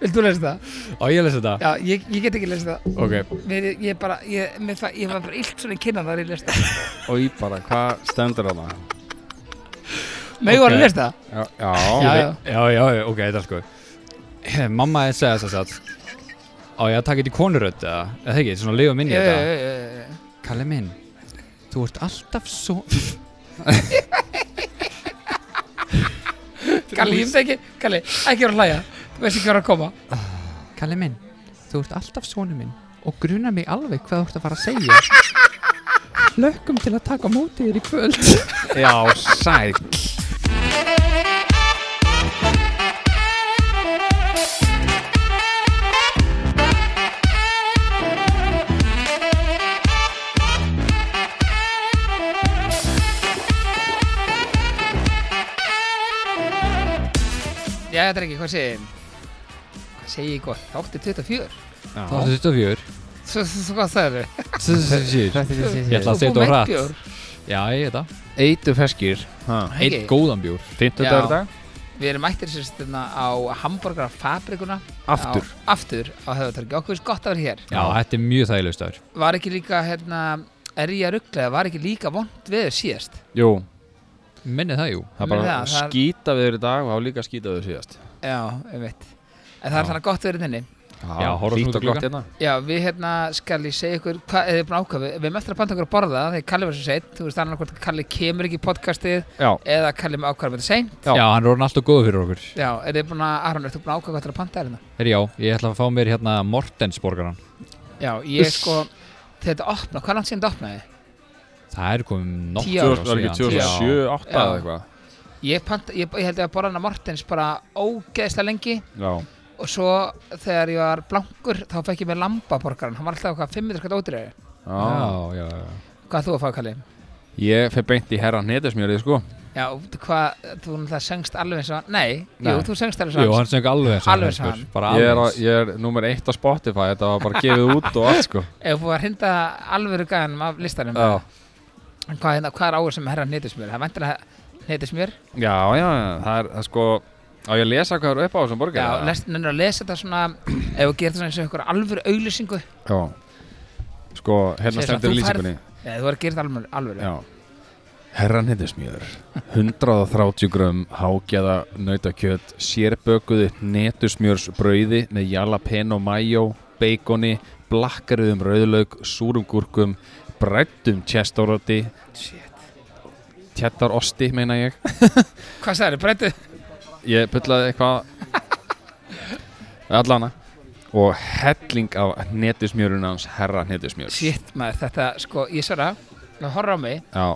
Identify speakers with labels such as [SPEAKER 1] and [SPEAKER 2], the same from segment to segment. [SPEAKER 1] Vilt þú lesa það?
[SPEAKER 2] Á ég að lesa þetta?
[SPEAKER 1] Já, ég, ég get ekki lesa það
[SPEAKER 2] Ok,
[SPEAKER 1] Mér, ég, ég bara, ég, mér það, ég var bara illt svona í kinnan þar ég lesa það
[SPEAKER 3] Og ég bara, hvað stendur þarna?
[SPEAKER 2] Ok.
[SPEAKER 1] Megum okay. að lesa það?
[SPEAKER 3] Já,
[SPEAKER 1] Já,
[SPEAKER 3] já,
[SPEAKER 1] já.
[SPEAKER 2] já, já, já, ok, þetta er sko Mamma er segja þess að satt Á ég að taka þetta í konurödd eða Eða ekki, svona lifa minni
[SPEAKER 1] Ég,
[SPEAKER 2] þetta
[SPEAKER 1] ég, ég, ég.
[SPEAKER 2] Kalli minn, þú ert alltaf svo
[SPEAKER 1] Kalli, ég myndi ekki, Kalli, ekki vera að hlæja Þú veist ekki vera að koma
[SPEAKER 2] Kalli minn, þú ert alltaf sonu minn og grunar mig alveg hvað þú ert að fara að segja Lökkum til að taka á móti þér í kvöld
[SPEAKER 3] já, sæl
[SPEAKER 1] Já, þetta er ekki, hvað segir Hvað segir ég gott? Þátti 24
[SPEAKER 2] Það er 24
[SPEAKER 1] Svo, svo, svo hvað það eru?
[SPEAKER 2] Ég ætla að setja á hratt.
[SPEAKER 1] bjór
[SPEAKER 2] Já, ég veit það
[SPEAKER 3] Eitu feskir
[SPEAKER 1] Ekki.
[SPEAKER 2] Einn góðan bjór
[SPEAKER 3] Fyndu
[SPEAKER 1] Já.
[SPEAKER 3] dagur dag
[SPEAKER 1] Við erum mættir sér stundna á Hamburgerfabrikuna
[SPEAKER 3] Aftur.
[SPEAKER 1] á, Aftur á höfutarki Okkur finnst gott að vera hér
[SPEAKER 2] Já, þetta er mjög þægilegust aður
[SPEAKER 1] Var ekki líka, hérna, er ég að rugglega Var ekki líka vond veður síðast?
[SPEAKER 3] Jú,
[SPEAKER 2] Minni það, jú
[SPEAKER 3] það er
[SPEAKER 1] Meni
[SPEAKER 3] bara
[SPEAKER 1] það, það er-
[SPEAKER 3] skýta við þér í dag og þá líka skýta við þér síðast
[SPEAKER 1] Já, um veitt En það er þannig gott verið þinni
[SPEAKER 2] Já, horfðu
[SPEAKER 3] hlýtt
[SPEAKER 2] út
[SPEAKER 3] og
[SPEAKER 2] í
[SPEAKER 3] gott
[SPEAKER 2] gluggann.
[SPEAKER 3] hérna
[SPEAKER 1] Já, við hérna skal ég segja ykkur Hvað er þið búin að ákvæða? Við erum eftir að panta okkur að borða Þegar Kalli var svo seint Þú veist þannig hvort að Kalli kemur ekki í podcastið
[SPEAKER 3] Já,
[SPEAKER 1] Eða Kalli með ákvæða með þetta seint
[SPEAKER 3] Já.
[SPEAKER 2] Já, hann er orðin alltaf góður fyrir okkur
[SPEAKER 1] Já, er þið búin að Aron, ertu búin að ákvæða hvað það að panta er hérna?
[SPEAKER 2] Herri, já, ég ætla að fá mér hérna Mortensborgaran
[SPEAKER 1] Já, ég sko Þetta opna, hvað langt síðan þetta opnaði?
[SPEAKER 2] Það er komið
[SPEAKER 1] Tíu
[SPEAKER 2] nokkur
[SPEAKER 1] ár.
[SPEAKER 3] Tvö- var ekki 2007, 2008
[SPEAKER 1] Já.
[SPEAKER 3] eða eitthvað
[SPEAKER 1] Ég, panta, ég, ég held ég að borða hana Mortens bara ógeðslega lengi
[SPEAKER 3] Já,
[SPEAKER 1] og svo þegar ég var blankur þá fekk ég með lambaborgaran, hann var alltaf eitthvað 500 skatt ódreið.
[SPEAKER 3] já
[SPEAKER 2] Já, já, já
[SPEAKER 1] Hvað ert þú að fá Kalli?
[SPEAKER 3] Ég fer beint í herra hnetismjörið sko
[SPEAKER 1] Já, þú- hvað, þú náttúrulega söngst alveg eins og hann, nei,
[SPEAKER 3] Nei.
[SPEAKER 1] jú, þú söngst alveg
[SPEAKER 2] Jú,
[SPEAKER 1] eins og
[SPEAKER 2] hann söng alveg eins og
[SPEAKER 1] Alveg eins og
[SPEAKER 2] sko,
[SPEAKER 1] hann.
[SPEAKER 2] Bara
[SPEAKER 3] Ég er, á,
[SPEAKER 2] alveg eins.
[SPEAKER 3] ég er nummer eitt á Spotify, þetta var bara gefið út og allt sko
[SPEAKER 1] Ef þú var að hrinda alvöru gæðanum af listanum,
[SPEAKER 3] Já,
[SPEAKER 1] en hvað, hérna, hvað er áður sem herra neytismjör? Það vendur að neytismjör,
[SPEAKER 3] já, já, það er það er sko Á ég að lesa hvað er upp á þessum
[SPEAKER 1] já,
[SPEAKER 3] borgar?
[SPEAKER 1] lest- nennir að lesa þetta svona, ef þú gerir þetta svona eins og einhver alvöru auglýsingu,
[SPEAKER 3] Já Sko, hérna
[SPEAKER 1] Sérstaklega,
[SPEAKER 3] stendur í
[SPEAKER 1] þú færð-
[SPEAKER 3] lýsingunni
[SPEAKER 1] eða þú var að gera þetta alvöru, alvöru.
[SPEAKER 3] Já Herran hittismjör 130 grömm hágæða nautakjöt sérbökuðu netusmjörsbrauði með jalapeno mayo, beikoni blakkaruðum rauðlaug, súrum gúrkum brættum chestoroti
[SPEAKER 1] Shit.
[SPEAKER 3] tjettarosti meina ég
[SPEAKER 1] Hvað sagðið, breyttu?
[SPEAKER 3] ég bullaði eitthvað allana og helling af netusmjörun hans herra netusmjör
[SPEAKER 1] Shit maður, þetta sko, ég svara Það horra á mig
[SPEAKER 3] já,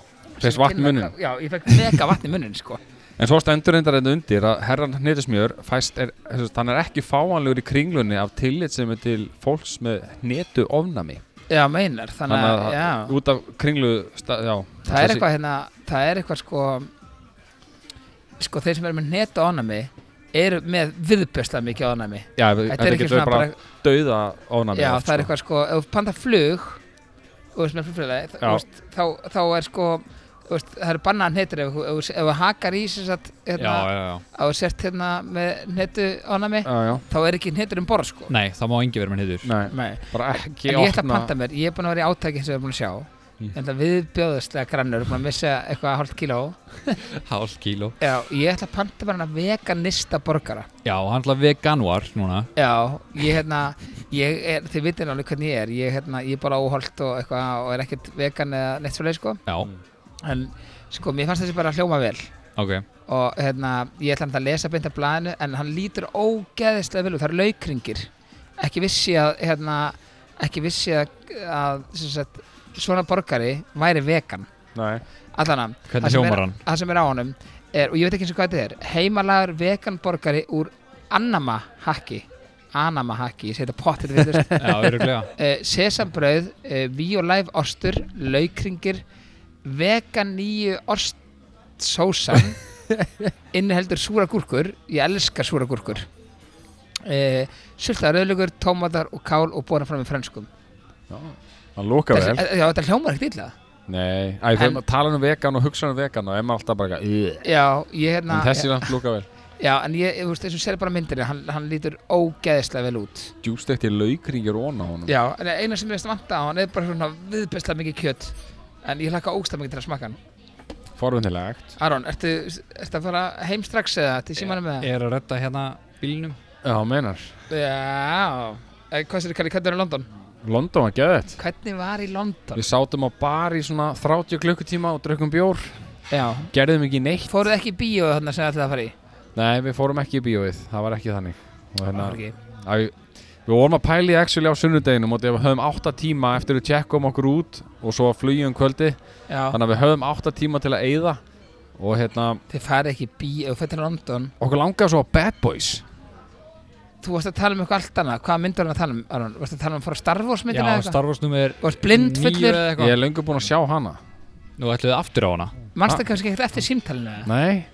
[SPEAKER 3] fyrst vatn í munnin
[SPEAKER 1] Já, ég fekk mega vatn í munnin sko
[SPEAKER 3] En svo stendur reyndar þetta undir að herran hnetusmjör fæst er, sem sagt, hann er ekki fáanlegur í kringlunni af tillit sem er til fólks með hnetu ofnami.
[SPEAKER 1] Já, meinar, þannig að
[SPEAKER 3] Þannig að-
[SPEAKER 1] já,
[SPEAKER 3] Út af kringlu, sta- já.
[SPEAKER 1] Það er eitthvað hérna, það er eitthvað sko Sko, þeir sem eru með neta ánami Eru með viðbjörsla mikið ánami
[SPEAKER 3] Já, þetta er
[SPEAKER 1] ekki
[SPEAKER 3] getur
[SPEAKER 1] svona
[SPEAKER 3] bara dauða ofnami.
[SPEAKER 1] Já,
[SPEAKER 3] oft,
[SPEAKER 1] það er
[SPEAKER 3] sko.
[SPEAKER 1] eitthvað sko, ef þú panta flug Þú veist, með flugfélagi
[SPEAKER 3] Já.
[SPEAKER 1] þú veist, þá, þá er sko þú veist, Það eru bannað netur ef þú- ef þú- ef þú hakar í sem sagt,
[SPEAKER 2] Já,
[SPEAKER 1] hérna,
[SPEAKER 2] já, já
[SPEAKER 1] Á sért hérna með netu ánami
[SPEAKER 3] Já, já,
[SPEAKER 1] Þá er ekki netur um borð sko
[SPEAKER 2] Nei, það má engi vera með hittur
[SPEAKER 3] nei,
[SPEAKER 1] Nei
[SPEAKER 3] bara ekki
[SPEAKER 1] En ég ætla að
[SPEAKER 3] opna.
[SPEAKER 1] panta mér, ég er búin að vera í átæki sem við erum búin að sjá
[SPEAKER 3] Mm.
[SPEAKER 1] mm. En það viðbjóðslega grannur, búin að missa eitthvað hálft kíló
[SPEAKER 2] Hálf kíló
[SPEAKER 1] Já, ég ætla að panta mér hana veganista borgara
[SPEAKER 2] Já, hann ætla veganvar núna
[SPEAKER 1] Já, ég hérna, ég er, þið vitir alveg hvernig ég er Ég hérna, ég er bara óholt og eitthvað og er ekkert vegan eða neitt svo leið sko
[SPEAKER 2] Já,
[SPEAKER 1] En sko, mér fannst þessi bara hljóma vel
[SPEAKER 2] ok
[SPEAKER 1] Og hérna, ég ætla að lesa beint af blaðinu En hann lítur ógeðislega vel út, það eru laukringir Ekki vissi að, hérna, ekki vissi að, að sem sagt, svona borgari væri vegan
[SPEAKER 3] Nei,
[SPEAKER 1] Allana,
[SPEAKER 2] Hvernig
[SPEAKER 1] sem er-
[SPEAKER 2] hljómar hann?
[SPEAKER 1] það sem er á honum er, og ég veit ekki eins og hvað þetta er, heimalagur vegan borgari úr Anama Haki Anama Haki, ég segi þetta pottet við þess
[SPEAKER 2] Já, öruglega
[SPEAKER 1] uh, sesambröð, uh, víolæf ostur, laukringir vegan nýju ostsósan inniheldur súra gúrkur ég elska súra gúrkur uh, sultaðar öðlugur, tómatar og kál og bóna fram með frönskum
[SPEAKER 3] hann lóka
[SPEAKER 1] Þessi, eh,
[SPEAKER 3] vel.
[SPEAKER 1] já, þetta hljómar ekkert illa
[SPEAKER 3] Nei, Æ, þegar
[SPEAKER 1] En-
[SPEAKER 3] maður tala um vegan og hugsa um vegan og emma alltaf bara, eitthvað, "Ugh."
[SPEAKER 1] já, ég hérna
[SPEAKER 3] en þessi hann lóka vel.
[SPEAKER 1] Já, en ég, þú veist, eins og sér bara myndinni hann, hann lítur ógeðislega vel út
[SPEAKER 3] djústekti laukringir óna
[SPEAKER 4] Mm.
[SPEAKER 3] á honum
[SPEAKER 1] Já, en eina sem ég veist vanta á hann er bara svona viðbæslega mikið kjöt en ég hlakka ógstlega mikið til að smakka hann
[SPEAKER 3] forvindilegt
[SPEAKER 1] Aron, ertu, ertu að fara heim strax eða til símanum með það?
[SPEAKER 4] Ég er að redda hérna bílnum
[SPEAKER 3] já, meinar
[SPEAKER 1] Já, Eh, hvað sér kalli, hvernig var í London?
[SPEAKER 3] London var geðið
[SPEAKER 1] Hvernig var í London?
[SPEAKER 3] við sátum á bar í svona 30 klukkutíma og drukkum bjór
[SPEAKER 1] Já,
[SPEAKER 3] gerðum ekki neitt
[SPEAKER 1] fóruð ekki í bíó þarna sem þið ætlaði að fara í?
[SPEAKER 3] nei, við fórum ekki í bíóið það var ekki þannig og
[SPEAKER 1] Það
[SPEAKER 3] hérna
[SPEAKER 1] var ekki.
[SPEAKER 3] að við- við vorum að pæli actually á sunnudeginum og við höfum 8 tíma eftir að tjekkum okkur út og svo að flugja um kvöldi
[SPEAKER 1] Já,
[SPEAKER 3] þannig að við höfum 8 tíma til að eyða og hérna,
[SPEAKER 1] þið farið ekki í bíó, þú fættir til London
[SPEAKER 3] okkur langaði svo á Bad Boys
[SPEAKER 1] Þú varst að tala um eitthvað allt annað, hvað myndur hann að tala um, Aron? Varst að tala um að fara Star Wars myndina eða
[SPEAKER 4] Já,
[SPEAKER 1] eitthvað?
[SPEAKER 4] Star Wars nummer
[SPEAKER 1] Varst blind
[SPEAKER 4] níu
[SPEAKER 1] fullur,
[SPEAKER 4] eða
[SPEAKER 3] ég
[SPEAKER 4] eitthvað.
[SPEAKER 3] er löngu búinn að sjá hana
[SPEAKER 4] Nú ætlum við aftur á hana
[SPEAKER 1] mannstu kannski ekkert eftir símtalinu? eða?
[SPEAKER 3] nei,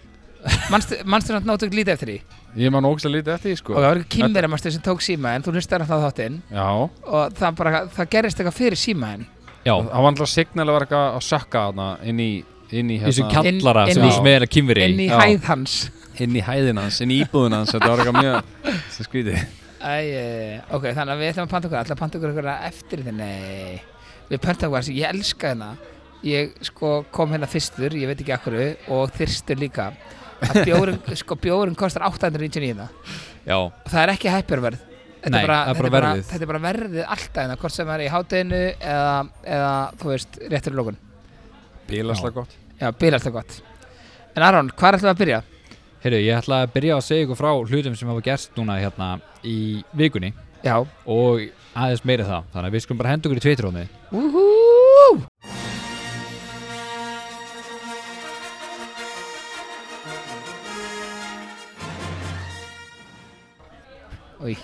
[SPEAKER 1] Manstu mannstu hann náttúrulega lítið eftir því?
[SPEAKER 4] Sko,
[SPEAKER 3] ég man ógislega lítið eftir því sko
[SPEAKER 1] Og það var ekki kynverið mannstu sem tók síma en þú hlustar hann þá þáttinn
[SPEAKER 3] já,
[SPEAKER 1] og það, bara, það gerist eitthvað fyrir síma henn
[SPEAKER 4] Já,
[SPEAKER 1] Hérna-
[SPEAKER 3] það var alltaf signal að vera eitthvað að sökka hana inn í, inn í,
[SPEAKER 4] í þessum
[SPEAKER 3] hérna,
[SPEAKER 4] kallara
[SPEAKER 1] Inn-
[SPEAKER 4] sem
[SPEAKER 1] inn-
[SPEAKER 4] þú sem er að kynveri
[SPEAKER 1] inn í
[SPEAKER 3] já.
[SPEAKER 1] hæð hans
[SPEAKER 3] inn í hæðin hans, inn í íbúðin hans þetta var eitthvað mjög sem skrítið
[SPEAKER 1] Æ, eh, Ok, þannig að við ætlum að panta okkur ætlum að panta okkur eitthvað eftir þetta Nei, við panta okkur ég elska hérna Ég sko kom hérna fyrstur, ég veit ekki akkur og þyrstur líka að bjórin, sko, bjórin kostar 899 það.
[SPEAKER 4] Já,
[SPEAKER 1] og það er ekki hæpjörverð þetta,
[SPEAKER 4] Nei,
[SPEAKER 1] er bara,
[SPEAKER 4] það er bara
[SPEAKER 1] þetta, er bara,
[SPEAKER 4] verðið.
[SPEAKER 1] þetta er bara verðið alltaf hérna, hvort sem er í hátæðinu eða, eða þú veist, réttur í lókun
[SPEAKER 3] bílaslega gott
[SPEAKER 1] Já, bílast það gott En Aron, hvað ætlum við að byrja?
[SPEAKER 4] heyrðu, ég ætla að byrja að segja ykkur frá hlutum sem hafa gerst núna hérna í vikunni
[SPEAKER 1] Já,
[SPEAKER 4] og aðeins meira um það þannig að við skulum bara henda okkur í tvitróni
[SPEAKER 1] Úhú! Új,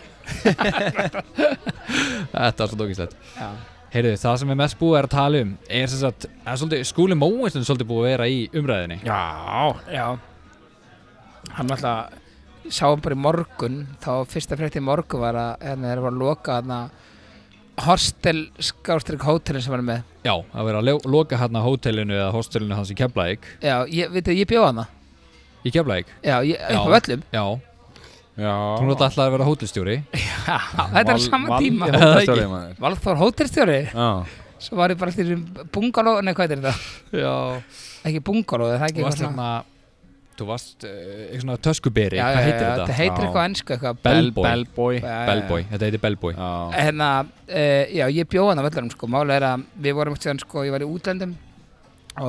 [SPEAKER 4] Þetta er svo dókislegt
[SPEAKER 1] já.
[SPEAKER 4] Heyrðu, það sem er mest búið er að tala um er sem sagt, að svolítið, skúli móinslun svolítið búið að vera í umræðinni
[SPEAKER 3] já,
[SPEAKER 1] Já. Hann alltaf, sáum bara í morgun, þá fyrsta frétti í morgun var að hérna þeir var að loka þarna hostel skástrík hótelin sem hann er með.
[SPEAKER 4] Já, að vera að lo- loka hérna hótelinu eða hostelinu hans í Keflæk
[SPEAKER 1] Já, ég, veit ég bjóða hana.
[SPEAKER 4] Í Keflæk?
[SPEAKER 1] Já, ég, upp á
[SPEAKER 4] Já.
[SPEAKER 1] öllum.
[SPEAKER 4] Já,
[SPEAKER 3] já
[SPEAKER 4] þú náttúrulega ætlaði að vera hótelstjóri
[SPEAKER 1] Já, þetta er á
[SPEAKER 3] Val-
[SPEAKER 1] sama
[SPEAKER 3] Val-
[SPEAKER 1] tíma.
[SPEAKER 3] Já, það er stjórið, maður.
[SPEAKER 1] Valþór hótelstjóri.
[SPEAKER 3] Já.
[SPEAKER 1] Svo var ég bara allir um bungaló, nei hvað er þetta?
[SPEAKER 4] Já
[SPEAKER 1] Ekki bungaló, er það ekki
[SPEAKER 4] Þú varst
[SPEAKER 1] svona-
[SPEAKER 4] hérna Þú varst uh, eitthvað svona töskuberi,
[SPEAKER 1] Já,
[SPEAKER 4] hvað
[SPEAKER 1] já, já,
[SPEAKER 4] heitir þetta?
[SPEAKER 1] Þetta heitir
[SPEAKER 3] Já.
[SPEAKER 1] eitthvað á ensku eitthvað.
[SPEAKER 4] Bellboy.
[SPEAKER 3] Bellboy
[SPEAKER 1] Já, já, já.
[SPEAKER 4] Bellboy, þetta heitir Bellboy
[SPEAKER 3] já,
[SPEAKER 1] Hérna, uh, já, ég bjóð hann á völlunum sko, mála er að við vorum eftir hann sko, ég var í útlöndum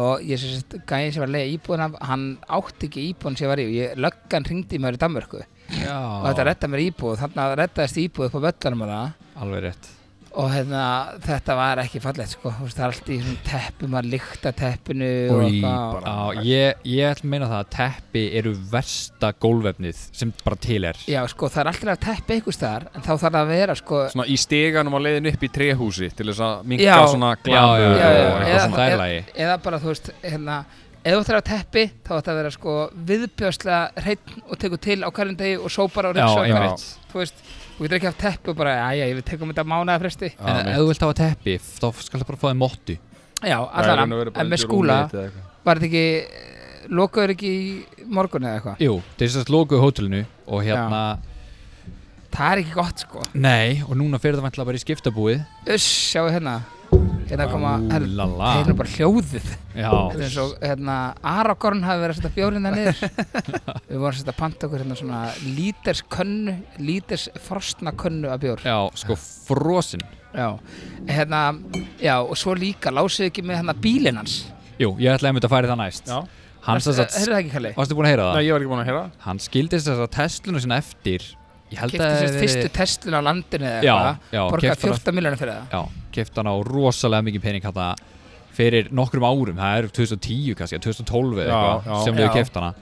[SPEAKER 1] og ég sem sagt, gæði sem var að leiða íbúðan af, hann átti ekki íbúðan sem ég var í og ég, löggan hringdi í maður í Danmörku
[SPEAKER 4] Já,
[SPEAKER 1] og þetta retta mér íbúð, þannig að rettaðist íbúð upp á völlunum og það
[SPEAKER 4] alveg rétt
[SPEAKER 1] og hérna, þetta var ekki fallegt sko, þú veist, það er allt í svona teppum að líkta teppinu og
[SPEAKER 3] Új,
[SPEAKER 1] eitthvað.
[SPEAKER 3] bara.
[SPEAKER 4] Já, ég, ég ætla að meina það að teppi eru versta gólvefnið sem bara til er
[SPEAKER 1] Já, sko, það er alltaf að teppi einhvers staðar en þá þarf það að vera, sko
[SPEAKER 3] svona í steganum á leiðin upp í trehúsi til þess að minka
[SPEAKER 1] Já.
[SPEAKER 3] svona
[SPEAKER 4] Já, já,
[SPEAKER 3] glamur
[SPEAKER 1] já, já,
[SPEAKER 4] og
[SPEAKER 1] eða-
[SPEAKER 4] eitthvað svona
[SPEAKER 1] eða-
[SPEAKER 4] dælagi
[SPEAKER 1] eða bara, þú veist, hérna ef þú ættir að teppi, þá ætti að vera sko viðbjörslega hreinn og tekur til á hverjum degi og sópar á
[SPEAKER 4] Já,
[SPEAKER 1] rinsa
[SPEAKER 4] einmitt
[SPEAKER 1] þú veist, þú getur ekki haft teppi og bara, já, já, við tekum þetta mánaða fresti
[SPEAKER 3] Já,
[SPEAKER 4] En
[SPEAKER 3] mitt.
[SPEAKER 4] ef þú vilt hafa teppi, þá skal það bara fá þig móttu
[SPEAKER 1] Já,
[SPEAKER 3] Það er í
[SPEAKER 1] allan,
[SPEAKER 3] raun og
[SPEAKER 1] en
[SPEAKER 3] veru bara
[SPEAKER 1] með
[SPEAKER 3] undir
[SPEAKER 1] skúla
[SPEAKER 3] rúmið þitt eða eitthvað.
[SPEAKER 1] var þetta ekki, eh, lokaður ekki í morgun eða eitthvað,
[SPEAKER 4] Jú, þeir sérst lokuðu hótelinu og hérna
[SPEAKER 1] það er ekki gott sko
[SPEAKER 4] Nei, og núna fyrir það vantilega bara í skiptabúið
[SPEAKER 1] Uss, sjáu hérna hérna koma, hérna,
[SPEAKER 4] Úlala
[SPEAKER 1] það er nú bara hljóðið Þetta er eins
[SPEAKER 4] Já,
[SPEAKER 1] og hérna, Aragorn hafi verið að setja bjórinn það niður Við vorum að setja að panta okkur hérna svona líters könnu, líters frostna könnu af bjór
[SPEAKER 4] já, sko frosin
[SPEAKER 1] Já, En hérna, já og svo líka lásið ekki með hérna bílinn hans
[SPEAKER 4] Jú, ég ætla einmitt að fara í það næst
[SPEAKER 3] Já.
[SPEAKER 4] Hann sérst að,
[SPEAKER 1] Heyrðu það ekki kalli?
[SPEAKER 4] varstu búin að heyra
[SPEAKER 3] Nei,
[SPEAKER 4] það?
[SPEAKER 3] ég var ekki búinn að heyra það.
[SPEAKER 4] Hann skildi sérst að testluna sinna eftir Ég held
[SPEAKER 1] Kipti
[SPEAKER 4] að
[SPEAKER 1] sér fyrstu testlun á landinu eða
[SPEAKER 4] Já,
[SPEAKER 1] eitthvað
[SPEAKER 4] já,
[SPEAKER 1] Borgaði
[SPEAKER 4] keypti hana-
[SPEAKER 1] 14 miljonir fyrir það
[SPEAKER 4] Já, kefti hann á rosalega mikið pening hérna fyrir nokkrum árum, það er 2010 kannski, 2012 eða
[SPEAKER 3] Já,
[SPEAKER 4] eitthvað
[SPEAKER 3] já.
[SPEAKER 4] sem þau
[SPEAKER 1] Já.
[SPEAKER 4] kefti hana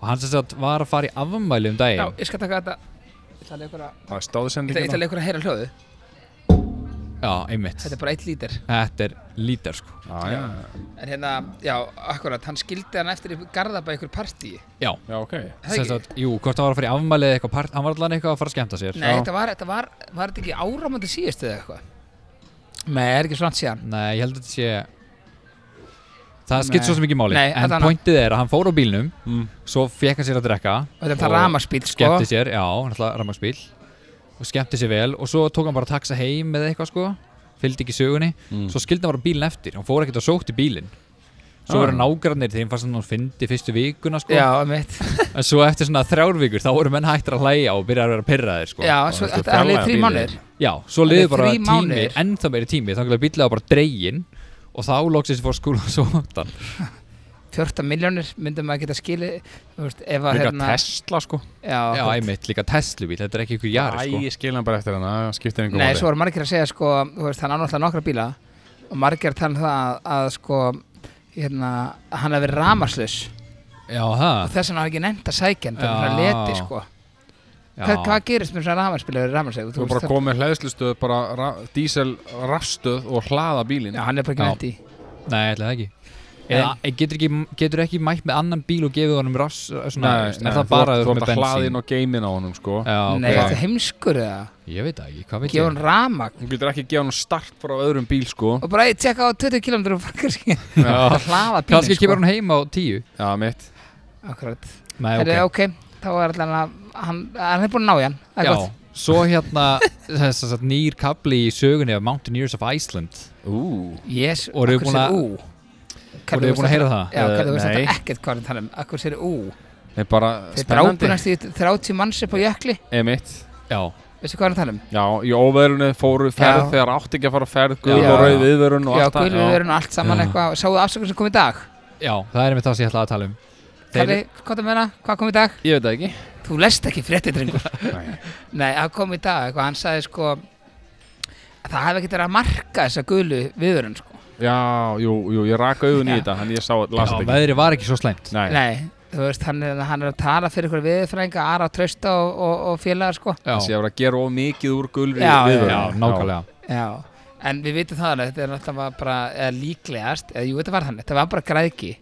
[SPEAKER 4] og hann sem sagt var að fara í afmæli um
[SPEAKER 1] Já,
[SPEAKER 4] daginn
[SPEAKER 1] ég skal taka þetta Ég ætla að leiða ykkur að-
[SPEAKER 3] Það er
[SPEAKER 1] ég ætla- ég ætla að
[SPEAKER 3] hérna. stáðsendingina.
[SPEAKER 1] leiða ykkur að heyra hljóðu
[SPEAKER 4] Já, einmitt
[SPEAKER 1] Þetta er bara eitt lítir
[SPEAKER 4] Þetta er lítar sko
[SPEAKER 3] Já, já,
[SPEAKER 1] En hérna, já, akkurat, hann skildi hann eftir í Garðabæ ykkur partí
[SPEAKER 4] Já,
[SPEAKER 3] já, ok.
[SPEAKER 1] Ekki?
[SPEAKER 4] sem sagt, jú, hvort hann var að fara í afmæli eða eitthvað part, hann var allan eitthvað að fara að skemmta sér
[SPEAKER 1] Nei,
[SPEAKER 3] Já.
[SPEAKER 1] þetta var, þetta var, var þetta ekki áramöndi síðustu eða eitthvað? Nei, er ekki svona síðan.
[SPEAKER 4] Nei, ég held að þetta sé það skipt svo sem ekki máli
[SPEAKER 1] Nei,
[SPEAKER 4] en
[SPEAKER 1] þetta annað.
[SPEAKER 4] pointið er að hann fór á bílnum
[SPEAKER 3] Mm.
[SPEAKER 4] svo fekk hann sér að drekka
[SPEAKER 1] og þetta er
[SPEAKER 4] Og
[SPEAKER 1] ramaspíl sko
[SPEAKER 4] skemmti sér, já, náttúrulega rammarsbíl og skemmti sér vel og svo tók hann bara taxa heim eða eitthvað sko fylgdi ekki sögunni, svo skildi hann bara bílinn eftir hann fór ekkert og sótti bílinn svo
[SPEAKER 3] Ah.
[SPEAKER 4] voru nágrannir þeim fannst hann að fyndi fyrstu vikuna sko,
[SPEAKER 1] já, mitt
[SPEAKER 4] en svo eftir svona þrjár vikur þá voru menn hættir að hlæja og byrja að vera pirraðir sko.
[SPEAKER 1] já,
[SPEAKER 4] Og
[SPEAKER 1] svo,
[SPEAKER 3] ertu
[SPEAKER 1] þetta er alveg
[SPEAKER 3] fjarlægja
[SPEAKER 1] þrý
[SPEAKER 3] bílinn.
[SPEAKER 1] mánuðir
[SPEAKER 4] já svo
[SPEAKER 1] Þannig
[SPEAKER 4] liði bara
[SPEAKER 1] þrír
[SPEAKER 4] tími,
[SPEAKER 1] mánuðir.
[SPEAKER 4] ennþá meiri tími þannig að bíllega bara dregin og þá loksist fór skúla og sóttan
[SPEAKER 1] 14 miljónir myndum maður geta skili þú veist, ef að
[SPEAKER 3] Líka
[SPEAKER 1] hérna
[SPEAKER 3] Tesla sko
[SPEAKER 4] já,
[SPEAKER 1] já,
[SPEAKER 4] einmitt, líka Tesla bíl, þetta er ekki ykkur jari sko.
[SPEAKER 3] Æ, ég skil hann bara eftir hann, það skiptir engum
[SPEAKER 1] nei, svo voru margir að segja sko, þú veist, hann ánáttúrulega nokkra bíla og margir að tala um það að, að sko hérna, að hann hafi verið ramaslaus
[SPEAKER 4] já, það
[SPEAKER 1] og þess vegna hafi ekki nefnt að sækja hann
[SPEAKER 4] Já.
[SPEAKER 1] þannig að leti sko
[SPEAKER 4] já.
[SPEAKER 1] hvað, hvað gerist með svona ramaspil eða ramaslaus
[SPEAKER 3] Þú bara komið hlæðslustöð, bara ra diesel rafstöð og hlaða bílinn
[SPEAKER 1] já, hann er bara ekki
[SPEAKER 4] Já.
[SPEAKER 1] nefnt í
[SPEAKER 4] Nei, ætlaði ekki Eða e, getur ekki, getur ekki mætt með annan bíl og gefið honum rass eh, svona,
[SPEAKER 3] Nei,
[SPEAKER 4] Er það bara
[SPEAKER 3] þú
[SPEAKER 4] þú ert
[SPEAKER 3] ert að hlaðin og geimin á honum sko
[SPEAKER 4] Já, ok.
[SPEAKER 1] nei, þetta er heimskur eða
[SPEAKER 4] Ég veit það ekki, hvað veit
[SPEAKER 1] gefa
[SPEAKER 4] ég
[SPEAKER 1] hann ramagn
[SPEAKER 3] Þú getur ekki að gefa hann start frá öðrum bíl sko
[SPEAKER 1] og bara ég tjekka á 20 km og fangar sig
[SPEAKER 4] Já.
[SPEAKER 1] að hlaða bílinn
[SPEAKER 4] Kanski kemur hann heim á tíu
[SPEAKER 3] Já, mitt
[SPEAKER 1] akkurat
[SPEAKER 4] Nei,
[SPEAKER 1] Heyrðu, ok, þá er allan að hann, hann er búin að ná í hann það er
[SPEAKER 4] Já,
[SPEAKER 1] gott.
[SPEAKER 4] svo hérna þess að nýr kapli í sögunni af Mountaineers of Iceland
[SPEAKER 3] Ú,
[SPEAKER 1] yes,
[SPEAKER 4] Og eru búin að- Voruð þið búin að heyra það?
[SPEAKER 1] Já,
[SPEAKER 4] Uh,
[SPEAKER 3] Eh,
[SPEAKER 1] kallar þú veist
[SPEAKER 3] nei.
[SPEAKER 1] þetta ekkert hvað hann tala um Akkur sér ú
[SPEAKER 3] það er bara
[SPEAKER 1] Þeir
[SPEAKER 3] spennandi
[SPEAKER 1] drápunast í 30 manns upp á jökli
[SPEAKER 3] Emitt
[SPEAKER 4] Já,
[SPEAKER 1] Veistu hvað hann tala um?
[SPEAKER 3] Já, í óveðrunni fóru ferð
[SPEAKER 1] Já.
[SPEAKER 3] þegar átti ekki að fara ferð Guð
[SPEAKER 4] Já.
[SPEAKER 3] og rauð viðvörun og
[SPEAKER 1] Já,
[SPEAKER 3] allt það.
[SPEAKER 1] gulurinn og allt saman
[SPEAKER 4] Já.
[SPEAKER 1] eitthvað Sáðu afsökun sem kom í dag?
[SPEAKER 4] já, það er einmitt það sem ég ætlaði að tala um Þeir-
[SPEAKER 1] Kalli, hvað það meina? Hvað kom í dag?
[SPEAKER 3] Ég veit það ekki
[SPEAKER 1] Þú lest ekki fréttið, drengur Nei, það kom í dag eitthvað Hann sagði sko að Það hefði ekki verið að marka þessa gulu viðurinn sko
[SPEAKER 3] Já, jú, jú, ég raka auðun í
[SPEAKER 1] Já.
[SPEAKER 3] þetta Þannig ég sá, las
[SPEAKER 4] Já,
[SPEAKER 3] þetta ekki
[SPEAKER 4] veðri var ekki svo slæmt
[SPEAKER 3] Nei,
[SPEAKER 1] Nei, þú veist, hann er, hann er að tala fyrir ykkur viðurfræðinga Ara Trausta og, og, og félagar sko
[SPEAKER 3] þessi
[SPEAKER 4] Já,
[SPEAKER 3] að vera að gera of mikið úr gulri
[SPEAKER 1] Já, já,
[SPEAKER 4] já nákvæmlega
[SPEAKER 1] Já, en við vitum það alveg, þetta er náttúrulega bara, eða líklegast, eða jú, þetta var þannig, þetta var bara græðki.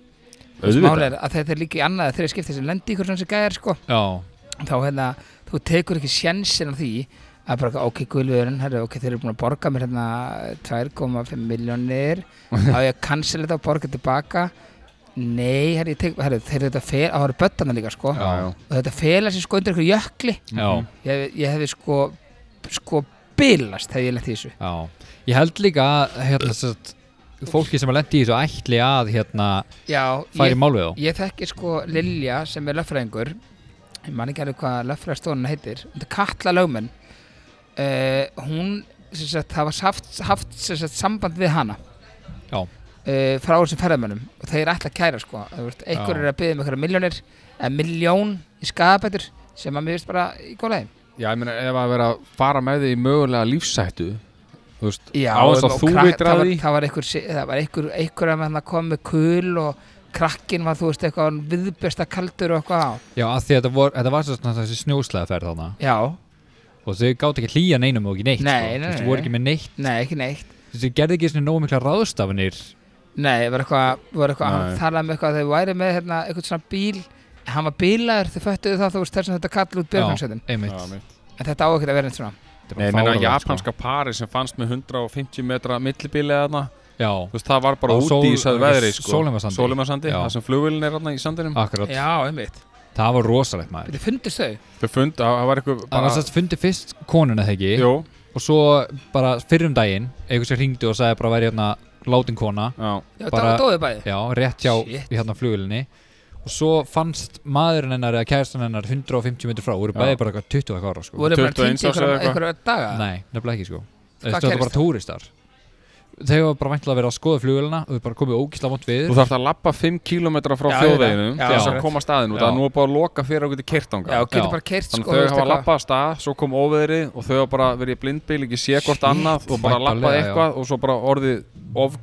[SPEAKER 1] Mál
[SPEAKER 3] Auðvitað
[SPEAKER 1] er að þetta er líka í annað þegar skiptið sem lendi ykkur svona sem gæðir, sko.
[SPEAKER 4] Já,
[SPEAKER 1] Þá hérna, þú tekur ekki sjensin á því að bara, ok, gulvöðurinn, herru, ok, þeir eru búin að borga mér hérna 2,5 miljónir, á ég að cancel þetta og borga tilbaka. Nei, herru, ég tek, herru, þeir eru þetta fel, á það eru bötana líka, sko.
[SPEAKER 3] Já, já
[SPEAKER 1] Og þetta fela sér sko undir ykkur jökli.
[SPEAKER 3] Mhm.
[SPEAKER 4] já
[SPEAKER 1] Ég, ég hefði sko, sko, bilast hefði ég lent í þessu.
[SPEAKER 4] Já, ég held líka að hérna, satt, fólki sem að lendi í þessu ætli að hérna,
[SPEAKER 1] Já,
[SPEAKER 4] færi mál við þá
[SPEAKER 1] Ég þekki sko Lilja sem er löffræðingur ég man ekki alveg hvað löffræðarstofunum heitir þetta er Katla Lögmenn uh, hún, sem sagt, það var haft, haft sem sagt, samband við hana
[SPEAKER 4] Já.
[SPEAKER 1] Eh, frá þessum ferðamönnum og þeir ætla að kæra sko Þú veist, einhver
[SPEAKER 4] Já.
[SPEAKER 1] er að byggja um einhverja miljónir eða miljón í skadabætur sem að mér veist bara í góðlega
[SPEAKER 3] Já, ég meina, ef að vera að fara með því í mögulega lífsættu Þú veist,
[SPEAKER 1] Já,
[SPEAKER 3] á þess að
[SPEAKER 1] og
[SPEAKER 3] þú
[SPEAKER 1] krak-
[SPEAKER 3] vitir
[SPEAKER 1] það
[SPEAKER 3] að
[SPEAKER 1] var,
[SPEAKER 3] því
[SPEAKER 1] það var einhver, si- það var einhver, einhver að maður kom með kul og krakkin var þú veist eitthvað viðbjösta kaldur og eitthvað á
[SPEAKER 4] Já, af því að þetta var, þetta var svo, svona þessi snjóslega ferð þarna
[SPEAKER 1] Já,
[SPEAKER 4] og þau gátt ekki hlýja neinum og ekki neitt
[SPEAKER 1] Nei, nei,
[SPEAKER 4] sko. Þú veist,
[SPEAKER 1] nei,
[SPEAKER 4] voru
[SPEAKER 1] nei.
[SPEAKER 4] ekki með neitt
[SPEAKER 1] nei ekki neitt
[SPEAKER 4] Þú veist, þau gerði ekki svona nógu mikla ráðstafanir
[SPEAKER 1] Nei, það var eitthvað, var eitthvað
[SPEAKER 3] Nei.
[SPEAKER 1] hann talaði um eitthvað að þau væri með hérna, eitthvað svona bíl hann var bílaður, þau föttuðu það þú veist þess að þetta kalla út björgunsveitin
[SPEAKER 4] einmitt
[SPEAKER 3] Já, mitt.
[SPEAKER 1] en þetta á ekkert að vera neitt svona
[SPEAKER 4] Þetta var
[SPEAKER 3] Nei, ég meina,
[SPEAKER 4] fáránlegt, sko.
[SPEAKER 3] japanska
[SPEAKER 1] sko.
[SPEAKER 3] pari sem fannst með 150 metra millibíli eða þarna
[SPEAKER 4] sko. Já,
[SPEAKER 3] Þú veist, það var bara
[SPEAKER 4] Á
[SPEAKER 3] úti
[SPEAKER 4] sól-
[SPEAKER 3] í þessu veðri sko.
[SPEAKER 4] Sólimarsandi.
[SPEAKER 3] Sólimarsandi,
[SPEAKER 4] Já.
[SPEAKER 3] það sem flugvillin er þarna í sandinum
[SPEAKER 4] akkurat
[SPEAKER 1] Já, einmitt
[SPEAKER 4] Það var rosalegt maður
[SPEAKER 1] Þetta fundist þau?
[SPEAKER 3] Þau fund, það það var eitthvað
[SPEAKER 4] Það var
[SPEAKER 3] bara
[SPEAKER 4] sérst fundið fyrst konuna þeggi
[SPEAKER 3] Jú,
[SPEAKER 4] og svo bara fyrrum daginn einhver sem hringdi og sagði bara að væri hérna látin kona
[SPEAKER 3] já,
[SPEAKER 1] Já,
[SPEAKER 4] Bara-
[SPEAKER 1] það dóðu bæði
[SPEAKER 4] Já, rétt hjá
[SPEAKER 1] Shit.
[SPEAKER 4] í hérna flugilinni og svo fannst maðurinn hennar eða kæristan hennar 150 metri frá og voru
[SPEAKER 3] Já.
[SPEAKER 4] bæði bara eitthvað 20 eitthvað ára sko.
[SPEAKER 1] Voru bara
[SPEAKER 3] 21
[SPEAKER 1] týndi
[SPEAKER 3] árs eða
[SPEAKER 1] ykkur,
[SPEAKER 3] eitthvað?
[SPEAKER 1] ykkur daga
[SPEAKER 4] Nei, nefnilega ekki sko
[SPEAKER 1] Eh. Hvað
[SPEAKER 4] Þetta var
[SPEAKER 1] gerist
[SPEAKER 4] bara túristar Þeir var bara væntilega að vera að skoða flugilina og við bara komið ógísla vont við
[SPEAKER 3] Þú þarft að lappa 5 km frá
[SPEAKER 1] Já,
[SPEAKER 3] þjóðveginu
[SPEAKER 1] já,
[SPEAKER 3] til þess að
[SPEAKER 1] já.
[SPEAKER 3] koma staðin út
[SPEAKER 4] Já.
[SPEAKER 3] að nú er búið að loka fyrir okkur til
[SPEAKER 1] Já,
[SPEAKER 3] kertanga
[SPEAKER 1] getur
[SPEAKER 4] Já.
[SPEAKER 1] bara kert
[SPEAKER 3] Þannig
[SPEAKER 1] sko þú
[SPEAKER 3] að þau
[SPEAKER 1] veist,
[SPEAKER 3] hafa
[SPEAKER 1] eitthvað.
[SPEAKER 3] lappað af stað, svo kom óveðri og þau hafa bara verið í blindbíl, ekki sé hvort annað og bara
[SPEAKER 4] Væntanlega,
[SPEAKER 3] lappað
[SPEAKER 4] já.
[SPEAKER 3] eitthvað og svo bara orðið of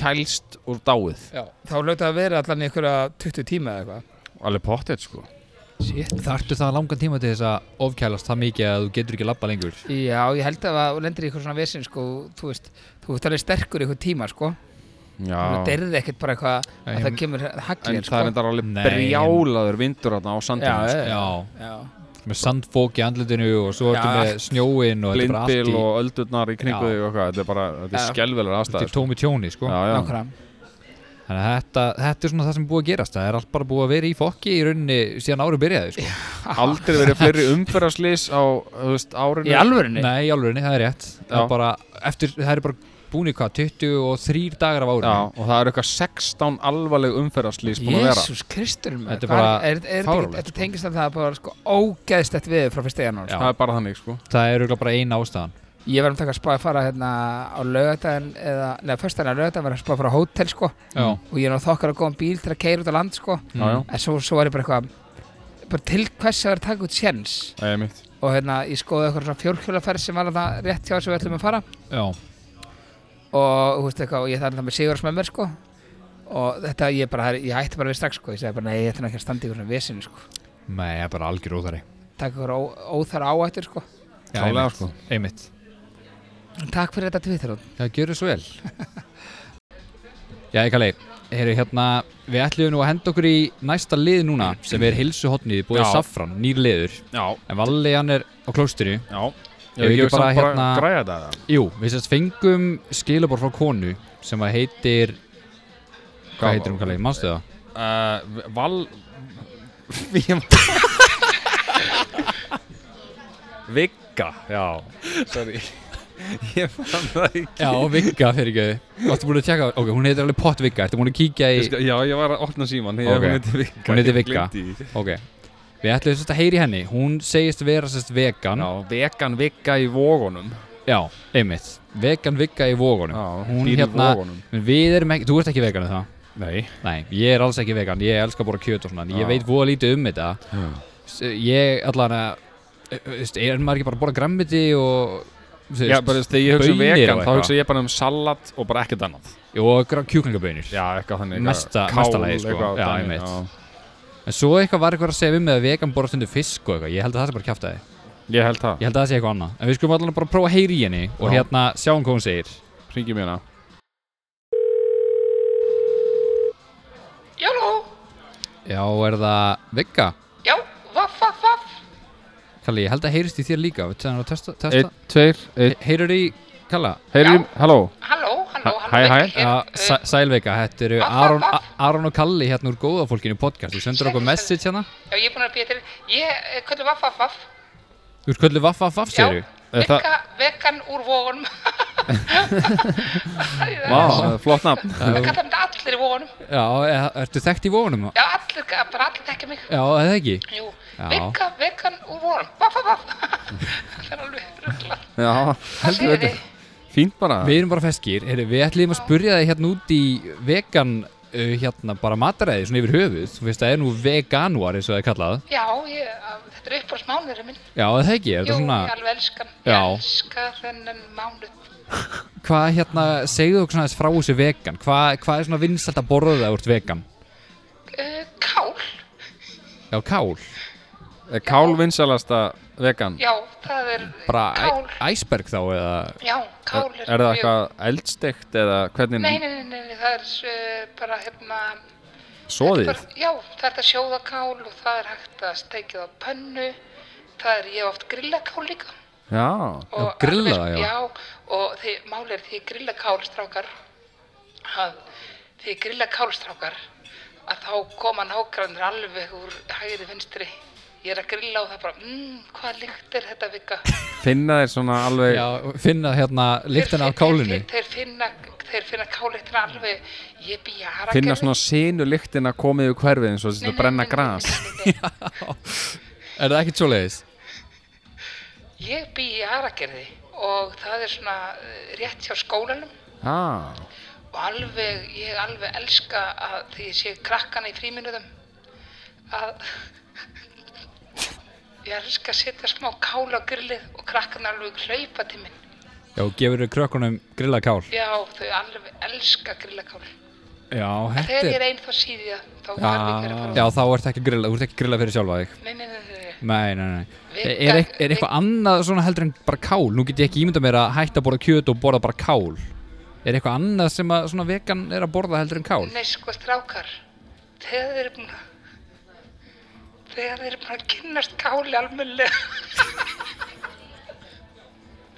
[SPEAKER 3] kælst og dáið
[SPEAKER 1] Þá lögðu það að vera allan í ykkur 20 tíma eða eitthvað
[SPEAKER 3] Alveg pottið sko
[SPEAKER 1] Shit.
[SPEAKER 4] Þarftu það langan tíma til þess að ofkælast það mikið að þú getur ekki labba lengur
[SPEAKER 1] Já, ég held að það lendir í ykkur svona vesinn sko, þú veist, þú veist alveg sterkur í ykkur tíma sko, þú
[SPEAKER 3] Já,
[SPEAKER 1] derði ekkert bara eitthvað að það kemur
[SPEAKER 3] en
[SPEAKER 1] haglir
[SPEAKER 3] það er
[SPEAKER 1] sko.
[SPEAKER 3] endar alveg
[SPEAKER 4] Nei.
[SPEAKER 3] brjálaður vindur þarna á
[SPEAKER 1] Já,
[SPEAKER 3] sandinu sko.
[SPEAKER 1] já.
[SPEAKER 4] Já,
[SPEAKER 1] Já,
[SPEAKER 4] með sandfók í andlitinu og svo ertu
[SPEAKER 1] Já.
[SPEAKER 4] með snjóin og þetta er bara allt
[SPEAKER 3] blindbíl
[SPEAKER 4] í,
[SPEAKER 3] og öldurnar í kringu
[SPEAKER 4] Já.
[SPEAKER 3] þig og eitthvað, þetta er bara, þetta er
[SPEAKER 1] Já.
[SPEAKER 3] skelvelar
[SPEAKER 4] þetta er
[SPEAKER 3] aðstæður sko.
[SPEAKER 4] tómi tjóni sko
[SPEAKER 3] Já, já,
[SPEAKER 1] nákvæmlega
[SPEAKER 4] Þannig að þetta, þetta er svona það sem er búið að gerast Það er allt bara búið að vera í fokki í rauninni síðan árið byrjaði sko.
[SPEAKER 3] Aldrei verið fleiri umferðarslýs á þú veist, árinu
[SPEAKER 1] Í alvörunni?
[SPEAKER 4] Nei, í alveg, það er rétt það
[SPEAKER 3] Já.
[SPEAKER 4] er bara, eftir, það er bara búin í hvað, 23 dagar af árið
[SPEAKER 3] Já, og það eru eitthvað 16 alvarleg umferðarslýs búin að vera
[SPEAKER 1] Jésús Kristur maður,
[SPEAKER 4] Þetta er
[SPEAKER 1] hvað
[SPEAKER 4] bara
[SPEAKER 1] er, er, er,
[SPEAKER 4] fáránlegt,
[SPEAKER 1] er, þetta
[SPEAKER 4] sko.
[SPEAKER 1] tengist af það að bara sko ógeðstett við frá fyrsta janúar sko.
[SPEAKER 3] Það er bara þannig sko
[SPEAKER 4] Það er örugglega bara ein ástæðan
[SPEAKER 1] ég var um taka að spá að fara hérna á lögadaginn eða, neða, föstudaginn á lögadaginn var ég að spá að fara á hótel sko
[SPEAKER 4] Já, Mm.
[SPEAKER 1] og ég er nú þokkar að góðan bíl til að keira út á land sko
[SPEAKER 3] Já, já,
[SPEAKER 1] en svo, svo var ég bara eitthvað bara til hvers að vera að taka út séns
[SPEAKER 3] það er mitt
[SPEAKER 1] og hérna ég skoði eitthvað svona fjórhjólaferð sem var það rétt hjá þess að við ætlum að fara
[SPEAKER 4] já,
[SPEAKER 1] og þú veist eitthvað og ég þarf það með Sigurðs með mér sko og þetta ég bara, ég hætti bara við strax sko ég segi bara nei, ég ætlum ekki að standa í eitthvað vesinu sko
[SPEAKER 4] nei, það er bara algjör óþari
[SPEAKER 1] taka eitthvað ó- óþarfa áættur sko
[SPEAKER 4] Já,
[SPEAKER 3] Klálega,
[SPEAKER 4] einmitt.
[SPEAKER 3] sko.
[SPEAKER 4] Einmitt,
[SPEAKER 1] Takk fyrir þetta Twitter Rúnar.
[SPEAKER 4] það gjörðu svo vel Já, ég kalli Heyru, hérna, við ætlum nú að henda okkur í næsta lið núna sem er hilsuhotnið búið
[SPEAKER 3] Já.
[SPEAKER 4] safran, nýr liður
[SPEAKER 3] Já,
[SPEAKER 4] en Valli hann er á klósturu
[SPEAKER 3] já
[SPEAKER 4] Ég vil ekki bara, hérna-
[SPEAKER 3] græja þetta
[SPEAKER 4] Jú, við sérst fengum skilabor frá konu sem að heitir hvað heitir hún kalli, manstu það?
[SPEAKER 3] Uh, val Við- Vigga, já Sorry Ég fann það ekki
[SPEAKER 4] Já, Vigga fyrir ekki Vartu búin að tjekka, ok, hún heitir alveg Pott Vigga Ertu búin að kíkja í,
[SPEAKER 3] Ég skal- Já, ég var að opna síman
[SPEAKER 4] Ok.
[SPEAKER 3] Hún heiti Vigga
[SPEAKER 4] Hún heitir
[SPEAKER 3] ég
[SPEAKER 4] Vigga.
[SPEAKER 3] gleymdi því.
[SPEAKER 4] ok Við ætlum sérst að heyri henni, hún segist vera sérst vegan
[SPEAKER 3] Já, vegan Vigga í vógunum
[SPEAKER 4] Já, einmitt, vegan Vigga í vógunum
[SPEAKER 3] Já,
[SPEAKER 4] Hún
[SPEAKER 3] býr í
[SPEAKER 4] hérna,
[SPEAKER 3] Vogunum.
[SPEAKER 4] en við erum ekki, þú ert ekki vegan er það?
[SPEAKER 3] Nei
[SPEAKER 4] Nei, ég er alls ekki vegan, ég elska að bóra kjöt og svona En
[SPEAKER 3] Já.
[SPEAKER 4] ég veit voða lítið um þetta S- Ég allan að, e, veist, er maður ekki bara að bóra grammiti og þú
[SPEAKER 3] Já,
[SPEAKER 4] veist,
[SPEAKER 3] bara þess, þegar ég hugsa um
[SPEAKER 4] baunir og
[SPEAKER 3] vegan þá
[SPEAKER 4] eitthvað.
[SPEAKER 3] hugsa ég bara um salat og bara ekkert annað
[SPEAKER 4] og kjúklingabönir
[SPEAKER 3] Já, eitthvað þannig
[SPEAKER 4] Mesta-
[SPEAKER 3] eitthvað,
[SPEAKER 4] mesta
[SPEAKER 3] kál,
[SPEAKER 4] lagi, sko.
[SPEAKER 3] eitthvað
[SPEAKER 4] Já,
[SPEAKER 3] þannig,
[SPEAKER 4] einmitt. En svo eitthvað var eitthvað að segja við með að vegan borða stundu fisk og eitthvað Ég held að það sé bara kjaftaði
[SPEAKER 3] Ég held það,
[SPEAKER 4] Ég held að það sé eitthvað annað En við skulum allan bara prófa að heyri í henni Og
[SPEAKER 3] Já.
[SPEAKER 4] hérna sjáum hvað hún segir
[SPEAKER 3] hringjum hérna
[SPEAKER 5] Jáló,
[SPEAKER 4] Já, er það Vigga?
[SPEAKER 5] já, vaff, vaff, vaff.
[SPEAKER 4] Kalli, ég held að heyrist í þér líka Við tæðum að testa,
[SPEAKER 3] Einn,
[SPEAKER 4] testa.
[SPEAKER 3] tveir, einn,
[SPEAKER 4] Heyrir í Kalla?
[SPEAKER 3] heyriðum, halló
[SPEAKER 5] Halló, halló,
[SPEAKER 3] Hæ-
[SPEAKER 5] halló.
[SPEAKER 3] hæ, hæ.
[SPEAKER 5] Vigga hér.
[SPEAKER 4] Já,
[SPEAKER 5] Uh,
[SPEAKER 4] sæ, Sælveika, þetta eru
[SPEAKER 5] Vaff, vaff,
[SPEAKER 4] Aron,
[SPEAKER 5] vaff.
[SPEAKER 4] A- Aron og Kalli hérna úr góða fólkinu podcast Þú sendur okkur message hérna
[SPEAKER 5] Já, ég er búin að býja til. Ég, eh, köllu vaff, vaff, vaff.
[SPEAKER 4] Þú ert köllu vaff, vaff, vaff,
[SPEAKER 5] Já,
[SPEAKER 4] segir
[SPEAKER 3] Er það-
[SPEAKER 5] vekka, vekkan úr vóðunum.
[SPEAKER 3] Vá, flott nafn
[SPEAKER 5] Það kalla mér allir í vóðunum.
[SPEAKER 4] Já, er, ertu þekkt í vonum?
[SPEAKER 5] Já, allir, bara allir tekja mig.
[SPEAKER 4] Já, eða ekki?
[SPEAKER 5] Jú,
[SPEAKER 4] Já.
[SPEAKER 5] vekka, vekkan úr vóðunum. Vaff, vaff, vaff. Það er alveg ruggla.
[SPEAKER 3] Já,
[SPEAKER 5] Hvað
[SPEAKER 3] heldur
[SPEAKER 5] segir
[SPEAKER 3] þetta
[SPEAKER 5] þið?
[SPEAKER 3] Fínt bara
[SPEAKER 4] Við erum bara feskir, Heyri, við ætlum að spurja þig hérna út í vegan uh, hérna bara mataræði svona yfir höfuð þú veist það er nú veganuar eins og það er kallað
[SPEAKER 5] Já, ég, að- þetta er uppbóðsmánuður minn.
[SPEAKER 4] Já, er það ekki, er
[SPEAKER 5] Jú,
[SPEAKER 4] þetta svona
[SPEAKER 5] ég alveg elskan. Ég
[SPEAKER 4] Já.
[SPEAKER 5] elska þennan mánuð.
[SPEAKER 4] hvað hérna, segðu okkur svona aðeins frá þessu vegan hvað, hvað er svona vinsalt að borða það úr vegan?
[SPEAKER 5] Uh, kál,
[SPEAKER 4] Já, kál,
[SPEAKER 3] Er kál vinsalasta vegan?
[SPEAKER 5] já, það er
[SPEAKER 4] bara
[SPEAKER 5] kál.
[SPEAKER 4] æ- æsberg þá eða
[SPEAKER 5] Já, kál er,
[SPEAKER 3] Er það
[SPEAKER 5] mjög-
[SPEAKER 3] eitthvað eldsteikt eða hvernig
[SPEAKER 5] Nei, nei, nei, nei, nei, það er uh, bara hérna...
[SPEAKER 3] soðið?
[SPEAKER 5] Bara, já, það er hægt að sjóða kál og það er hægt að steikja það á pönnu. Það er, ég hef oft grilla kál líka.
[SPEAKER 3] Já,
[SPEAKER 5] Og
[SPEAKER 4] Já, grilla það, já.
[SPEAKER 5] Já, og þið, máli er því grilla kál, strákar, að því grilla kál, strákar, að þá koma nákvæmdur alveg úr hægri vinstri. Ég er að grilla og það bara, mmm, hvað lykt er þetta vika?
[SPEAKER 3] finna þeir svona alveg
[SPEAKER 4] já, finna hérna lyktina af kálinu
[SPEAKER 5] Þeir, þeir, þeir finna, þeir finna kálíktina alveg, ég býja að
[SPEAKER 3] finna svona senu lyktina komið úr hverfið eins og þess að brenna gras
[SPEAKER 5] græs.
[SPEAKER 4] Er það ekki svo leiðis?
[SPEAKER 5] Ég bý í Aragerði og það er svona eh, rétt hjá skólanum
[SPEAKER 3] Já,
[SPEAKER 5] og alveg, ég alveg elska að því ég sé krakkana í fríminuðum að ég elska að setja smá kála á grillið og krakkana alveg hlaupa til minn.
[SPEAKER 4] Já, gefur þau krökkunum grilla kál
[SPEAKER 5] Já, þau alveg elska grillakál.
[SPEAKER 4] Já,
[SPEAKER 5] Þegar
[SPEAKER 4] þetta
[SPEAKER 5] ég
[SPEAKER 4] er Ah,
[SPEAKER 5] er einn þá síði það, þá ja. alveg ekki að
[SPEAKER 4] Já,
[SPEAKER 5] fara.
[SPEAKER 4] þá ertu ekki að grilla, þú ert ekki að grilla fyrir sjálfa þig
[SPEAKER 5] Nei, nei, nei, nei, nei.
[SPEAKER 4] Nei, nei, nei.
[SPEAKER 5] Við-
[SPEAKER 4] er, er, er eitthvað annað svona heldur en bara kál? Nú get ég ekki ímynda mér að hætta að borða kjöt og borða bara kál. Er eitthvað annað sem að svona vegan er að borða heldur en kál?
[SPEAKER 5] Nei, sko, strákar, þegar þeir eru búin að, þegar þeir eru búin að kynnast káli almennilega,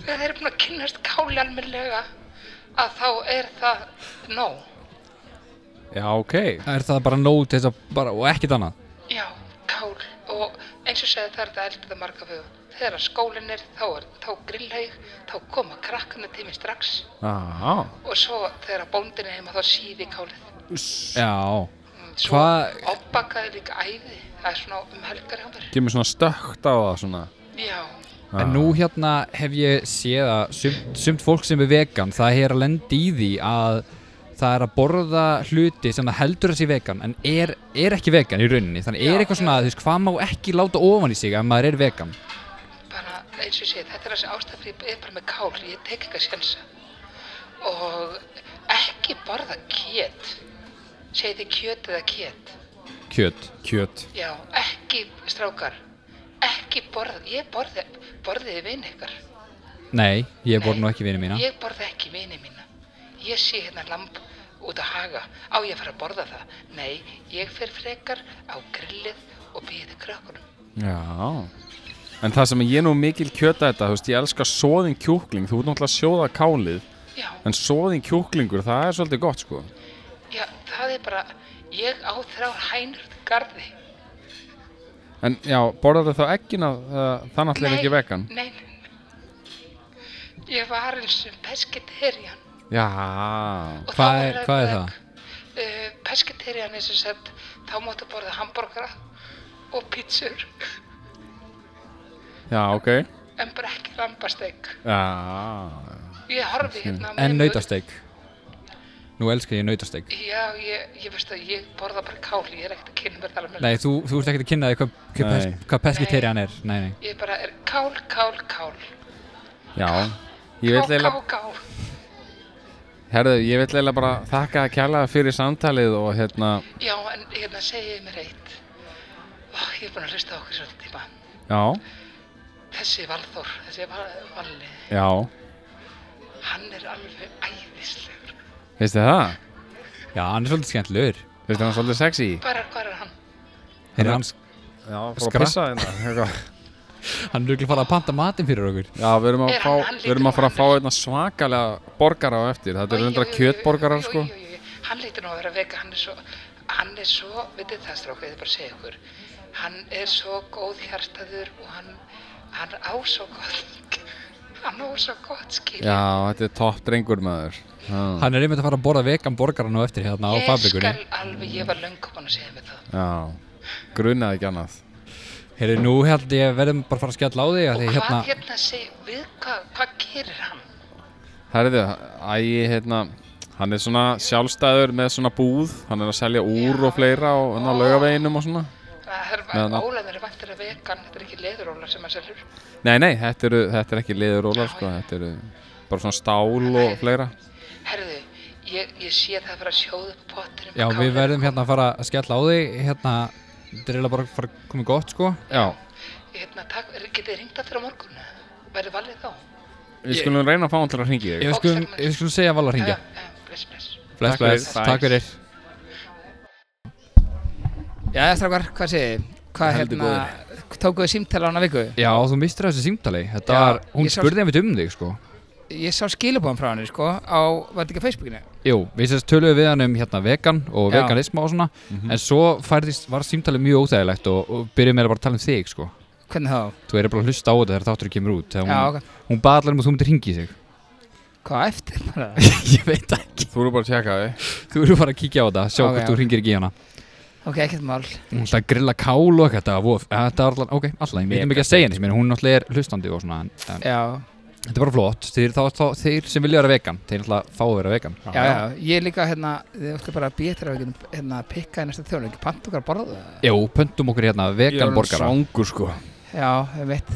[SPEAKER 5] þegar þeir eru búin að kynnast káli almennilega, að þá er það nóg.
[SPEAKER 3] Já, ok.
[SPEAKER 4] Er það bara nóg til þess að bara, og ekkert annað?
[SPEAKER 5] Já, kál og eins og segja það er þetta eldið að marga vögu. Þegar skólinn er, þá er þá grillhaug, þá koma krakkana til mér strax
[SPEAKER 3] Já.
[SPEAKER 5] og svo þegar bóndin er heima þá síði kálið.
[SPEAKER 4] Já.
[SPEAKER 5] Mm, Svo
[SPEAKER 4] Hvað-
[SPEAKER 5] opbakaði líka æði, það er svona um helgar hjá mér.
[SPEAKER 3] Gemur svona stökkt á það svona.
[SPEAKER 5] Já,
[SPEAKER 4] En
[SPEAKER 3] Ah.
[SPEAKER 4] nú hérna hef ég séð að sumt, sumt fólk sem er vegan, það er að lenda í því að það er að borða hluti sem það heldur að sé vegan en er, er ekki vegan í rauninni þannig
[SPEAKER 5] Já,
[SPEAKER 4] er eitthvað svona,
[SPEAKER 5] já.
[SPEAKER 4] þú veist, hvað má ekki láta ofan í sig ef maður er vegan
[SPEAKER 5] bara eins og sé, þetta er þessi ástæð fyrir ég er bara með kál, ég tek ekki að sjensa. Og ekki borða kjöt, segið þið kjöt eða kjöt.
[SPEAKER 4] kjöt
[SPEAKER 3] Kjöt.
[SPEAKER 5] Já, ekki strákar, ekki borða, ég borði, borðiði vinn ykkar.
[SPEAKER 4] Nei, ég borð nú ekki vinið mína
[SPEAKER 5] Ég borða ekki vini mína. Ég sé hérna lamb út að haga. Á ég að fara að borða það? Nei, ég fer frekar á grillið og býði krökkunum.
[SPEAKER 3] Já. En það sem ég er nú mikil kjöta þetta, þú veist, ég elska soðin kjúkling, þú ert náttúrulega að sjóða kálið,
[SPEAKER 5] Já,
[SPEAKER 3] en soðin kjúklingur, það er svolítið gott, sko.
[SPEAKER 5] já, það er bara, ég á þrjár hænur til garði.
[SPEAKER 3] En já, borðar þau þá ekkin að það náttúrulega er ekki vegan?
[SPEAKER 5] Nei, nei, nei. Ég var eins og pesketerjan.
[SPEAKER 3] Já.
[SPEAKER 5] og
[SPEAKER 4] Hvað
[SPEAKER 5] þá
[SPEAKER 4] er-
[SPEAKER 5] var
[SPEAKER 4] hvað er
[SPEAKER 5] þetta-
[SPEAKER 4] það?
[SPEAKER 5] Uh, pesketerjan er sem sagt, þá máttu borða hambúrgara og pítsur,
[SPEAKER 3] Já, ok.
[SPEAKER 5] en bara ekki lambasteik.
[SPEAKER 3] Já.
[SPEAKER 5] Ég horfi hérna á
[SPEAKER 4] Hmm. En
[SPEAKER 5] mig-
[SPEAKER 4] nautasteik Nú elskar ég nautasteik
[SPEAKER 5] Já, ég, ég veist að ég borða bara kál, ég er ekkert að kynna mér það alveg.
[SPEAKER 4] Nei, þú, þú ert ekkert að kynna þig hvað, hvað,
[SPEAKER 3] Nei.
[SPEAKER 4] pes, hvað pesketerian er Nei, nei
[SPEAKER 5] Ég bara er kál, kál, kál.
[SPEAKER 3] Já. Ég vil
[SPEAKER 5] kál,
[SPEAKER 3] eiginlega
[SPEAKER 5] kál, kál.
[SPEAKER 3] Herðu, ég vil eiginlega bara þakka að kjalla fyrir samtalið og hérna,
[SPEAKER 5] Já, en hérna segiði mér eitt. Ó, ég er búin að hlusta á okkur svolítið tíma.
[SPEAKER 3] já,
[SPEAKER 5] Þessi Valþór, þessi val, Valli,
[SPEAKER 3] já,
[SPEAKER 5] hann er alveg æðislegur.
[SPEAKER 3] veistu það?
[SPEAKER 4] Já, hann er svolítið skemmtilegur
[SPEAKER 3] Veistu hann svolítið sexy?
[SPEAKER 5] Bara hvað er hann?
[SPEAKER 4] Hann er, hans,
[SPEAKER 3] Já, fór
[SPEAKER 4] Skra-
[SPEAKER 3] hérna.
[SPEAKER 4] hann er ekki að fara að panta matinn fyrir okkur
[SPEAKER 3] Já, við erum að,
[SPEAKER 5] Er hann-
[SPEAKER 3] fá,
[SPEAKER 5] hann
[SPEAKER 3] við erum að fara að fá
[SPEAKER 5] lítur-
[SPEAKER 3] einna svakalega borgara á eftir. Þetta
[SPEAKER 5] Oj,
[SPEAKER 3] eru
[SPEAKER 5] oj,
[SPEAKER 3] undra
[SPEAKER 5] oj, oj,
[SPEAKER 3] kjötborgarar,
[SPEAKER 5] oj,
[SPEAKER 3] sko.
[SPEAKER 5] oj, oj, oj. Hann lítur nú að vera vega, hann er svo, hann er svo, veitir það stráka, ég er bara að segja ykkur, hann er svo góð hjartaður og hann, hann á svo gott, hann á svo gott skil.
[SPEAKER 3] Já, þetta er topp drengur maður. Já,
[SPEAKER 4] Hann er einmitt að fara að borða vegan borgaran á eftir hérna á
[SPEAKER 5] ég
[SPEAKER 4] fabrikunni
[SPEAKER 5] skal alveg, ég var löngum hann að segja mér það.
[SPEAKER 3] já. grunnaði ekki annað.
[SPEAKER 4] Herri, nú held ég verðum bara að fara að skella á þig að
[SPEAKER 5] Og
[SPEAKER 4] því
[SPEAKER 5] hvað
[SPEAKER 4] hérna,
[SPEAKER 5] hérna, segir, við hvað, hvað gerir hann?
[SPEAKER 3] Herðu, æ, hérna, hann er svona sjálfstæður með svona búð. Hann er að selja úr og fleira og hann á hérna, laugaveginum og svona.
[SPEAKER 5] Það er,
[SPEAKER 3] Meðan að-
[SPEAKER 5] ólaður er vantir að vegan, þetta er ekki leðuróla sem hann selur.
[SPEAKER 3] Nei, nei, þetta eru, þetta eru ekki liðurólar sko, þetta eru bara svona stál og fleira.
[SPEAKER 5] Herðu, ég, ég sé það að vera að sjóða upp á pottinum.
[SPEAKER 4] já,
[SPEAKER 5] og
[SPEAKER 4] við
[SPEAKER 5] kálinu.
[SPEAKER 4] verðum hérna að fara að skella á þig, hérna, þetta er eiginlega bara að fara að koma í gott, sko.
[SPEAKER 3] Já,
[SPEAKER 5] Hérna, takk, getið þið ringt aftur á morgun? Verður valið þá?
[SPEAKER 3] við skulum reyna að fá hann til að hringi þig.
[SPEAKER 4] Ég skulum, ég skulum segja Vala að
[SPEAKER 5] Já,
[SPEAKER 4] ringja.
[SPEAKER 5] já, eh, bless, bless.
[SPEAKER 4] Bless,
[SPEAKER 3] Takk fyrir,
[SPEAKER 4] bless,
[SPEAKER 3] bye.
[SPEAKER 4] takk fyrir.
[SPEAKER 1] Já, strákar, hvað segið þið? Hvað
[SPEAKER 3] Heldur
[SPEAKER 1] hérna, tókuðu símtala hana viku?
[SPEAKER 4] Já, þú mistur þessu símtali, þetta
[SPEAKER 1] Já,
[SPEAKER 4] var, hún
[SPEAKER 1] ég sá-
[SPEAKER 4] spurði einmitt um þig, sko.
[SPEAKER 1] Ég sá skilabóðan frá hann, sko, á, var þetta ekki á Facebookinu?
[SPEAKER 4] Jú, við sérst töluðum við hann um hérna vegan og
[SPEAKER 1] Já.
[SPEAKER 4] veganisma og svona,
[SPEAKER 3] Mhm.
[SPEAKER 4] en svo færðist, var símtalið mjög óþægilegt og, og byrjuðum með að bara að tala um þig, sko.
[SPEAKER 1] Hvernig þá?
[SPEAKER 4] Þú erum bara að hlusta á þetta þegar þátturinn kemur út, þegar hún,
[SPEAKER 1] Já, ok.
[SPEAKER 4] hún baða allar um að þú myndir hringi í sig.
[SPEAKER 1] Hvað á eftir bara?
[SPEAKER 4] ég veit það ekki.
[SPEAKER 3] Þú eru bara að tjekka þig.
[SPEAKER 4] Þú eru bara að kíkja á þetta, sjá
[SPEAKER 1] Ok,
[SPEAKER 4] hvort þú
[SPEAKER 1] ok.
[SPEAKER 4] hringir ekki í hana.
[SPEAKER 1] ok, ekkert mál.
[SPEAKER 4] Hún ætlaði að grilla kál og eitthvað, þetta var vof, ja, þetta var alltaf, ok, alltaf, ég veitum ekki að segja henni, ég meina, hún náttúrulega er hlustandi og svona, en, en
[SPEAKER 1] Já,
[SPEAKER 4] þetta er bara flott, þeir, þá, þá, þeir sem vilja vera vegan, þeir náttúrulega fá að vera vegan.
[SPEAKER 1] já, já, ég líka hérna, þið ætla bara að býja þér að við getum, hérna, pikka í næsta þjóðleik, pant okkar að borða það?
[SPEAKER 4] Jú, pöntum okkur hérna, vegan borgara.
[SPEAKER 3] svangur sko.
[SPEAKER 1] Já, ég veit.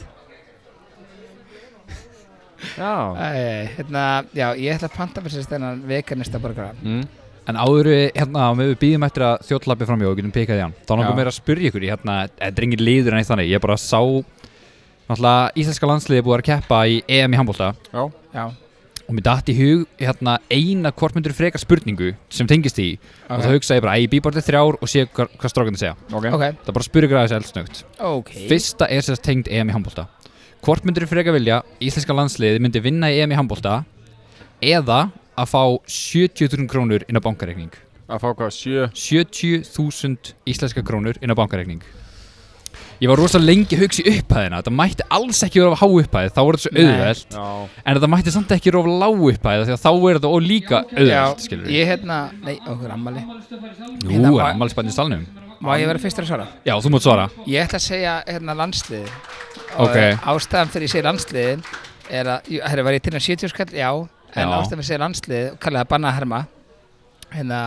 [SPEAKER 3] Já.
[SPEAKER 1] Æ, hérna, já, ég ætla að panta fyrir sérst þennan veganista borgara.
[SPEAKER 3] Mm.
[SPEAKER 4] En áður við, hérna, á meðu við býðum eftir að þjóttlappi framjá og getum pikað í hann, þá
[SPEAKER 3] Já.
[SPEAKER 4] náttúrulega meira að spyrja ykkur, ég hérna, þetta er engin liður en eitt þannig, ég bara sá, náttúrulega, íslenska landsliði er búið að keppa í EM í handbólta
[SPEAKER 3] Já.
[SPEAKER 1] Já,
[SPEAKER 4] og mér datt í hug, hérna, eina hvort myndur frekar spurningu sem tengist því
[SPEAKER 1] Ok.
[SPEAKER 4] og þá hugsaði ég bara, æ, býbortið þrjár og sé hvað, hvað strákan segja.
[SPEAKER 3] Ok.
[SPEAKER 1] ok,
[SPEAKER 4] Það er bara að spyrja ykkur aðeins eldsnögt.
[SPEAKER 1] ok.
[SPEAKER 4] Fyrsta er sérst tengd EM í handbólta. Hvort myndir frekar vilja íslenska landsliðið myndi vinna í EM í handbólta eða að fá 70.000 krónur inn á bankareikning?
[SPEAKER 3] að fá hvað, sjö
[SPEAKER 4] 70.000 íslenska krónur inn á bankareikning Ég var rosa lengi að hugsa í upphæðina Þetta mætti alls ekki vera há upphæð Þá var þetta svo
[SPEAKER 1] Nei.
[SPEAKER 4] auðvelt
[SPEAKER 3] Já,
[SPEAKER 4] En þetta mætti samt ekki vera lág upphæð Því að þá er þetta og líka auðvelt skilur við
[SPEAKER 1] ég hérna, nei, okkur ammali
[SPEAKER 4] Jú,
[SPEAKER 1] hérna var-
[SPEAKER 4] ammálsbænni stalnum
[SPEAKER 1] Má ég vera fyrstur að svara?
[SPEAKER 4] Já, þú mátt svara
[SPEAKER 1] Ég ætla að segja hérna landsliði
[SPEAKER 4] Ok.
[SPEAKER 1] Og ástæðan fyrir ég segi landsliðin er að, jú, herri, var ég til að 70 skall? Já, en
[SPEAKER 4] Já.
[SPEAKER 1] ástæðan fyrir ég segi landsliði og kallaði að banna að herma hérna,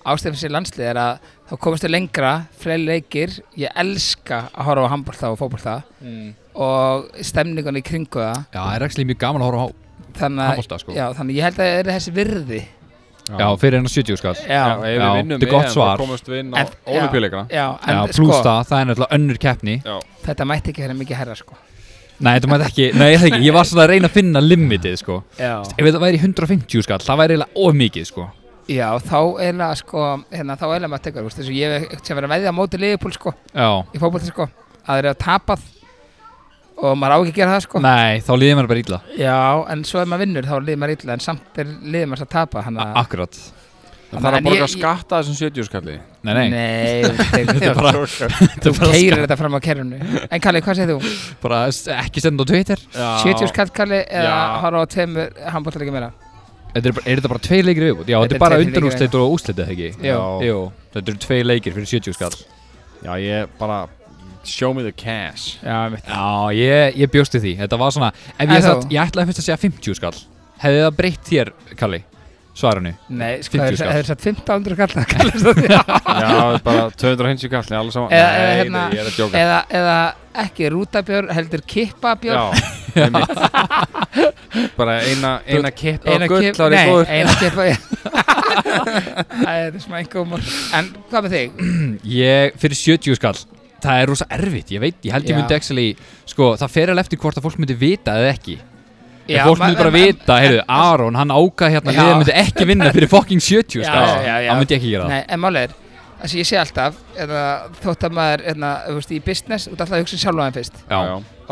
[SPEAKER 1] ástæðan fyrir ég segi landsliði er að þá komist við lengra, fleiri leikir ég elska að horfa á handbólta og fótbólta
[SPEAKER 4] Mm.
[SPEAKER 1] og stemningun í kringu það
[SPEAKER 4] Já, það er ekki mjög gaman að horfa á
[SPEAKER 1] þannig, að-
[SPEAKER 4] Handbolta, sko.
[SPEAKER 1] já, þannig að ég held að það er þessi virði
[SPEAKER 4] Já, fyrir hennar sko. 70 skall
[SPEAKER 1] Já,
[SPEAKER 3] já, ef
[SPEAKER 4] Já,
[SPEAKER 3] við vinnum
[SPEAKER 4] þetta er gott
[SPEAKER 3] EM,
[SPEAKER 4] svar.
[SPEAKER 3] þá komumst við inn á
[SPEAKER 1] En- já.
[SPEAKER 3] ólupjuleikana
[SPEAKER 1] já, en,
[SPEAKER 4] Já,
[SPEAKER 1] sko,
[SPEAKER 4] plus það, það er náttúrulega önnur keppni
[SPEAKER 3] Já,
[SPEAKER 1] þetta mætti ekki vera mikið herra sko.
[SPEAKER 4] Nei, þetta mætti ekki, nei, það ekki Ég var svona að reyna að finna limitið, sko
[SPEAKER 1] já.
[SPEAKER 4] Ef þetta væri 150 skall, það væri eiginlega of mikið, sko
[SPEAKER 1] já, þá eiginlega sko, hérna, þá eiginlega maður tekur, þú veist, þess að ég hef ekkert sem verið að veðja á móti liðupúl sko,
[SPEAKER 4] Já,
[SPEAKER 1] í fótbolta sko, að þeir eru að tapað og maður á ekki að gera það sko
[SPEAKER 4] nei, þá líður mér bara illa
[SPEAKER 1] já, en svo ef maður vinnur þá liður maður illa en samt er liður maður að tapa hann að
[SPEAKER 4] Akkurat
[SPEAKER 3] það þarf
[SPEAKER 1] En
[SPEAKER 3] að borga
[SPEAKER 1] ég- ég-
[SPEAKER 3] skatta af þessum 70 skalli
[SPEAKER 4] Nei, nei,
[SPEAKER 1] nei,
[SPEAKER 4] þetta er bara, þetta er
[SPEAKER 1] þú
[SPEAKER 4] bara,
[SPEAKER 1] keirir þetta fram á kerfinu en Kalli, hvað segir þú?
[SPEAKER 4] sk- bara s- ekki senda á Twitter
[SPEAKER 1] 70 skall Kalli eða
[SPEAKER 3] Já.
[SPEAKER 1] horfa á tveimur handbóltalega meira?
[SPEAKER 4] Þetta er, bara- er þetta bara tvei leikir viðbútt? Já, þetta
[SPEAKER 1] Þetta
[SPEAKER 4] er
[SPEAKER 1] er
[SPEAKER 4] bara
[SPEAKER 1] tveir leikir
[SPEAKER 4] undanúrstætt og úrstætt, ekki?
[SPEAKER 1] Jú.
[SPEAKER 4] Jú, þetta eru tvei leikir fyrir sko. 70 skall
[SPEAKER 3] Já, ég bara Show me the cash
[SPEAKER 1] Já, mitt.
[SPEAKER 4] Já, ég, ég bjósti því, þetta var svona Ef
[SPEAKER 1] En
[SPEAKER 4] ég
[SPEAKER 1] þú?
[SPEAKER 4] satt, ég ætlaði fyrst að segja 50 skall Hefði það breytt þér, Kalli? Svarinu
[SPEAKER 1] Nei, sko,
[SPEAKER 4] 50
[SPEAKER 1] hefur
[SPEAKER 4] skall.
[SPEAKER 1] hefur satt 1500 kall það kallast það því.
[SPEAKER 3] Já, bara 250 kalli, allir saman
[SPEAKER 1] Eða- eða
[SPEAKER 3] Nei,
[SPEAKER 1] hérna-
[SPEAKER 3] nei, ég er að djóka
[SPEAKER 1] eða, eða ekki rútabjörn, heldur kippabjörn
[SPEAKER 3] Já, einmitt Bara eina, eina kippa á
[SPEAKER 1] eina
[SPEAKER 3] gull
[SPEAKER 1] kipp,
[SPEAKER 3] árið
[SPEAKER 1] nei,
[SPEAKER 3] góður
[SPEAKER 1] eina kippa Æ, þetta er smá engumor En hvað með þig?
[SPEAKER 4] Ég, fyrir 70 skall Það er rosa erfitt, ég veit, ég held ég
[SPEAKER 1] Já.
[SPEAKER 4] myndi actually, sko, það fer alveg eftir hvort að fólk myndi vita eða ekki
[SPEAKER 1] Já,
[SPEAKER 4] Ef fólk
[SPEAKER 1] ma-
[SPEAKER 4] myndi bara
[SPEAKER 1] en- en-
[SPEAKER 4] vita, heyrðu, Aron, hann ákað hérna
[SPEAKER 1] Já.
[SPEAKER 4] liðið myndi ekki vinna fyrir fucking 70
[SPEAKER 1] Já,
[SPEAKER 4] skall
[SPEAKER 1] já, já, já.
[SPEAKER 4] Það myndi ég ekki gera það
[SPEAKER 1] Nei, en málið er Það sem ég sé alltaf, eða, þótt að maður eða, veist, í business, þú ert alltaf að hugsa um sjálfan fyrst
[SPEAKER 4] Já,